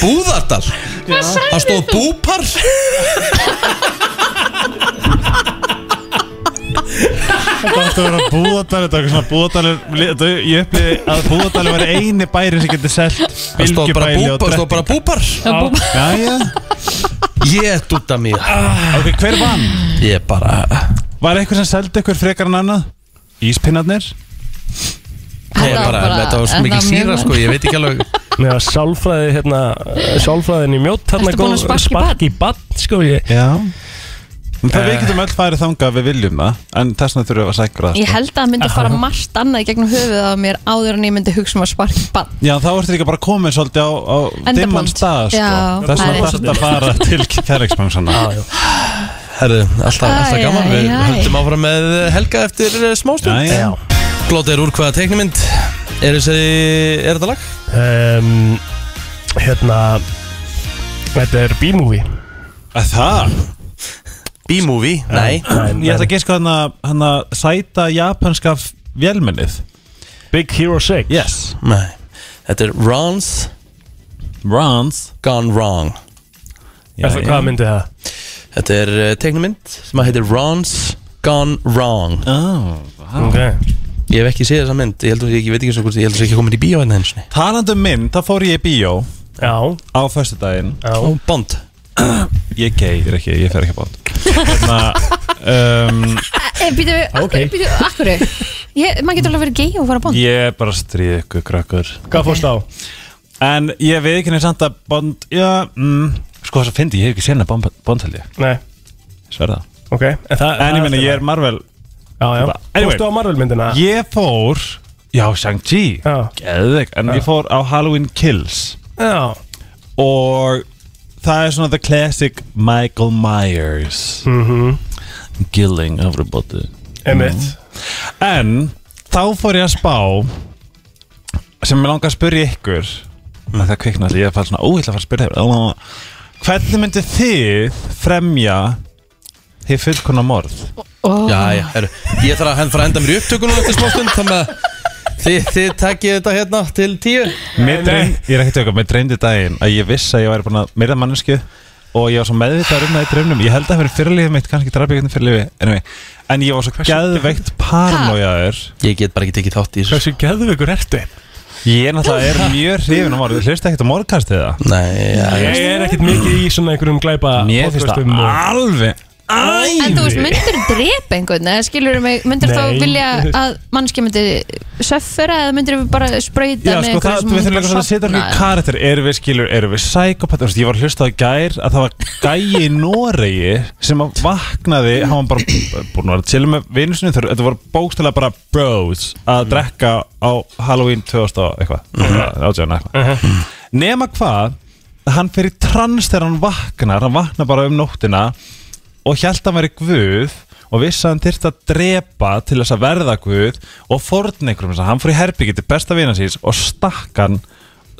Speaker 1: Búðardal? Það stóð búpar?
Speaker 11: Þetta átti að vera búðardal Þetta er eitthvað svona búðardal Þetta er ég uppliði að búðardal var eini bæri sem getur selt
Speaker 1: Það stóð bara
Speaker 11: bylgjubæli og
Speaker 1: búpar, stóð bara búpar.
Speaker 11: drettingar. Já, já
Speaker 1: Ég dúta mér.
Speaker 11: Ok, hver vann?
Speaker 1: Ég bara...
Speaker 11: Var eitthvað sem seldi eitthvað frekar en annað? Íspinnarnir?
Speaker 1: Ég
Speaker 2: var
Speaker 1: bara,
Speaker 2: bara-
Speaker 1: þetta var svo
Speaker 2: þetta
Speaker 1: mikið
Speaker 2: var mjög
Speaker 1: síra
Speaker 2: vel.
Speaker 1: sko, ég veit ekki alveg.
Speaker 3: Mér var sálfræði, hérna, sálfræðin í mjótt, hérna
Speaker 2: Ertu búin að sparka í barn?
Speaker 3: í bann, sko ég.
Speaker 11: Já Eh. Það við getum öll farið þangað ef við viljum það En þess vegna þurfum við að sækra það
Speaker 2: Ég
Speaker 11: sko.
Speaker 2: held að það myndi fara margt annað í gegnum höfuð á mér áður en ég myndi hugsa um að sparka í bann
Speaker 11: Já, þá ertu líka bara komin svolítið á, á
Speaker 2: Enda
Speaker 11: dimman
Speaker 2: blond.
Speaker 11: stað sko.
Speaker 2: Já,
Speaker 11: Þess
Speaker 2: það er
Speaker 11: vegna þarftu að fara til kærleiksbangsana
Speaker 1: Herðu, alltaf, alltaf
Speaker 2: Æ,
Speaker 1: gaman,
Speaker 2: æ,
Speaker 1: við
Speaker 2: æ.
Speaker 1: höldum áfram með Helga eftir eh, smástund.
Speaker 11: Já, já.
Speaker 1: Blóta er úr hvaða teiknimynd Er, þessi, er þetta lag?
Speaker 3: um, hérna þetta er B-movie
Speaker 11: Að Það?
Speaker 1: B-movie? Nei
Speaker 11: Ég ætla að giska hann að, hann að hérna, sæta japanska f- vélmennið
Speaker 3: Big Hero 6
Speaker 11: Yes
Speaker 1: Nei Þetta er Ron's
Speaker 11: Rons
Speaker 1: Gone Wrong
Speaker 3: Er það- hvað myndi það?
Speaker 1: Þetta er uh, teiknumynd sem að heitir Ron's Gone Wrong
Speaker 11: oh,
Speaker 3: ok
Speaker 1: Ég hef ekki séð þessa mynd Ég heldur ég veit ekki eins og hvort Ég heldur ekki komin í bíó hérna eins og
Speaker 11: Talandi um mynd, þá fór ég í bíó
Speaker 3: já,
Speaker 11: á föstudaginn
Speaker 3: já
Speaker 1: Bond
Speaker 11: Ég geyr ekki, ég fer ekki bótt Þannig um,
Speaker 2: Eh, Býtu,
Speaker 3: Ok.
Speaker 2: okay. býtu, akkurru Maður getur alveg verið gay og fara á bann
Speaker 11: ég er bara að stríða ykkur krakkur
Speaker 3: hvað fórst á?
Speaker 11: En ég veit ekki neitt samt að Bond, já, mm, sko þess að fyndi, ég hef ekki séð hana Bond, Bond held ég,
Speaker 3: nei,
Speaker 11: sverða
Speaker 3: ok en, það,
Speaker 11: En ég meina, ég er Marvel
Speaker 3: já, já
Speaker 11: Bara- Anyway.
Speaker 3: fórstu á Marvel myndina?
Speaker 11: Ég fór, já, Shang-Chi,
Speaker 3: Já.
Speaker 11: geðveik, en ég fór á Halloween Kills
Speaker 3: já
Speaker 11: Og það er svona the classic Michael Myers
Speaker 3: mhm,
Speaker 11: Killing everybody Mm.
Speaker 3: emitt
Speaker 11: En þá fór ég að spá sem ég langar að spyrja ykkur mm. það kviknaði, ég er fælt svona óhildið að fara að spyrja ykkur hvernig myndi þið fremja þið fullkona morð
Speaker 2: oh.
Speaker 1: Jæja, herru Ég þarf að hend- fara að henda mér í upptökunum eftir smástund Þannig að þið, þið takkið þetta hérna til tíu
Speaker 11: mér dreym, ég er ekki tökum, mér dreymdi daginn að ég viss að ég væri búin að myrða mannesku og ég var svo meðvitaður um það í dreymnum ég held að það fyrir fyrirlífið mitt, kannski drafbyggjum fyrirlífi anyway. en ég var svo gæðveikt paranoiaður
Speaker 1: Ég get bara ekki tekið þátt í þessu
Speaker 3: geðveikur ertu?
Speaker 11: ég náttúrulega er mjög hrifin á morð þú hlusta ekkert á morðkastið það
Speaker 1: Nei, já,
Speaker 3: Ég er ekkert mikið í svona einhverjum glæpa
Speaker 11: mér finnst það Ah.
Speaker 3: podcastum og-
Speaker 11: alveg
Speaker 2: En þú veist, myndir drepa einhvern eða skilur mig, myndir
Speaker 3: Nei.
Speaker 2: þá vilja að mannski myndi söffera eða myndir við bara spröyta
Speaker 11: Já,
Speaker 2: með
Speaker 11: sko,
Speaker 2: einhverju
Speaker 11: það,
Speaker 2: sem
Speaker 11: við
Speaker 2: myndi
Speaker 11: þurfum
Speaker 2: bara
Speaker 11: eitthvað að setja okkur í
Speaker 2: sofna?
Speaker 11: karakter Erum við skilur, erum við psykopat Þú veist, Ég var að hlusta á í gær að það var gæi í Noregi sem að vaknaði hann var bara búin að vera til með vinnusinu þurr, þetta voru bókstælega bara bros að drekka á Halloween 2000 og eitthvað,
Speaker 2: Mhm.
Speaker 11: átjáðan eitthvað Nema hvað hann fer í trans þegar hann vaknar hann vaknar bara um nóttina og hjælt hann væri guð og vissi að hann þyrfti að drepa til þess að verða guð og forna einhverjum þess að hann fór í herbyggi til besta vina síns og stakk hann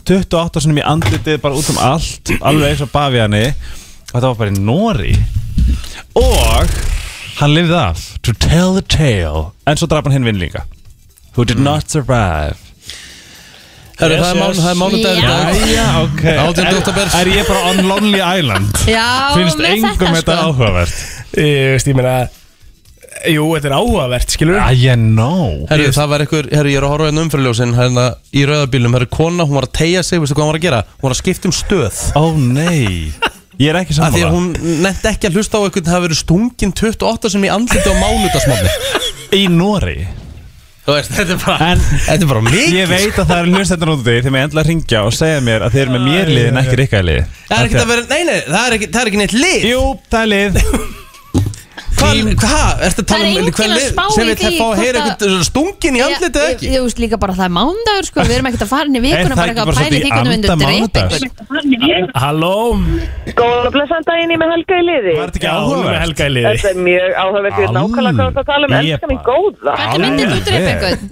Speaker 11: 28 sinum í andlitið bara út um allt alveg eins og bafi hann og þetta var bara í Nóri og hann lifði af to tell the tale en svo draf hann hinn vinn líka who did not survive
Speaker 1: herru, það er
Speaker 11: Yes,
Speaker 1: mán-
Speaker 11: yes.
Speaker 1: það er mánudagur í dag
Speaker 11: Jæja, ok
Speaker 1: 18. október.
Speaker 11: Er, er ég bara on Lonely Island?
Speaker 2: Já,
Speaker 11: Finnst
Speaker 2: með
Speaker 11: engum
Speaker 2: sko.
Speaker 11: þetta áhugavert?
Speaker 3: Ég veist, ég meina Jú, þetta er áhugavert, skilur
Speaker 11: I know
Speaker 1: Herru, það var einhver, herru, ég er að horfa hérna umfyrirljósin hérna í rauðabílum, herru, kona, hún var að tegja sig, veistu hvað hún var að gera? Hún var að skipta um stöð
Speaker 11: Ó nei Ég er ekki
Speaker 1: Af því að
Speaker 11: sammála
Speaker 1: hún nefndi ekki að hlusta á einhvern það hafi verið stungin 28 sem í andliti á mánudagsmómi
Speaker 11: Í Noregi
Speaker 1: Þú veist, þetta er bara, þetta er bara mikið
Speaker 11: Ég veit að það er hlustendur út í þegar mér endla að ringja og segja mér að þeir eru með mér liðin ekki rikka liði
Speaker 1: Það er ekkert að vera, nei, nei, það er ekki, það er ekki neitt lið
Speaker 11: Jú, það er lið
Speaker 1: Hvað, hvað, ertu að
Speaker 2: Það er
Speaker 1: tala um
Speaker 2: enginn
Speaker 1: hvern
Speaker 2: að
Speaker 1: lið
Speaker 2: spá í
Speaker 1: sem við
Speaker 2: því
Speaker 1: fá að heyra
Speaker 2: hvort að-
Speaker 1: eitthvað stungin í andliti eða
Speaker 2: Ég-
Speaker 1: ekki?
Speaker 2: Ég veist líka bara að það er mándagur sko, við erum ekkert að fara inn í vikuna bara eitthvað að pæla í því hvernig við myndum dreipa einhvern.
Speaker 3: Halló
Speaker 13: Góðan og blessan daginn, ég er með Helga í liði Var
Speaker 3: þetta ekki áhugavert? Hún er með Helga í liði.
Speaker 13: Þetta er mjög áhugavert, ég veit nákvæmlega hvað það tala um
Speaker 11: Ég
Speaker 13: Elskar mín góða
Speaker 11: Hvernig myndir þú drepa Alveg.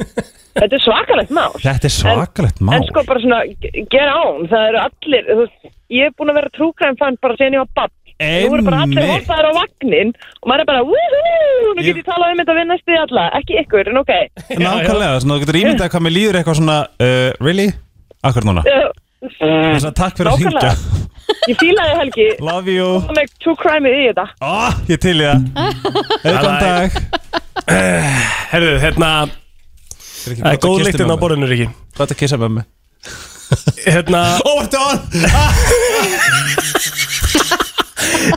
Speaker 13: Þetta er svakalegt mál
Speaker 11: Þetta er svakalegt mál
Speaker 13: En sko bara svona, g- get on Það eru allir, þú veist Ég er búin að vera trúkræm fann bara sen ég var babb Nú eru bara allir
Speaker 11: Einmitt.
Speaker 13: hoppaðar á vagnin Og maður er bara, wúhú Nú get ég talað um þetta við næstu í alla Ekki ykkur, en ok
Speaker 11: Nákvæmlega, svona þú getur ímyndað hvað mér líður eitthvað svona uh, Really? Akkur núna Þess að takk fyrir að
Speaker 13: Eh, Nákvæmlega.
Speaker 11: ringja
Speaker 13: Ég fílaði Helgi
Speaker 11: Love you
Speaker 13: Það með true crime í þetta
Speaker 11: oh. Ég til í það Góðan dag
Speaker 3: Herðu, hérna Það er góð lyktinn á borðinu, Riki
Speaker 11: Hvað er að kissa með mig?
Speaker 3: Hérna
Speaker 11: Óvartu on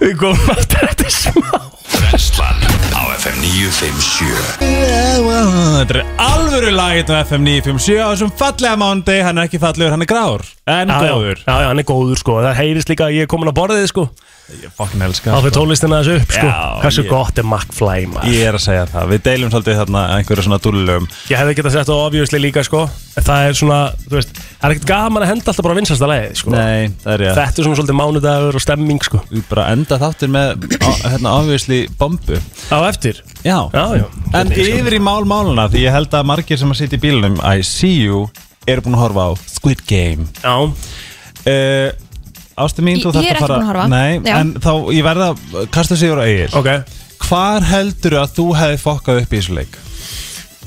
Speaker 3: Við komum aftur eftir smá
Speaker 6: Brennslan á FM 957
Speaker 11: Þetta er alvöru lag hérna á FM 957 á þessum fallega mándi, hann er ekki fallegur, hann er grár En
Speaker 3: Já, já.
Speaker 11: góður
Speaker 3: Já, já, hann er góður sko Það heyrist líka að ég er komin að borðið sko
Speaker 11: Ég fucking elska
Speaker 3: Þá
Speaker 11: hann,
Speaker 3: fyrir
Speaker 11: sko.
Speaker 3: tónlistina þessu upp sko
Speaker 11: Já,
Speaker 3: Hversu
Speaker 11: ég-
Speaker 3: gott er McFly maður
Speaker 11: Ég er að segja það, við deilum svolítið þarna einhverju svona dúllum
Speaker 3: Ég hefði getað sett á obviously líka sko En það er svona, þú veist Það er ekkert gaman að henda alltaf bara vinsasta leiði sko
Speaker 11: Nei, það er ég
Speaker 3: Þetta er svona svolítið mánudagur og stemming sko
Speaker 11: Við bara enda þáttir með á- hérna ávísli bombu
Speaker 3: Á eftir?
Speaker 11: Já,
Speaker 3: já.
Speaker 11: En yfir í mál máluna því ég held að margir sem að sitja í bílunum I see you eru búin að horfa á Squid Game
Speaker 3: sko. Já
Speaker 11: uh, Ástu mín,
Speaker 2: Ég-
Speaker 11: þú
Speaker 2: ég
Speaker 11: þarft
Speaker 2: er
Speaker 11: að
Speaker 2: ekki
Speaker 11: fara
Speaker 2: búin að horfa.
Speaker 11: Nei,
Speaker 2: Já.
Speaker 11: en þá ég verða Kastu sig úr eigir
Speaker 3: okay.
Speaker 11: Hvar heldur að þú hefði fokkað upp í þessu leik?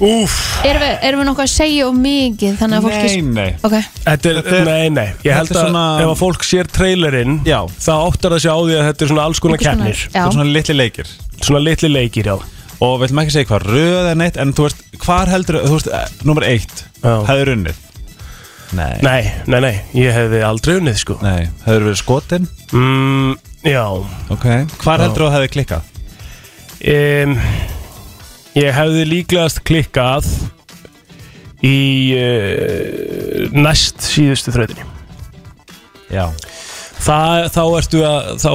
Speaker 3: Úf
Speaker 2: Erum við, erum við nokkuð að segja og mikið þannig að fólki
Speaker 11: Nei, nei
Speaker 2: Ok,
Speaker 3: Þetta er,
Speaker 11: Þetta er-
Speaker 3: nei, nei, ég
Speaker 11: þetta
Speaker 3: held
Speaker 11: er
Speaker 3: að
Speaker 11: svona-
Speaker 3: ef að fólk sér trailerinn Já Þá áttar það sér á því að þetta er svona alls konar
Speaker 2: Einhvers konar,
Speaker 3: keppnir
Speaker 2: já. Þetta er
Speaker 11: svona litli leikir
Speaker 3: Svona litli leikir, já
Speaker 11: Og við ætlum ekki að segja hvað röð er neitt En þú veist, hvar heldur að, þú veist, eh, nummer eitt Hefði runnið Nei
Speaker 3: Nei, nei, nei, ég hefði aldrei unnið sko
Speaker 11: Nei, hefur verið skotin?
Speaker 3: Mm, já
Speaker 11: Ok, hvar
Speaker 3: Já.
Speaker 11: heldur að hefði klikkað?
Speaker 3: um, Ég hefði líklegast klikkað í uh, næst síðustu þrautinni
Speaker 11: Já
Speaker 3: Þa, Þá ertu að, þá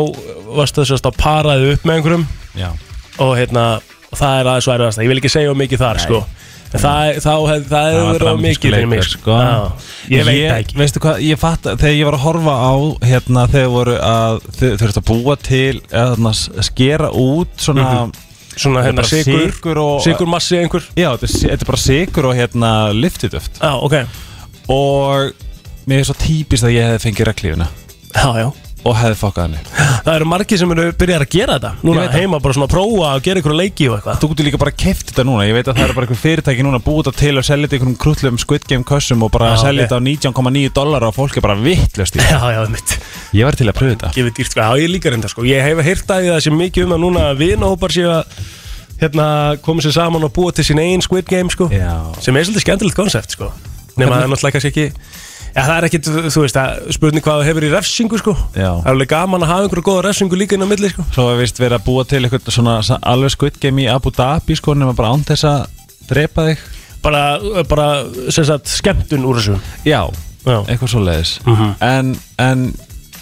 Speaker 3: varstu þess að paraði upp með einhverjum
Speaker 11: Já
Speaker 3: og hérna, það er aðeins og erfiðasta Ég vil ekki segja of mikið þar sko En það, þá hef, það hefur verið of mikið fyrir mig
Speaker 11: sko.
Speaker 3: Já, Ég veit það ekki
Speaker 11: Veistu hvað, ég fatt Þegar ég var að horfa á hérna, Þegar voru að þau þurftu að búa til eða, hérna, s- Skera út Svona,
Speaker 3: Mhm. Svona, hérna,
Speaker 11: bara
Speaker 3: sykur-
Speaker 11: og
Speaker 3: sykurmassi einhver
Speaker 11: Já, þetta er, sy- þetta er bara sigur og hérna Liftiduft
Speaker 3: Já, ok
Speaker 11: Og mér er svo típist að ég hefði fengið reglífina
Speaker 3: Já, já
Speaker 11: Og hefði fokkað henni
Speaker 3: Það eru margir sem eru byrjar að gera þetta
Speaker 11: Ég
Speaker 3: Núna
Speaker 11: veit það.
Speaker 3: heima bara svona að prófa að gera ykkur leiki og eitthvað
Speaker 11: Þú getur líka bara keft þetta núna Ég veit að það eru bara einhver fyrirtæki núna að búa þetta til og selja þetta í einhverjum krullum Squid Game kössum og bara
Speaker 3: Já,
Speaker 11: selja
Speaker 3: ok.
Speaker 11: þetta á 19,9 dollara og fólk er bara vittlust í
Speaker 3: Já, já, mitt
Speaker 11: Ég var til að pröfa þetta
Speaker 3: Gefið dýrt sko, já ég líka reynda sko Ég hef heyrt að því það sé mikið um að núna vinahópar séu að hérna, koma sér saman og búa til sín einn Squid Game sko
Speaker 11: Já. Hérna-
Speaker 3: sem er svolítið skemmtilegt konsept sko nema að það er náttúrulega kannski ekki Já, það er ekkit, þú veist, að spurning hvað þú hefur í refsingu sko
Speaker 11: Já.
Speaker 3: Það er alveg gaman að hafa einhverju góða refsingu líka inn á milli sko
Speaker 11: Svo að vist vera að búa til eitthvað svona sa- alveg Squid Game í Abu Dhabi sko nema bara án þess að drepa þig
Speaker 3: Bara, bara, sem sagt, skemmtun úr þessu
Speaker 11: Já,
Speaker 3: Já. Mhm.
Speaker 11: eitthvað svo leiðis en, en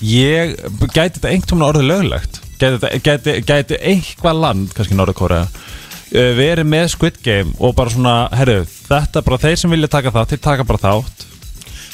Speaker 11: ég gæti þetta einhvern veginn orðið löglegt gæti, þetta- gæti, gæti eitthvað land kannski Norðurkóra verið með Squid Game og bara svona herru, þetta bara þeir sem vilja taka þátt þeir taka bara þátt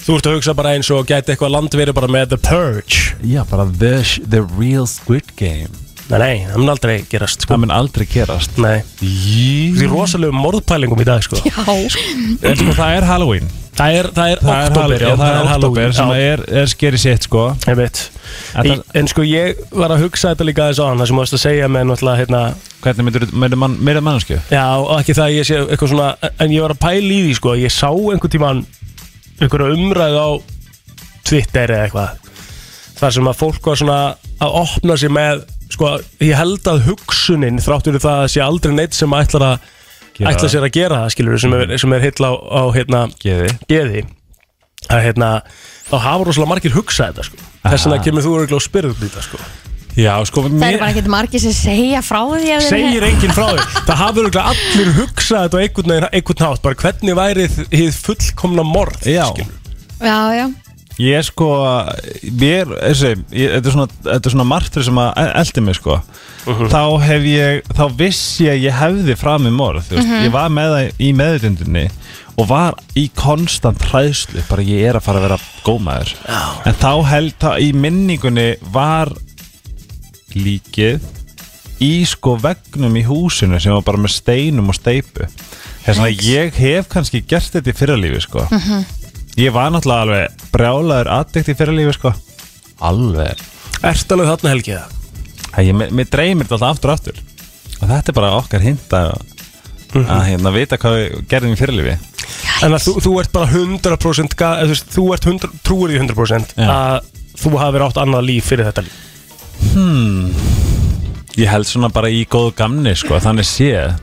Speaker 3: Þú ert að hugsa bara eins og gæti eitthvað land verið bara með The Purge
Speaker 11: Já, bara the, the real Squid Game
Speaker 3: Nei, nei, það mun aldrei gerast sko
Speaker 11: Það mun aldrei gerast
Speaker 3: Nei,
Speaker 11: Jú.
Speaker 3: því rosalegum morðpælingum í dag sko
Speaker 11: En sko það er Halloween
Speaker 3: Það er, það er
Speaker 11: Það er
Speaker 3: oktober,
Speaker 11: Halloween, já, það er oktober sem
Speaker 3: já,
Speaker 11: er, er skeri sitt sko
Speaker 3: ég veit
Speaker 11: Þetta-
Speaker 3: Í- En sko ég var að hugsa þetta líka aðeins á hann Það sem þú varst að segja með náttúrulega hérna
Speaker 11: Hvernig myndir meira mann, meira mannsku?
Speaker 3: Já, og ekki það að ég sé eitthvað svona En ég var að pæla í því sko Ég sá einhvern tímann einhverja umræðu á Twitter eða eitthvað Þar sem að fólk var svona að opna sig með Sko, ég held að hugsunin Þráttur það að sé aldrei neitt sem ætlar að
Speaker 11: Gera
Speaker 3: Ætlar
Speaker 11: það.
Speaker 3: sér að gera það, skilur Sem er, sem er heilla á, á hérna
Speaker 11: Geði
Speaker 3: geði að hérna, þá hafa rosalega margir hugsað þetta sko. þess vegna kemur þú örgulega og spyrðu um þetta sko.
Speaker 11: Já, sko
Speaker 2: Það eru
Speaker 11: mér,
Speaker 2: bara ekkert margir sem segja frá því ef þeir-
Speaker 11: Segir enginn frá þér Það hafur örugglega allir hugsað þetta á einhvern, veginn- einhvern hátt Bara hvernig væri þið- hið fullkomna morð Já
Speaker 2: Já, já
Speaker 11: Ég er sko mér, þessi, ég, þetta, er svona, þetta er svona martur sem að eldi mig sko
Speaker 14: Mhm.
Speaker 11: Þá hef ég, þá vissi ég að ég hefði fram í morð þú veist,
Speaker 14: Mhm.
Speaker 11: Ég var með það í meðutundinni og var í konstant hræðslu bara ég er að fara að vera gómaður
Speaker 14: Já.
Speaker 11: En þá held það í minningunni var líkið í sko vegnum í húsinu sem var bara með steinum og steipu Þess að ég hef kannski gert þetta í fyrralífi sko
Speaker 14: Mhm.
Speaker 11: Ég var náttúrulega alveg brjálaður aðdekt í fyrirlífi sko Alveg
Speaker 3: Ert alveg þarna helgið það?
Speaker 11: Æ, ég, Mér mér dreymir þetta alltaf aftur og aftur Og þetta er bara okkar hint að,
Speaker 3: Mhm.
Speaker 11: að hérna, vita hvað við gerðum í fyrirlífi
Speaker 3: En að þú, þú ert bara 100% ga, eða þú, veist, þú ert 100, trúir því 100% að þú hafir átt annað líf fyrir þetta líf
Speaker 11: Hmm Ég held svona bara í góðu gamni sko Þannig séð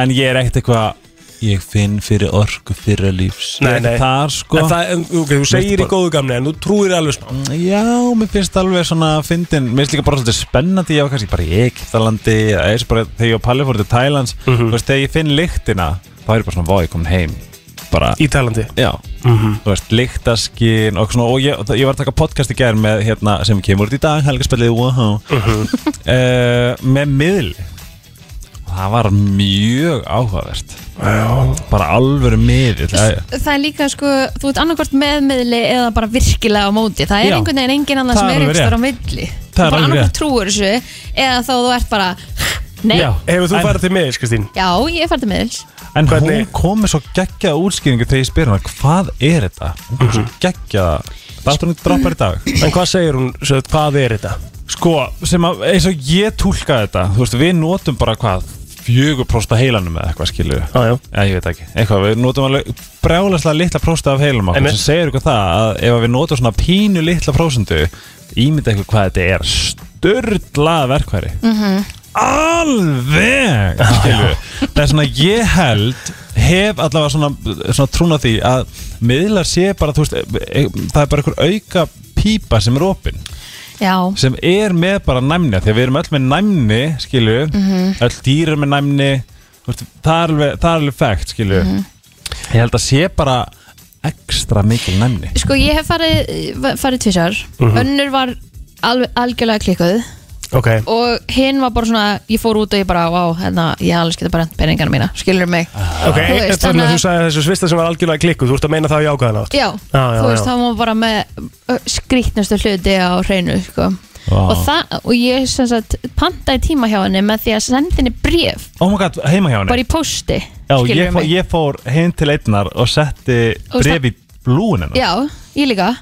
Speaker 11: En ég er ekkert eitthvað Ég finn fyrir orku fyrirlífs Ég er ekki þar, sko
Speaker 3: en það, en, ok, Þú segir í góðu gamni en þú trúir alveg smá
Speaker 11: Já, mér finnst alveg svona fyndin, mér finnst líka bara svolítið spennandi ég var kannski bara í Egyptalandi eða eins og bara þegar ég var Palli fór til Thailands
Speaker 3: Mhm.
Speaker 11: þú veist, þegar ég finn lyktina þá er ég bara svona vá, ég komin heim bara,
Speaker 3: Í Tælandi?
Speaker 11: Já, þú veist, lyktaskinn og svona, og ég, og það- ég var að taka podcast í gerð með hérna, sem kemur út í dag, helgarspillið wow, uh, með miðl það var mjög áhugavert já. bara alvöru miðl það er
Speaker 2: Það er líka sko, þú ert annarkvort meðmiðli eða bara virkilega á móti Það er
Speaker 11: Já.
Speaker 2: einhvern veginn engin annar
Speaker 11: Það
Speaker 2: sem
Speaker 11: er
Speaker 2: er
Speaker 11: alveg
Speaker 2: einhvers þar á
Speaker 11: rétt.
Speaker 2: milli
Speaker 11: Það
Speaker 2: Þú
Speaker 11: er
Speaker 2: bara
Speaker 11: alveg
Speaker 2: annarkvort
Speaker 11: rétt.
Speaker 2: trúir þessu eða þá þú ert bara Nei, já,
Speaker 3: Hefur þú farið til miðils, Kristín?
Speaker 2: ég fært að miðils
Speaker 11: En hún komið svo geggjaða útskýringu þegar ég spyr hana hvað er þetta? Hún kom svo geggjaða Þátturinn droppar í dag
Speaker 3: En hvað segir hún, svo, hvað er þetta?
Speaker 11: Sko, sem að eins og ég tólka þetta Þú veist, við notum bara hvað fjögur prósta heilanum eða eitthvað skilju
Speaker 3: ah, Já,
Speaker 11: ég veit ekki Eitthvað, við notum alveg brjálaslega litla prósta af heilanum okkur
Speaker 3: Einmitt.
Speaker 11: sem segir eitthvað það að ef að við notum svona pínu litla prósendu ímynda eitthvað hvað þetta er störðlað verkværi alveg skilur. það er svona ég held hef allavega svona, svona trúna því að miðlar sé bara þú veist, e- e- það er bara einhver auka pípa sem er opinn
Speaker 2: Já,
Speaker 11: sem er með bara næmni því að við erum öll með næmni skilju
Speaker 2: Mhm.
Speaker 11: öll dýr er með næmni þú veist, það er alveg, það er alveg fægt skilju ég held að sé bara ekstra mikil næmni
Speaker 2: sko ég hef farið, farið tvisar
Speaker 11: Mhm.
Speaker 2: Önnur var alveg, algjörlega klikkuð
Speaker 3: ok
Speaker 2: og hinn var bara svona, ég fór út og ég bara Vá, hérna, ég alveg sketa bara peningana mína Skilur mig
Speaker 11: Ah.
Speaker 3: Ok,
Speaker 2: Þú veist,
Speaker 3: þannig að
Speaker 2: þannig
Speaker 3: þú sagði þessu svista sem var algjörlega klikkuð Þú ert að meina það í ákvæðan átt
Speaker 2: Já, þú veist, þá var bara með ö, skrýtnustu hluti á hreinu sko.
Speaker 11: Vá.
Speaker 2: og, það, og ég sem sagt, pantaði tíma hjá henni með því að senda henni bréf
Speaker 11: oh my god, heima hjá henni
Speaker 2: bara í pósti
Speaker 11: Já,
Speaker 2: skilurðu
Speaker 11: ég, fó,
Speaker 2: mig?
Speaker 11: ég fór heim til einnar og setti
Speaker 2: Og
Speaker 11: bref í lúin hennar
Speaker 2: Já, ég líka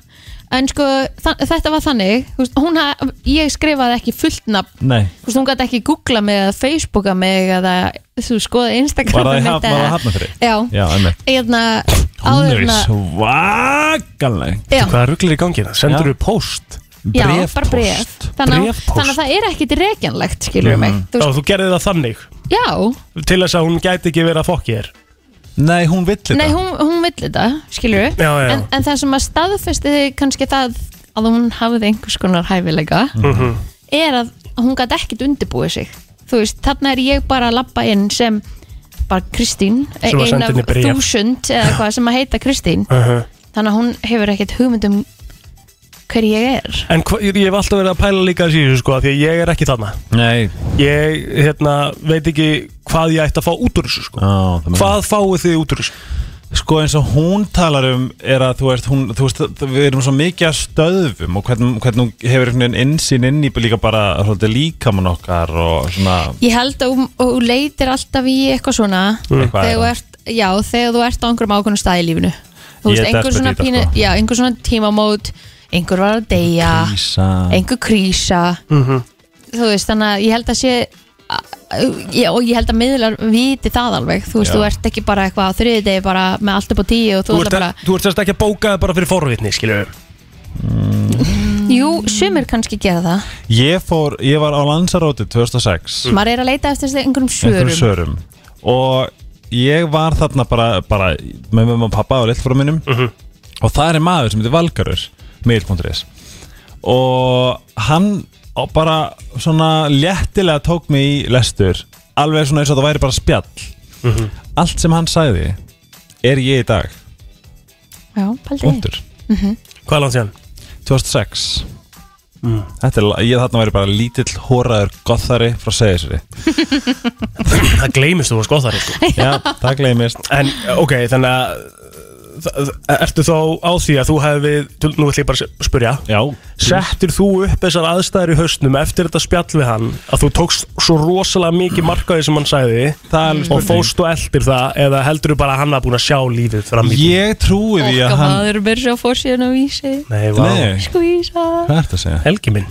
Speaker 2: en sko, þa- þetta var þannig þú veist, hún haf, ég skrifaði ekki fullt nafn
Speaker 11: Nei,
Speaker 2: Þú veist, hún gæti ekki googla mig eða facebooka mig eða þú skoði
Speaker 11: var
Speaker 2: Instagram
Speaker 11: það í haf- var það að hafna fyrir
Speaker 2: Já,
Speaker 11: Já, einmitt
Speaker 2: hérna
Speaker 11: Hún er
Speaker 2: áður en að-
Speaker 11: svakaleg
Speaker 2: Já.
Speaker 3: Hvað ruglir í gangi hérna? það? Sendur þú post?
Speaker 2: Já, bara bréf þannig, að-
Speaker 3: Bréfpóst.
Speaker 2: þannig að það er ekkit rekjanlegt skilur mig
Speaker 3: Mhm.
Speaker 2: Þú
Speaker 3: Já,
Speaker 2: veist,
Speaker 3: þú gerði það þannig
Speaker 2: Já,
Speaker 3: Til þess að hún gæti ekki verið að fokki þér
Speaker 11: Nei, hún vill
Speaker 2: Nei, hún, hún vill þetta, skilur við
Speaker 3: Já, já.
Speaker 2: En, en það sem að staðfesti kannski það að hún hafði einhvers konar hæfileika
Speaker 3: Mhm.
Speaker 2: er að hún gæti ekkit undirbúið sig þú veist, þarna er ég bara að labba inn sem bara Kristín
Speaker 3: Sem að
Speaker 2: ein
Speaker 3: senda
Speaker 2: af
Speaker 3: henni bréf.
Speaker 2: þúsund eða hvað sem að heita Kristín
Speaker 3: Mhm.
Speaker 2: þannig að hún hefur ekkit hugmynd um hver ég er
Speaker 3: En hva, ég hef alltaf verið að pæla líka að síðu sko, af Því að ég er ekki þarna
Speaker 11: Nei
Speaker 3: Ég hérna, veit ekki hvað ég ætti að fá út úr þessu sko.
Speaker 11: Ó,
Speaker 3: Hvað fáið þið út úr þessu?
Speaker 11: Sko eins og hún talar um er að þú veist, hún, þú veist við erum svo mikið að stöðum og hvernig, hvernig hún hefur einhvern veginn innsýn inn í líka bara svolítið líkamann okkar og svona
Speaker 2: Ég held að hún, hún leitir alltaf í eitthvað svona
Speaker 11: Mm. Eitthvað
Speaker 2: þegar þú
Speaker 11: er
Speaker 2: ert, já, þegar þú ert á einhverjum ákveðnum stað í lífinu Þú
Speaker 11: Ég er
Speaker 2: veist, einhver
Speaker 11: desperate
Speaker 2: svona,
Speaker 11: í þetta,
Speaker 2: pínu,
Speaker 11: sko.
Speaker 2: já, einhver svona tímamót einhver var að deyja
Speaker 11: Krísa.
Speaker 2: einhver krísa
Speaker 3: Mhm.
Speaker 11: -hmm.
Speaker 2: þú veist, þannig að ég held að sé a- a- ég- og ég held að miðlar viti það alveg, þú veist,
Speaker 3: Já.
Speaker 2: þú ert ekki bara eitthvað á þriði degi bara með allt upp á tíu og þú,
Speaker 3: Þú
Speaker 2: þú
Speaker 3: ert,
Speaker 2: bara,
Speaker 3: þú ert sérst ekki að bóka það bara fyrir forvitni skilur við
Speaker 2: jú, sumir kannski gera það,
Speaker 11: Ég fór, ég var á Lanzaróti 2006
Speaker 3: Mm.
Speaker 2: maður er að leita eftir þessi einhverjum svörum,
Speaker 11: einhverjum sörum og ég var þarna bara, bara með mamma og pappa og lillfóra mínum og það er maður sem heitir Valgarur mail.is og hann á- bara svona léttilega tók mig í lestur alveg svona eins og það væri bara spjall
Speaker 14: Mhm.
Speaker 11: allt sem hann sagði er ég í dag
Speaker 2: Já, paldi Mhm.
Speaker 11: Hvað er langt síðan? 2006 Þetta er, la- ég þarna væri bara lítill hóraður gothari frá segisri
Speaker 3: Það gleymist þú að skoða það sko.
Speaker 11: Já, það gleymist
Speaker 3: En ok, þannig að það- Ertu þá á því að þú hefði Nú ætlum ég bara að spyrja
Speaker 11: Já
Speaker 3: Settir þú upp þessar aðstæður í hausnum Eftir þetta spjall við hann Að þú tókst svo rosalega mikið markaði sem hann sagði
Speaker 11: alveg
Speaker 3: Og
Speaker 11: spurning.
Speaker 3: fóst og eldir það Eða heldur þú bara að hann hafa búin að sjá lífið fram í því?
Speaker 11: Ég trúi því
Speaker 2: Okkar maður verður svo fórsíðan á vísi
Speaker 3: Nei, vá
Speaker 11: Nei.
Speaker 2: Skvísa
Speaker 11: Hvað ertu að segja?
Speaker 3: Helgi minn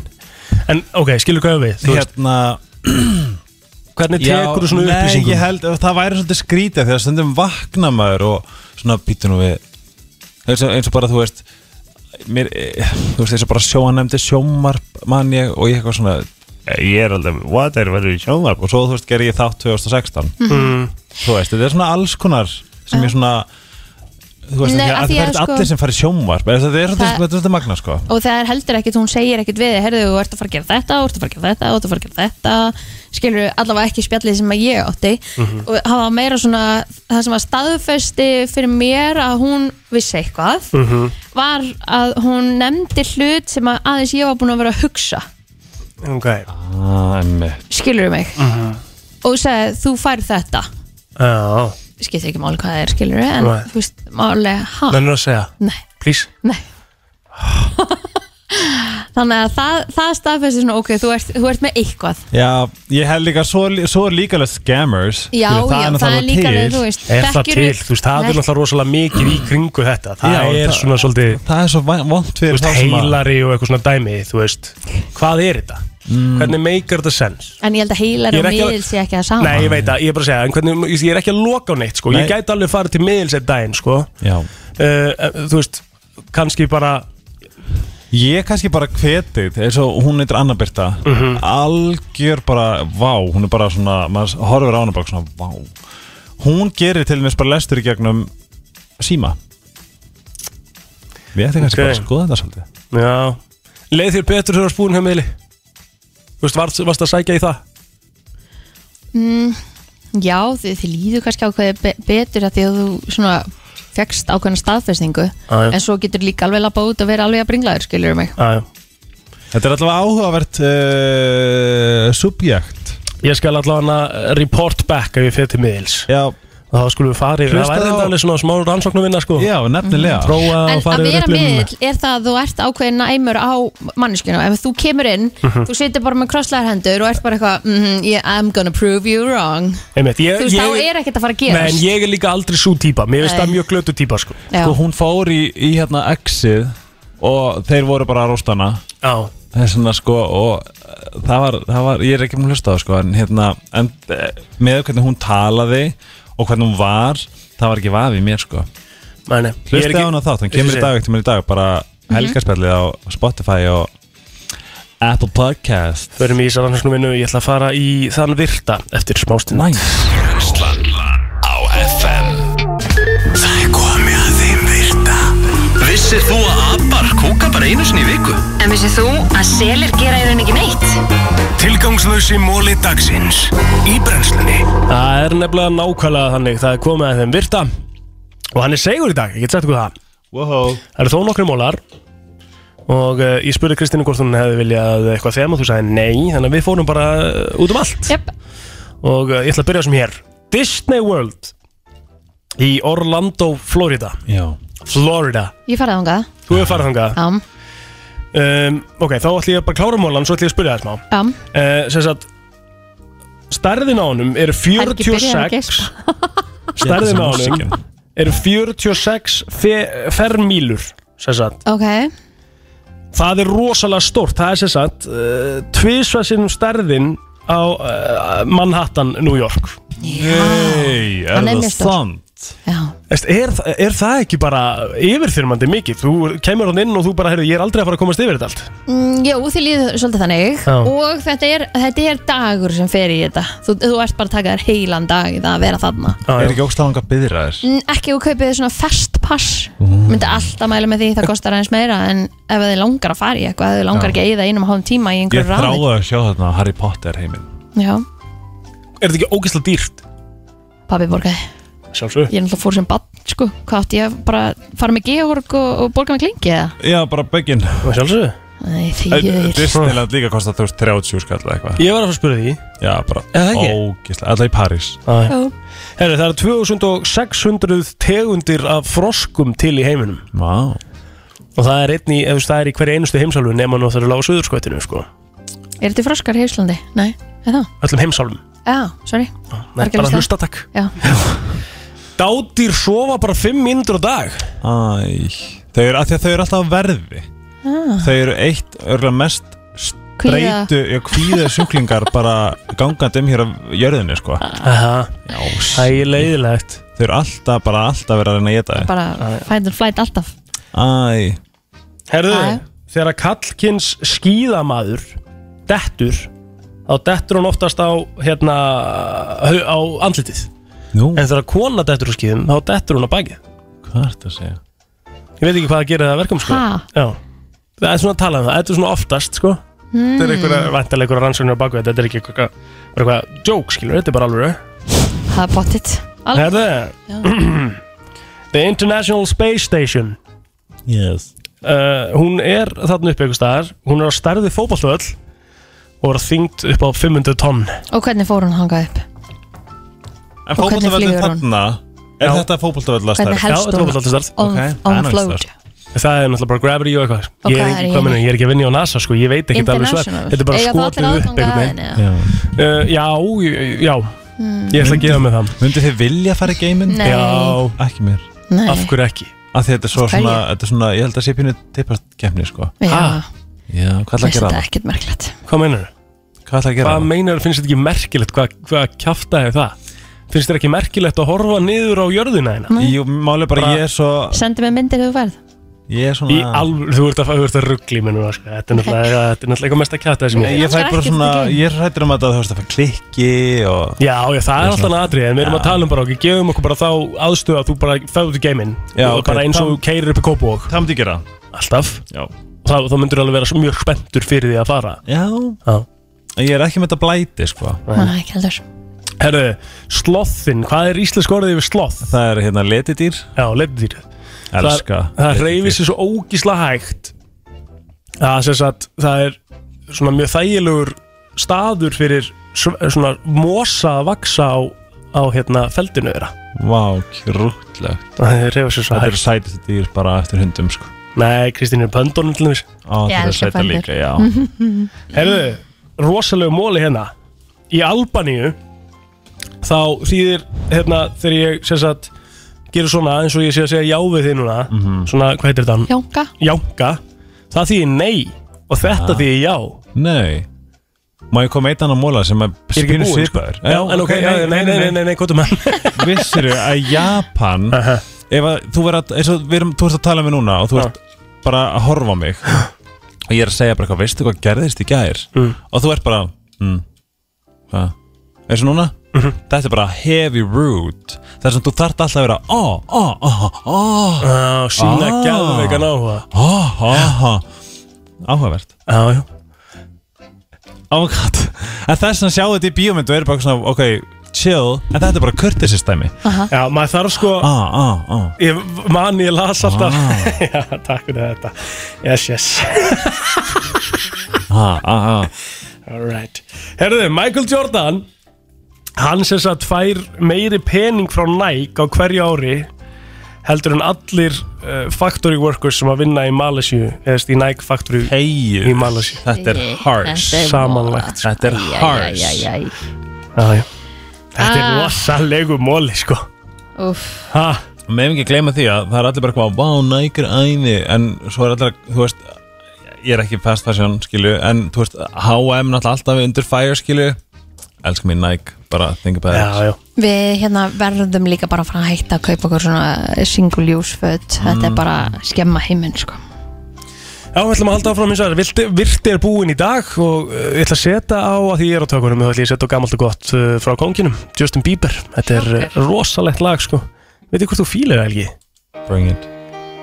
Speaker 3: En ok, skilur hvað við þú veist.
Speaker 11: Hérna
Speaker 3: Hvernig tekur þú svona upplýsingum?
Speaker 11: Nei, ég held að það væri svolítið skrítið Þegar stundum vakna maður og svona býtu nú við eins og, eins og bara þú veist mér, eh, Þú veist eins og bara sjóanemdi sjómarp mann ég og ég eitthvað svona eh, Ég er aldrei, what er verið í sjómarp og svo þú veist gerði ég þátt 2016
Speaker 3: Mhm.
Speaker 11: Þú veist, þetta er svona alls konar sem ég svona Þú veist,
Speaker 2: Nei,
Speaker 11: ekki,
Speaker 2: af
Speaker 11: að
Speaker 2: því
Speaker 11: það
Speaker 2: að
Speaker 11: er
Speaker 2: sko-
Speaker 11: allir sem farið sjómarp Þetta er svolítið-
Speaker 2: Það-
Speaker 11: þetta er svolítið magna sko
Speaker 2: Og það er heldur ekkert, hún segir ekkert við þig, Herðu, þú ert að fara að gera þetta, þú ert að fara að gera þetta, þú ert að fara að gera þetta Skilur allavega ekki spjallið sem að ég átti
Speaker 15: Mhm.
Speaker 2: Og það var meira svona, það sem var staðfesti fyrir mér að hún vissi eitthvað
Speaker 3: Mhm.
Speaker 2: Var að hún nefndi hlut sem að aðeins ég var búin að vera að hugsa
Speaker 3: Ok
Speaker 11: ah, einmitt.
Speaker 2: Skilur mig Og sagði, þú fær þetta
Speaker 3: Já
Speaker 2: Skiptir ekki máli hvað það er, skilur En
Speaker 3: Nei.
Speaker 2: þú veist, máli, ha
Speaker 3: Nennir að segja?
Speaker 2: Nei.
Speaker 3: Please
Speaker 2: Þannig að það, það staðfesti svona, ok, þú ert, þú ert með eitthvað
Speaker 11: Já, ég hef líka, svo, svo er líka alveg scammers
Speaker 2: Já,
Speaker 11: Þú veist,
Speaker 2: já,
Speaker 11: náttúrulega
Speaker 2: það er líka alveg, þú veist,
Speaker 3: Er það
Speaker 2: þekkirðu-
Speaker 3: til, þú veist, það er
Speaker 2: Nei.
Speaker 3: náttúrulega rosalega mikið í kringu þetta Það
Speaker 11: Já,
Speaker 3: er
Speaker 11: það-
Speaker 3: svona svolítið
Speaker 11: Það er svo vond
Speaker 3: Þú
Speaker 11: fyrir
Speaker 3: veist,
Speaker 11: þá sem að-
Speaker 3: heilari og eitthvað svona dæmi, þú veist Hvað er þetta?
Speaker 11: Mm.
Speaker 3: Hvernig meikar þetta sens?
Speaker 2: En ég held að heilar
Speaker 3: Ég er
Speaker 2: og
Speaker 3: ekki að-
Speaker 2: miðil sé ekki að sama
Speaker 3: Nei, ég veit að, ég er bara að segja, en hvernig, ég er ekki að loka á neitt, sko Ég
Speaker 11: Nei.
Speaker 3: gæti alveg farið til miðilsett daginn, sko
Speaker 11: Já
Speaker 3: uh, Þú veist, kannski bara
Speaker 11: Ég kannski bara hvetið, eins og hún heitir Anna Birta
Speaker 3: Mhm.
Speaker 11: Algjör bara, vá, hún er bara svona maður horfir á hana bara svona, vá Hún gerir til mér bara lestur í gegnum síma Við ættum kannski
Speaker 3: Ok.
Speaker 11: bara að skoða þetta svolítið
Speaker 3: Já Leið þér betur þegar þú varst búin hjá miðli Þú veist, varst, varst að sækja í það?
Speaker 2: mm, Já, þið, þið líður kannski ákveðið be betur að því að þú svona fegst ákveðna staðfestingu
Speaker 11: Já, já.
Speaker 2: en svo getur líka alveg lappa út og vera alveg að bringlaður skilur mig
Speaker 3: Aðjá.
Speaker 11: Þetta er allavega áhugavert uh, subjekt
Speaker 3: Ég skal allavega eh, report back ef ég fer til miðils
Speaker 11: Já
Speaker 3: Og þá skulum við fara yfir Það
Speaker 11: Hlustaðu
Speaker 3: væri
Speaker 11: á-
Speaker 3: þetta alveg svona smá rannsóknum vinna sko
Speaker 11: Já, nefnilega.
Speaker 3: Prófa
Speaker 2: En
Speaker 3: að fara
Speaker 2: að
Speaker 3: yfir
Speaker 2: vera
Speaker 3: upplifunina.
Speaker 2: miðil er það að þú ert ákveðin næmur á manneskinu ef þú kemur inn,
Speaker 3: Mhm.
Speaker 2: þú situr bara með krosslaðar hendur og ert bara eitthvað mm yeah, I'm gonna prove you wrong
Speaker 3: Einmitt, ég,
Speaker 2: Þú veist, þá
Speaker 3: ég,
Speaker 2: er ekkert að fara að
Speaker 3: Nei, en
Speaker 2: gerast
Speaker 3: ég er líka aldrei svo típa Mér finnst
Speaker 2: Nei.
Speaker 3: það mjög glötu típa sko
Speaker 2: Já.
Speaker 11: sko, hún fór í, í hérna exið og þeir voru bara að rósta hana
Speaker 3: Já.
Speaker 11: þess vegna sko og eh, það var, það var, ég er ekki múin að hlusta á það, sko en hérna, en eh, með hvernig hún talaði og hvernig hún var það var ekki vafi í mér sko
Speaker 3: Nei, nei. Ég er
Speaker 11: hlusta
Speaker 3: ekki-
Speaker 11: á hana þátt, hann kemur í dag eftir mér í dag bara
Speaker 3: Mhm.
Speaker 11: helgarspjallið á Spotify og Apple Podcast
Speaker 3: Förum í sarannsóknum vinnu Ég ætla að fara í þann virta Eftir smástinn
Speaker 11: Næs
Speaker 6: Brennslan á FM Það er komið að þeim virta Vissir þú að abar kúka bara einu sinni í viku?
Speaker 16: En vissið þú að selir gera í raun ekki neitt?
Speaker 6: Tilgangslösi móli dagsins Í brennslunni
Speaker 3: Það er nefnilega nákvæmlega þannig Það er komið að þeim virta Og hann er segur í dag, ég get sagt ykkur það
Speaker 11: wow.
Speaker 3: Það eru þó nokkri mólar Og uh, ég spurði Kristínu hvort hún hefði viljað eitthvað þeim og þú sagði nei Þannig að við fórum bara uh, út um allt
Speaker 2: yep.
Speaker 3: Og uh, ég ætla að byrja sem hér Disney World Í Orlando, Florida
Speaker 11: Já.
Speaker 3: Florida
Speaker 2: Ég farið þangað
Speaker 3: Þú hefur farið þangað Um,
Speaker 2: um,
Speaker 3: Ok, þá ætla ég bara að klára mólan Svo ætla ég að spyrja það smá
Speaker 2: um.
Speaker 3: uh, Sem sagt Stærðin á honum eru
Speaker 2: Það er ekki byrjað að
Speaker 3: 46
Speaker 2: geispa.
Speaker 3: Stærðin á honum
Speaker 11: Músíkin.
Speaker 3: eru 46 fe fermílur sem sagt.
Speaker 2: Ok,
Speaker 3: Það er rosalega stórt Það er sem sagt uh, tvisvað sinnum stærðin á uh, Manhattan, New York
Speaker 11: Nei,
Speaker 2: Hann er mjög stór. já
Speaker 3: Veist, Er, þa- er það ekki bara yfirþyrmandi mikið? Þú kemur hann inn og þú bara, heyrðu, ég er aldrei að fara að komast yfir þetta allt.
Speaker 2: Mm, Jú, þið líður svolítið þannig
Speaker 3: Já.
Speaker 2: og þetta er, þetta er dagur sem fer í þetta þú, þú ert bara að taka þér heilan dag í það að vera þarna
Speaker 11: Er ekki ógst að langa að byðra þér?
Speaker 2: Mm, Ekki þú kaupið þér svona fast pass myndi alltaf mæla með því, það kostar aðeins meira en ef þið langar að fara í eitthvað ef þið langar
Speaker 11: Já.
Speaker 2: ekki að eyða einum og hálfum tíma í
Speaker 11: Ég
Speaker 2: einhverju ráði
Speaker 11: þráði að sjá þarna Harry Potter heiminn
Speaker 2: Já,
Speaker 3: Er þetta ekki ógeðslega dýrt?
Speaker 2: pabbi borgaði
Speaker 3: Sjálfsög.
Speaker 2: Ég er náttúrulega fór sem bann, sko Hvað átti ég að bara fara með Georg og, og borga með klingi eða?
Speaker 11: Já, bara bögginn
Speaker 3: Sjálfsög
Speaker 2: Nei, þýðir
Speaker 11: Disneyland líka kostar þú veist 30 skall eða eitthvað
Speaker 3: Ég var að fara að spura því.
Speaker 11: Já, bara
Speaker 3: Er það ekki?
Speaker 11: ógislega, alltaf í París
Speaker 3: Já. Herru, það eru 2600 tegundir af froskum til í heiminum.
Speaker 11: Vá.
Speaker 3: Og það er einn í, ef þú veist, það er í hverju einustu heimsálfu nema nú það eru lága suðurskvættinu, sko.
Speaker 2: Er þetta froskar í Íslandi? Nei, er það?
Speaker 3: Öllum heimsálfum.
Speaker 2: Já, sorry
Speaker 3: Nei,
Speaker 2: Var ekki
Speaker 3: bara
Speaker 2: að
Speaker 3: hlusta, takk.
Speaker 2: Já,
Speaker 3: Dádýr sofa bara 5 mínútur á dag.
Speaker 11: Æ, þau eru, að því að þau eru alltaf á verði
Speaker 2: Ah.
Speaker 11: Þau eru eitt, örgulega mest
Speaker 2: Kvíða.
Speaker 11: streitu, já, kvíða sjúklingar bara gangandi um hér á jörðinni, sko
Speaker 3: Aha.
Speaker 11: Já, það
Speaker 3: er leiðilegt
Speaker 11: Þau eru alltaf, bara alltaf verið að reyna að geta
Speaker 2: bara find and flight alltaf
Speaker 11: Æ
Speaker 3: Herðu,
Speaker 2: Jæja.
Speaker 3: þegar kallkins skíðamaður dettur þá dettur hún oftast á hérna hau- á andlitið
Speaker 11: Nú.
Speaker 3: en þegar kona dettur á skíðum þá dettur hún á bakið
Speaker 11: Hvað er þetta að segja?
Speaker 3: ég veit ekki hvað það gerir það að verkum sko.
Speaker 2: Ha?
Speaker 3: Já. það er svona að tala um það, þetta er svona oftast sko.
Speaker 2: Hmm.
Speaker 3: þetta er einhverja vantarlega einhverja rannsóknir á bakið þetta er ekki eitthvað, bara eitthvað joke skilur, þetta er bara alveg
Speaker 2: Það er pottitt
Speaker 3: Herðu
Speaker 2: Já.
Speaker 3: The International Space Station
Speaker 11: Yes
Speaker 3: uh, Hún er þarna upp einhvers staðar Hún er á stærði fótballvöll Og er þyngd upp á 500 tonn
Speaker 2: Og hvernig fór hún hangað upp?
Speaker 11: En
Speaker 2: Og hvernig
Speaker 11: fótboltavöllin
Speaker 2: flýgur hún?
Speaker 11: þarna, er þetta fótboltavöll að
Speaker 2: Hvernig helst hún on- on
Speaker 3: Ok, það er
Speaker 2: float?
Speaker 3: náttúrulega Það er náttúrulega bara gravity og eitthvað
Speaker 2: Og
Speaker 3: ég,
Speaker 2: hvað
Speaker 3: er
Speaker 2: er í
Speaker 3: ekki, hvað
Speaker 2: henni?
Speaker 3: meina, ég er ekki að vinna á NASA sko, Ég veit ekki alveg sver
Speaker 2: International.
Speaker 3: Þetta er bara
Speaker 2: Eiga þá allir
Speaker 3: skotið upp
Speaker 2: aðgang að
Speaker 3: einhvern
Speaker 2: henni,
Speaker 3: veginn uh, Já, j- já
Speaker 2: Mm.
Speaker 3: Ég ætla að gefa mig það
Speaker 11: Myndi þið vilja fara í geiminn?
Speaker 2: Nei.
Speaker 11: Já, ekki mér
Speaker 2: Nei.
Speaker 3: Af hverju ekki?
Speaker 11: Af því þetta er svo
Speaker 2: Af hverju?
Speaker 11: svona, þetta er svona, ég held að sé pínu tipparkefni, sko
Speaker 2: Já.
Speaker 11: Ha? Já, hvað ætla að
Speaker 2: Finnst
Speaker 11: gera
Speaker 2: þetta
Speaker 11: það?
Speaker 2: ekkert merkilegt
Speaker 3: Hvað meinar Hérna. þau?
Speaker 11: Hvað ætla að gera
Speaker 3: Hvað meinar finnst þetta ekki merkilegt? Hvað, hvað kjafta er það? Finnst þetta ekki merkilegt að horfa niður á jörðina hérna?
Speaker 11: Jú, máli bara, ég er svo
Speaker 2: Sendu mig myndir þegar þú verð
Speaker 11: Ég er svona
Speaker 3: Í alveg, þú ert að, þú ert að ruggli mér núna, sko. Þetta er náttúrulega, þetta er náttúrulega eitthvað mest að kjata sem
Speaker 11: Ég, ég fæ bara svona, ég er hrættur um að það, þú veist, að fara klikki og
Speaker 3: Já, já, það er alltaf aðrið, en við erum
Speaker 11: Já.
Speaker 3: að tala um bara okkur, gefum okkur bara þá aðstöðu að þú bara ferð út í geiminn
Speaker 11: Já,
Speaker 3: og
Speaker 11: ok,
Speaker 3: bara eins og
Speaker 11: það-
Speaker 3: þú keirir upp í Kópavók
Speaker 11: Það myndi ég gera
Speaker 3: Alltaf
Speaker 11: Já
Speaker 3: Þá, þá myndur þú alveg vera svo mjög spenntur fyrir því að fara
Speaker 11: Já
Speaker 3: Já
Speaker 11: Ég er ekki með þetta blæti, sko
Speaker 2: Nei, ekki heldur
Speaker 3: Herðu, slothin, hvað er íslensk orðið yfir sloth?
Speaker 11: Það er hérna letidýr
Speaker 3: Já, leipdýr
Speaker 11: Elska
Speaker 3: Það, það reyfir sér svo ógísla hægt Það, sem sagt, það er svona mjög þægilegur staður fyrir sv- svona mosa að vaksa á, á hérna feldinu þeirra
Speaker 11: Vá, krútlegt
Speaker 3: Það er reyfa sér svo
Speaker 11: Þetta
Speaker 3: hægt.
Speaker 11: eru sætið dýr bara eftir hundum, sko
Speaker 3: Nei, Kristín er pöndunum til þess
Speaker 11: Á,
Speaker 2: Ég
Speaker 11: þetta er
Speaker 2: elska
Speaker 11: sæta
Speaker 2: pöndur.
Speaker 11: líka, já
Speaker 3: Herðu, rosalegu móli hérna Í Albaníu Þá þýðir hérna Þegar ég sem sagt Gerur svona eins og ég sé að segja já við þig núna Svona, hvað heitir þetta?
Speaker 2: Jánka
Speaker 3: Jánka Það þýðir nei Og þetta
Speaker 11: Ah.
Speaker 3: þýðir já
Speaker 11: Nei Má ég koma eitt annan móla sem að
Speaker 3: Ég er ekki
Speaker 11: spynu
Speaker 3: búinn, sko.
Speaker 11: svipaður
Speaker 3: Já, en ok, já, nei, nei, nei, nei, nei, kvotum hann
Speaker 11: Vissirðu að Japan Ef að þú verður að, eins og við erum, þú ert að tala með núna Og þú ert bara að horfa á mig Og ég er að segja bara eitthvað, veistu hvað gerðist í gær Og þú ert bara mm, Hvað? Eins og núna? Þetta er bara heavy rude Það er sem þú þarft alltaf að vera Ó, ó, ó, ó
Speaker 3: Á, Sýna
Speaker 11: Ah.
Speaker 3: gæðveikan áhuga
Speaker 11: Ó, ó, ó Áhugavert
Speaker 3: Já, já
Speaker 11: Oh my god En þess að sjá þetta í bíómyndu er bara svona Ok, chill En þetta er bara courtesy stæmi
Speaker 3: Já, maður þarf sko
Speaker 11: ah, ah, ah.
Speaker 3: Ég man, ég las alltaf
Speaker 11: Ah.
Speaker 3: Já, takk fyrir þetta Yes, yes
Speaker 11: ah, ah, ah.
Speaker 3: Alright Herðu, Michael Jordan Hann sem sagt fær meiri pening frá Nike á hverju ári heldur en allir uh, factory workers sem að vinna í Malaysia eða í Nike factory
Speaker 11: hey,
Speaker 3: í Malaysia
Speaker 11: Þetta er harsh
Speaker 3: Þetta er Samanlagt
Speaker 11: Þetta er harsh
Speaker 3: Já, já. Þetta er
Speaker 2: Ah.
Speaker 3: rosalegu móli sko
Speaker 2: Úff
Speaker 3: Ha?
Speaker 11: Meðum ekki gleyma því að það er allir bara eitthvað Vá, nægir æði En svo er allir, þú veist Ég er ekki fast fashion, skilju En þú veist, H&M náttúrulega alltaf undir fire, skilju elska mér Nike, bara think about it
Speaker 3: já, já.
Speaker 2: Við hérna verðum líka bara að fara að hætta að kaupa okkur svona single use föt Þetta
Speaker 11: Mm.
Speaker 2: er bara að skemma heiminn sko.
Speaker 3: Já, við ætlum að halda áfram eins og það Virti er búinn í dag og uh, ég ætla að setja á að því ég er á tökunum þá ætla ég að setja á gamalt og gott uh, frá konginum Justin Bieber, þetta er okay. rosalegt lag sko Veitir hvort þú fílar það, Helgi?
Speaker 11: Bring it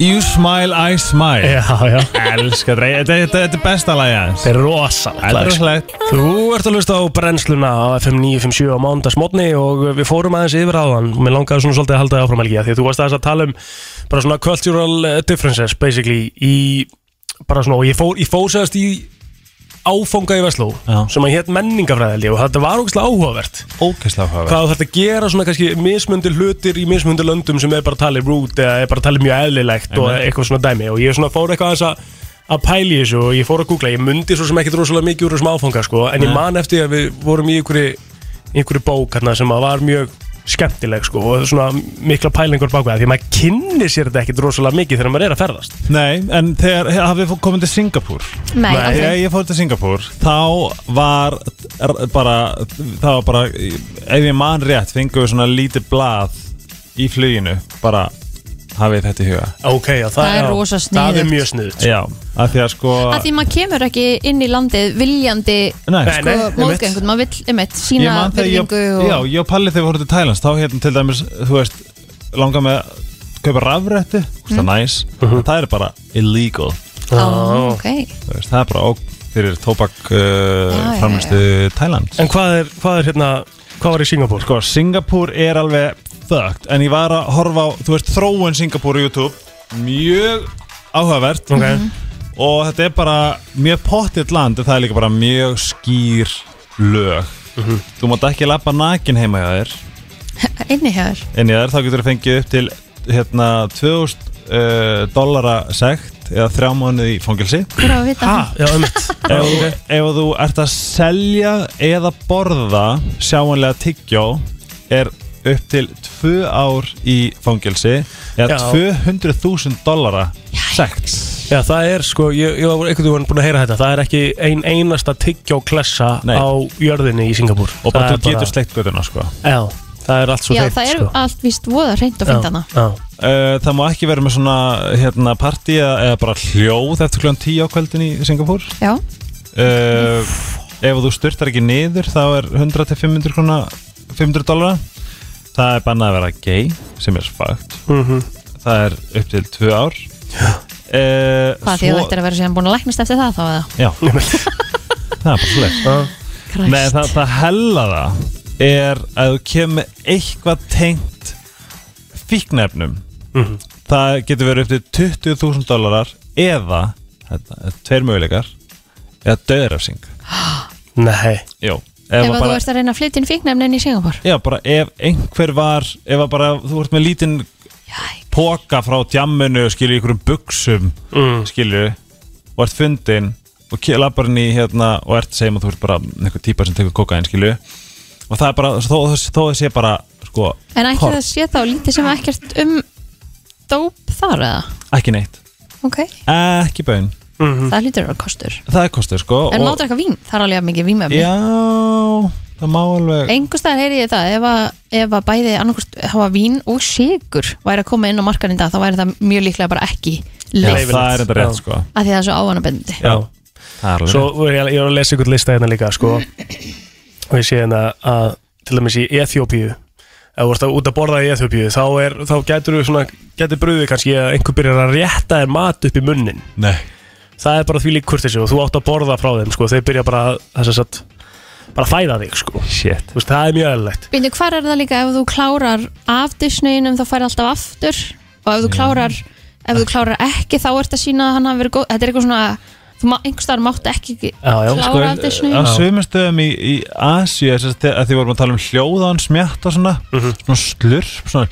Speaker 11: You smile, I smile
Speaker 3: Já, já
Speaker 11: Elskar þetta, þetta, þetta, þetta er besta lagi hans
Speaker 3: Þetta er rosalegt
Speaker 11: Þetta er
Speaker 3: lag, sko.
Speaker 11: rosalegt
Speaker 3: Þú ert að lusta á brennsluna á FM 957 á mándagsmotni og við fórum aðeins yfir á hann og mér langaði svona svolítið að halda það áfram Helgi af því að þú varst aðeins að tala um bara svona cultural eh, differences basically í bara svona og ég fór, ég fór segast í áfanga í Vestló sem að hétt menningafræðildi og þetta var ógæslega áhugavert
Speaker 11: Ógeðslega áhugavert.
Speaker 3: hvað þetta gera svona kannski mismundir hlutir í mismundir löndum sem er bara talið rút eða er bara talið mjög eðlilegt og
Speaker 11: Einmitt.
Speaker 3: eitthvað svona dæmi og ég svona fór eitthvað aðeins að að pæli þessu og ég fór að googla, ég mundi svo sem ekkert rosalega mikið úr þessum áfanga sko, en ég
Speaker 11: Nei.
Speaker 3: man eftir að við vorum í einhverju, einhverju bók hérna, sem að var mjög skemmtileg sko, og svona mikla pælingur bákvæða því að maður kynni sér þetta ekkert rosalega mikið þegar maður er að ferðast
Speaker 11: Nei, en þegar hafið fó- komið til Singapúr
Speaker 3: Nei, ok.
Speaker 11: Þegar ég fór til Singapúr Þá var r- bara Það var bara Ef ég man rétt, fengum við svona lítið blað Í fluginu, bara Hafið þetta í huga
Speaker 3: Ok, já, það,
Speaker 2: Það er
Speaker 3: já,
Speaker 2: rosa
Speaker 3: Það er
Speaker 2: sniðugt.
Speaker 3: mjög sniðut
Speaker 11: Já, af því að sko
Speaker 2: Að því maður kemur ekki inn í landið viljandi
Speaker 11: Nei. Nei,
Speaker 2: sko,
Speaker 11: nei, einmitt.
Speaker 2: móðgöngun, maður vill einmitt
Speaker 11: Ég
Speaker 2: sína
Speaker 11: man þegar ég-
Speaker 2: virðingu og...
Speaker 11: Já, ég og Palli þegar við vorum til Thailands Þá hérna til dæmis, þú veist Langar með að kaupa rafrætti mm.
Speaker 2: Mhm.
Speaker 11: Það er næs, það er bara illegal
Speaker 2: Ó, ok.
Speaker 11: Þú veist, Það er bara óg fyrir tóbak
Speaker 2: Já,
Speaker 11: uh,
Speaker 2: já,
Speaker 11: Framlistu Thailands
Speaker 3: En hvað er, hvað er hérna Hvað var í Singapúr?
Speaker 11: Sko, Singapúr er alveg þögt En ég var að horfa á, þú veist, þróun Singapúr í YouTube Mjög áhugavert
Speaker 3: Ok. Mhm.
Speaker 11: Og þetta er bara mjög pottitt land En það er líka bara mjög skýr lög Þú mátt ekki lappa nakin heima hjá þér
Speaker 2: Inni hér
Speaker 11: inn í þær þá getur þú fengið upp til hérna 2000 uh, dollara sekt eða þrjá mánuði í fangilsi
Speaker 2: Hver á að vita það?
Speaker 3: Já, um mitt
Speaker 11: ef, ef þú ert að selja eða borða sjáanlega tyggjó er upp til 2 ár í fangilsi eða
Speaker 3: Já.
Speaker 11: 200.000 dollara sekt
Speaker 3: Já, það er sko, ég, ég var einhvern veginn búin að heyra þetta Það er ekki ein einasta tyggjó klessa
Speaker 11: Nei.
Speaker 3: á jörðinni í Singapúr
Speaker 11: og bara
Speaker 3: Það er
Speaker 11: þú getur sleikt göttuna sko
Speaker 3: Já, það er allt svo
Speaker 2: Já,
Speaker 3: hreint,
Speaker 2: það er
Speaker 3: sko.
Speaker 2: allt víst voða reynd og fínt hana
Speaker 3: Uh,
Speaker 11: það má ekki vera með svona hérna, partí eða eða bara hljóð eftir kljóðan 10 á kvöldin í Singapúr
Speaker 2: Já,
Speaker 11: uh, ef þú styrtar ekki niður þá er 100 til 500 krona 500 dollara það er bannað að vera gay sem er fakt
Speaker 3: Mhm.
Speaker 11: það er upp til 2 ár uh,
Speaker 2: hvað því þú ættir að vera síðan búin að læknast eftir það þá eða
Speaker 11: já það er bara
Speaker 2: Christ.
Speaker 11: slik nei það, það hella það er að þú kemur eitthvað tengt fíknefnum það getur verið upp til 20.000 dólarar eða þetta er tveir möguleikar eða döðrafsing
Speaker 3: Nei
Speaker 11: Jó,
Speaker 2: Ef,
Speaker 11: að
Speaker 2: að þú ert að reyna að flytja inn fíknefnin í Singapur
Speaker 11: Já, bara ef einhver var Ef að bara þú ert með lítinn Póka frá djamminu Skilju í einhverjum buksum Skilju Og ert fundin Og lappar inn í hérna Og ert segjum að þú ert bara Einhver típa sem tekur kokain Skilju Og það er bara Þó þó- þó það sé bara Sko
Speaker 2: En ekki
Speaker 11: korn,
Speaker 2: það sé þá lítið sem ekkert um dóp þar eða
Speaker 11: Ekki neitt
Speaker 2: Ok,
Speaker 11: Ekki bön
Speaker 2: það hlýtur að vera kostur
Speaker 11: Það er kostur sko
Speaker 2: En
Speaker 11: Mhm. og-
Speaker 2: má drekka vín, það er alveg jafn mikið vínmefni
Speaker 11: Já, það má alveg
Speaker 2: Engu staðar heyri ég það, ef að, ef að bæði annarkvist hafa vín og sigur væri að koma inn á markan í dag, þá væri það mjög líklega bara ekki
Speaker 11: Já,
Speaker 2: leif
Speaker 11: það er þetta rétt
Speaker 3: Já.
Speaker 11: sko
Speaker 2: að því það er svo ávanabendandi
Speaker 11: Já, það er alveg
Speaker 3: Svo var ég, ég var að lesa ykkur lista hérna líka sko, og ég sé hérna að til dæmis í Eþjópíu ef þú ert að- út að borða í Eþjópíu þá, er, þá getur þú svona, getur brúðið kannski að einhver byrjar að rétta þér mat upp í munnin
Speaker 11: Nei
Speaker 3: það er bara því lík kurtissi og þú átt að borða frá þeim sko, þeir byrja bara að- þess að satt, bara að fæða þig sko.
Speaker 11: Shit.
Speaker 3: Veist, það er mjög eðlilegt
Speaker 2: Býndu, hvar er það líka ef þú klárar af disneyinum þá færi alltaf aftur og ef þú klárar, ef þú klárar ekki þá ert að sína að hann hafi verið góð þetta er eitthvað svona, þú má, einhvers staðar mátt ekki klára af
Speaker 11: á
Speaker 2: disneyinum
Speaker 11: sömum stöðum í, í Asi að því vorum að tala um hljóðan smjatt og svona, svona slurp svona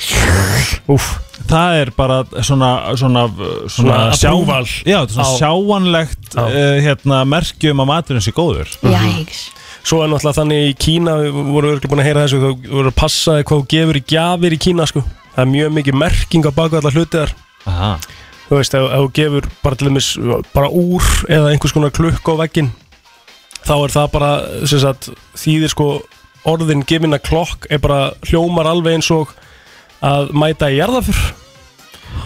Speaker 11: Úf. það er bara svona svona, svona,
Speaker 3: Svona approval
Speaker 11: já, þetta er svona
Speaker 3: á-
Speaker 11: sjáanlegt uh, hérna, merkjum að maturinn sé góður
Speaker 2: Jæks
Speaker 3: Svo er náttúrulega þannig í Kína við vorum örgulega búin að heyra þessu þú voru að passa þig hvað þú gefur í gjafir í Kína sko. það er mjög mikið merking á baku allar hluti þar
Speaker 11: Aha.
Speaker 3: þú veist, ef, ef þú gefur bara til dæmis bara úr eða einhvers konar klukk á veggin þá er það bara sem sagt, þýðir sko orðin given a clock er bara hljómar alveg eins og að mæta í jarðafur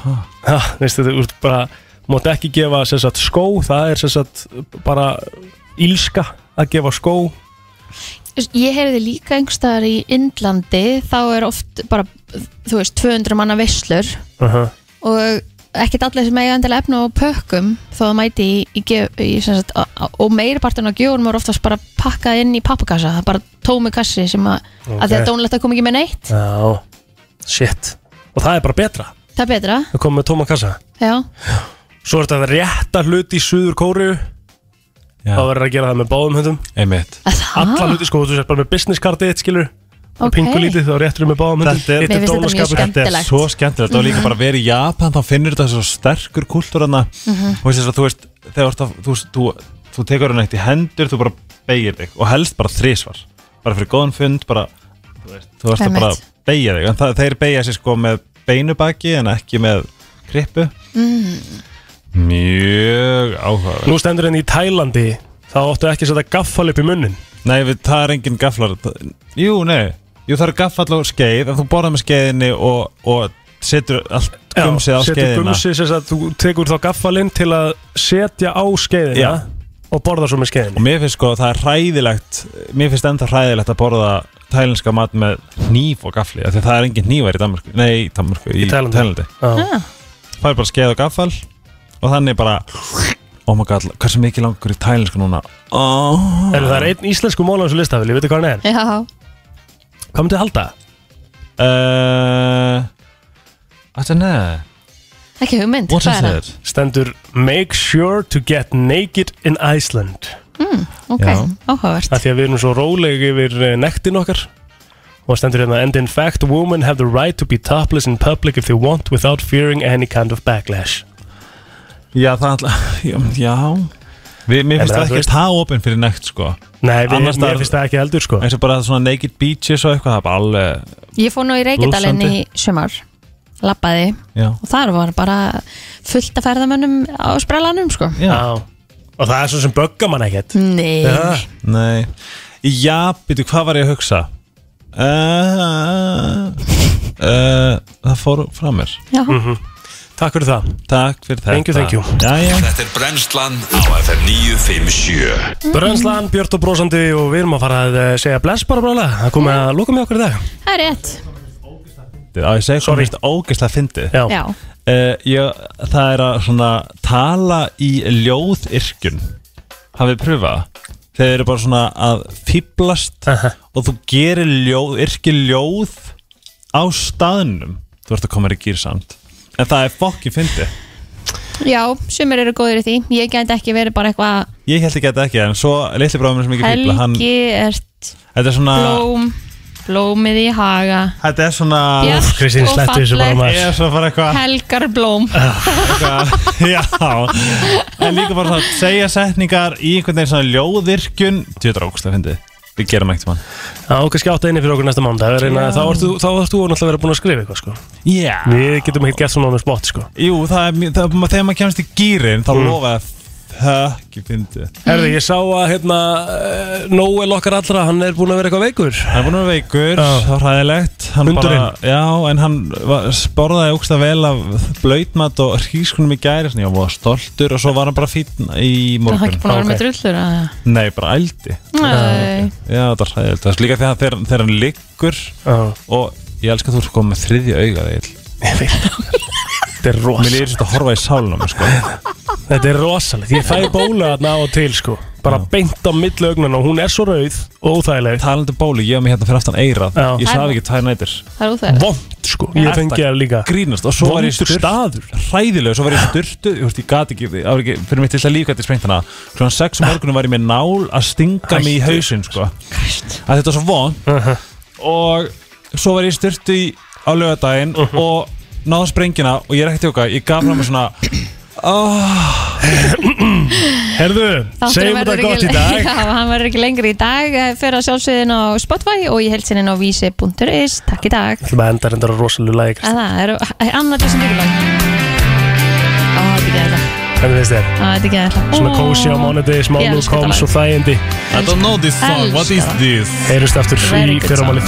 Speaker 3: ha, veistu þetta, þú ert bara mátt ekki gefa sem sagt, skó það er sem sagt, bara ílska að gefa skó
Speaker 2: Ég heyrði líka einhverstaðar í Indlandi, þá er oft bara, þú veist, 200 manna veislur og ekkert allir sem eiga endilega efna á pökkum þó að mæti í, í, gjöf- í sem sagt, á- á- og meirpartin á gjórum er oftast bara pakkað inn í pappakassa, það er bara tómi kassi sem að,
Speaker 3: Ok.
Speaker 2: að því að dónlegt að koma ekki með neitt
Speaker 3: Já, shit og það er bara betra
Speaker 2: það er betra,
Speaker 3: að koma með tóma kassa
Speaker 2: já
Speaker 3: svo er þetta rétta hluti í suður kóru þá verður að gera það með báðum höndum
Speaker 11: einmitt
Speaker 3: alla hluti sko, þú sér bara með business cardið þitt skilur okay. og
Speaker 2: Ah. Ok.
Speaker 3: pingulítið þá réttur við með báðum höndum
Speaker 11: Þetta
Speaker 2: Mér
Speaker 11: er,
Speaker 2: finnst þetta mjög
Speaker 11: dónaskapur. þetta er
Speaker 2: skemmtilegt.
Speaker 11: svo skemmtilegt og líka bara verið í Japan þá finnur þetta svo sterkur kúltúr hana
Speaker 2: Mhm.
Speaker 11: og þess að þú veist þegar þú ert að- þú, þú, þú tekur hann eitt í hendur þú bara beigir þig og helst bara þrísvar bara fyrir góðan fund bara, þú veist, þú veist að
Speaker 6: Einmitt.
Speaker 11: bara beigja þig en það, þeir beigja sér sko með beinu baki en ekki með krippu mjög áhugaverð
Speaker 3: nú stendur henni í Tælandi þá óttu ekki að setja gaffal upp í munnin
Speaker 11: Nei, við, það er engin gafflar það- Jú, nei, Jú, það er gaffall og skeið en þú borðar með skeiðinni og, og setur allt gumsið á
Speaker 3: setja
Speaker 11: skeiðina
Speaker 3: gumsið sem að þú tekur þá gaffalinn til að setja á skeiðina
Speaker 11: Já.
Speaker 3: og borða svo með skeiðinni
Speaker 11: og mér finnst sko það er hræðilegt mér finnst enda hræðilegt að borða tælenska mat með hníf og gafli af því að það er engin hnífar í Danmarku nei, í Danmarku, í,
Speaker 3: Í Taílandi.
Speaker 11: Tælandi
Speaker 3: Já.
Speaker 11: það er bara skeið og gaffal og þannig bara oh my god, hversu mikið langur í tælensku núna
Speaker 2: Ah.
Speaker 11: oh.
Speaker 3: en það er einn íslensku mól á þessu listafili, veitu hvað hann er?
Speaker 2: já,
Speaker 3: Hvað myndið halda?
Speaker 11: Uh, Þetta er neða
Speaker 2: ekki hugmynd hvað er það?
Speaker 3: Stendur Make sure to get naked in Iceland
Speaker 2: Mm, ok,
Speaker 3: Já.
Speaker 2: áhugavert
Speaker 3: Það því að við erum svo róleg yfir eh, nektin okkar og stendur hérna And in fact women have the right to be topless in public if they want without fearing any kind of backlash
Speaker 11: Já, það alltaf, já, já. Við, Mér finnst það ekki að hafa opinn fyrir nekt sko
Speaker 3: Nei, við- mér finnst
Speaker 11: það
Speaker 3: ekki heldur sko
Speaker 11: eins og bara svona naked beaches og eitthvað það er bara alveg
Speaker 2: Ég fór nú í Reykjadalinn í
Speaker 11: Blússandi.
Speaker 2: sumar Lappaði
Speaker 11: Já.
Speaker 2: Og þar var bara fullt af ferðamönnum á sprellanum sko
Speaker 11: Já.
Speaker 3: Og það er svo sem böggar mann ekkert
Speaker 2: Nei
Speaker 11: Já, Nei Já, býtu, hvað var ég að hugsa? Uh, uh, það fór frá mér
Speaker 2: Já.
Speaker 11: -hmm.
Speaker 3: Takk fyrir það
Speaker 11: Takk fyrir
Speaker 3: Thank you,
Speaker 11: þetta.
Speaker 3: thank you.
Speaker 11: Jæja.
Speaker 6: Þetta er Brennslan á FM 957
Speaker 3: Brönslan, Björn og Brósandi og við erum að fara að eh, segja bless bara brála Það komið að loka með okkur í dag
Speaker 2: Það er rétt
Speaker 11: Á, ég segi hvað mér finnst ógeðslega fyndið
Speaker 3: Já.
Speaker 2: Já.
Speaker 11: Eh, ég, Það er að svona tala í ljóðirkjun Hafið pröfað Þeir eru bara svona að fýblast Og þú gerir ljóð, yrki ljóð Á staðnum Þú ert að koma þér í gýr samt En það er fokki fyndið
Speaker 2: Já, sumir eru góðir í því Ég gæti ekki verið bara eitthvað
Speaker 11: Ég held ekki að þetta ekki En svo litli bráðum sem ekki fýbla hann, Ah.
Speaker 2: Helgi ert
Speaker 11: Þetta er svona
Speaker 2: blóm Blómið í haga
Speaker 11: Þetta er svona
Speaker 2: Bjart Úff, Kristín, og slepptu þessu bara, maður.
Speaker 11: Ég er svo bara eitthvað
Speaker 2: Helgar blóm
Speaker 11: eitthvað- Já En líka bara það að segja setningar í einhvern veginn svona ljóðirkjun Þetta er ógustlega fyndið Við gerum eitt mann
Speaker 3: Já, kannski átta einni fyrir okkur næsta mándag reyna,
Speaker 11: Já.
Speaker 3: Þá ert þú þá ert þú náttúrulega að vera búin að skrifa eitthvað sko
Speaker 11: Já
Speaker 3: Við getum ekkert gert svona með spott sko
Speaker 11: Jú, það er, mjög- það, þegar maður kemst í gýrin þá
Speaker 3: Mm.
Speaker 11: lofa ég að það ekki fyndið
Speaker 3: Herði, ég sá að hérna eh, Noel okkar allra, hann er búin að vera eitthvað veikur
Speaker 11: Hann er búin að vera veikur, það var hræðilegt Hann
Speaker 3: Hundurinn?
Speaker 11: bara, Já, en hann var, borðaði ógsta vel af blöytmat og hrískunum í gæri svona, ég var stoltur og svo var hann bara fítn í
Speaker 2: Það er
Speaker 11: morgun
Speaker 2: ekki búin að vera með drullur að-
Speaker 11: Nei, bara ældi
Speaker 2: Nei.
Speaker 11: Já, það er hræðilegt Það er líka þegar, þegar, þegar hann liggur Og ég elska að þú er sko með þriðja auga þegar Ég veit Þetta
Speaker 3: er rosa
Speaker 11: Mér er þetta að horfa í sálunum sko.
Speaker 3: Þetta er rosalegt, ég fæ bóla þarna á og til sko Bara beint á milli augnana og hún er svo rauð og óþægileg
Speaker 11: Talandi bóli, ég hef mig hérna fyrir aftan eirað
Speaker 3: Já.
Speaker 11: Ég svaf ekki tvær nætur
Speaker 2: Það er úþægilegt
Speaker 3: Vond sko, ég fengi það líka
Speaker 11: Grínast og svo var ég
Speaker 3: Vondur
Speaker 11: sturt
Speaker 3: staður.
Speaker 11: Hræðilega, svo var ég styrtu Ég, veist, ég gat ekki, það var ekki, fyrir mitt lilla líf gæti sprengt hana Svona sex um morgunum var ég með nál að stinga mig í
Speaker 3: Hættu.
Speaker 11: hausinn sko. Að þetta var svo von
Speaker 3: Uh-huh.
Speaker 11: Og svo var ég styrtu í, á laugardaginn
Speaker 3: Uh-huh.
Speaker 11: Og náða sprengjuna Og ég er ekki tjóka, ég gaf fram með svona oh.
Speaker 3: Herðu,
Speaker 2: Þátturinn verður ekki- Já, hann verður ekki lengri í dag Fyrir að sjálfsögðin á Spotify og ég held sinni á vísi.is Takk í dag
Speaker 3: Það enda reyndar á rosalega lagi
Speaker 2: Að Það er, er annar þessi mikilvæg Ó, þetta gerir þetta
Speaker 3: Hvernig finnst þér?
Speaker 2: Það er ekki aðeins
Speaker 3: Svona kósi á mánudegi, smá
Speaker 2: Ég elska
Speaker 3: lúk
Speaker 2: þetta
Speaker 3: og þægindi
Speaker 11: I don't know this song, what is this?
Speaker 3: Heyrjumst aftur
Speaker 2: Very
Speaker 3: í
Speaker 2: good
Speaker 3: fyrramáli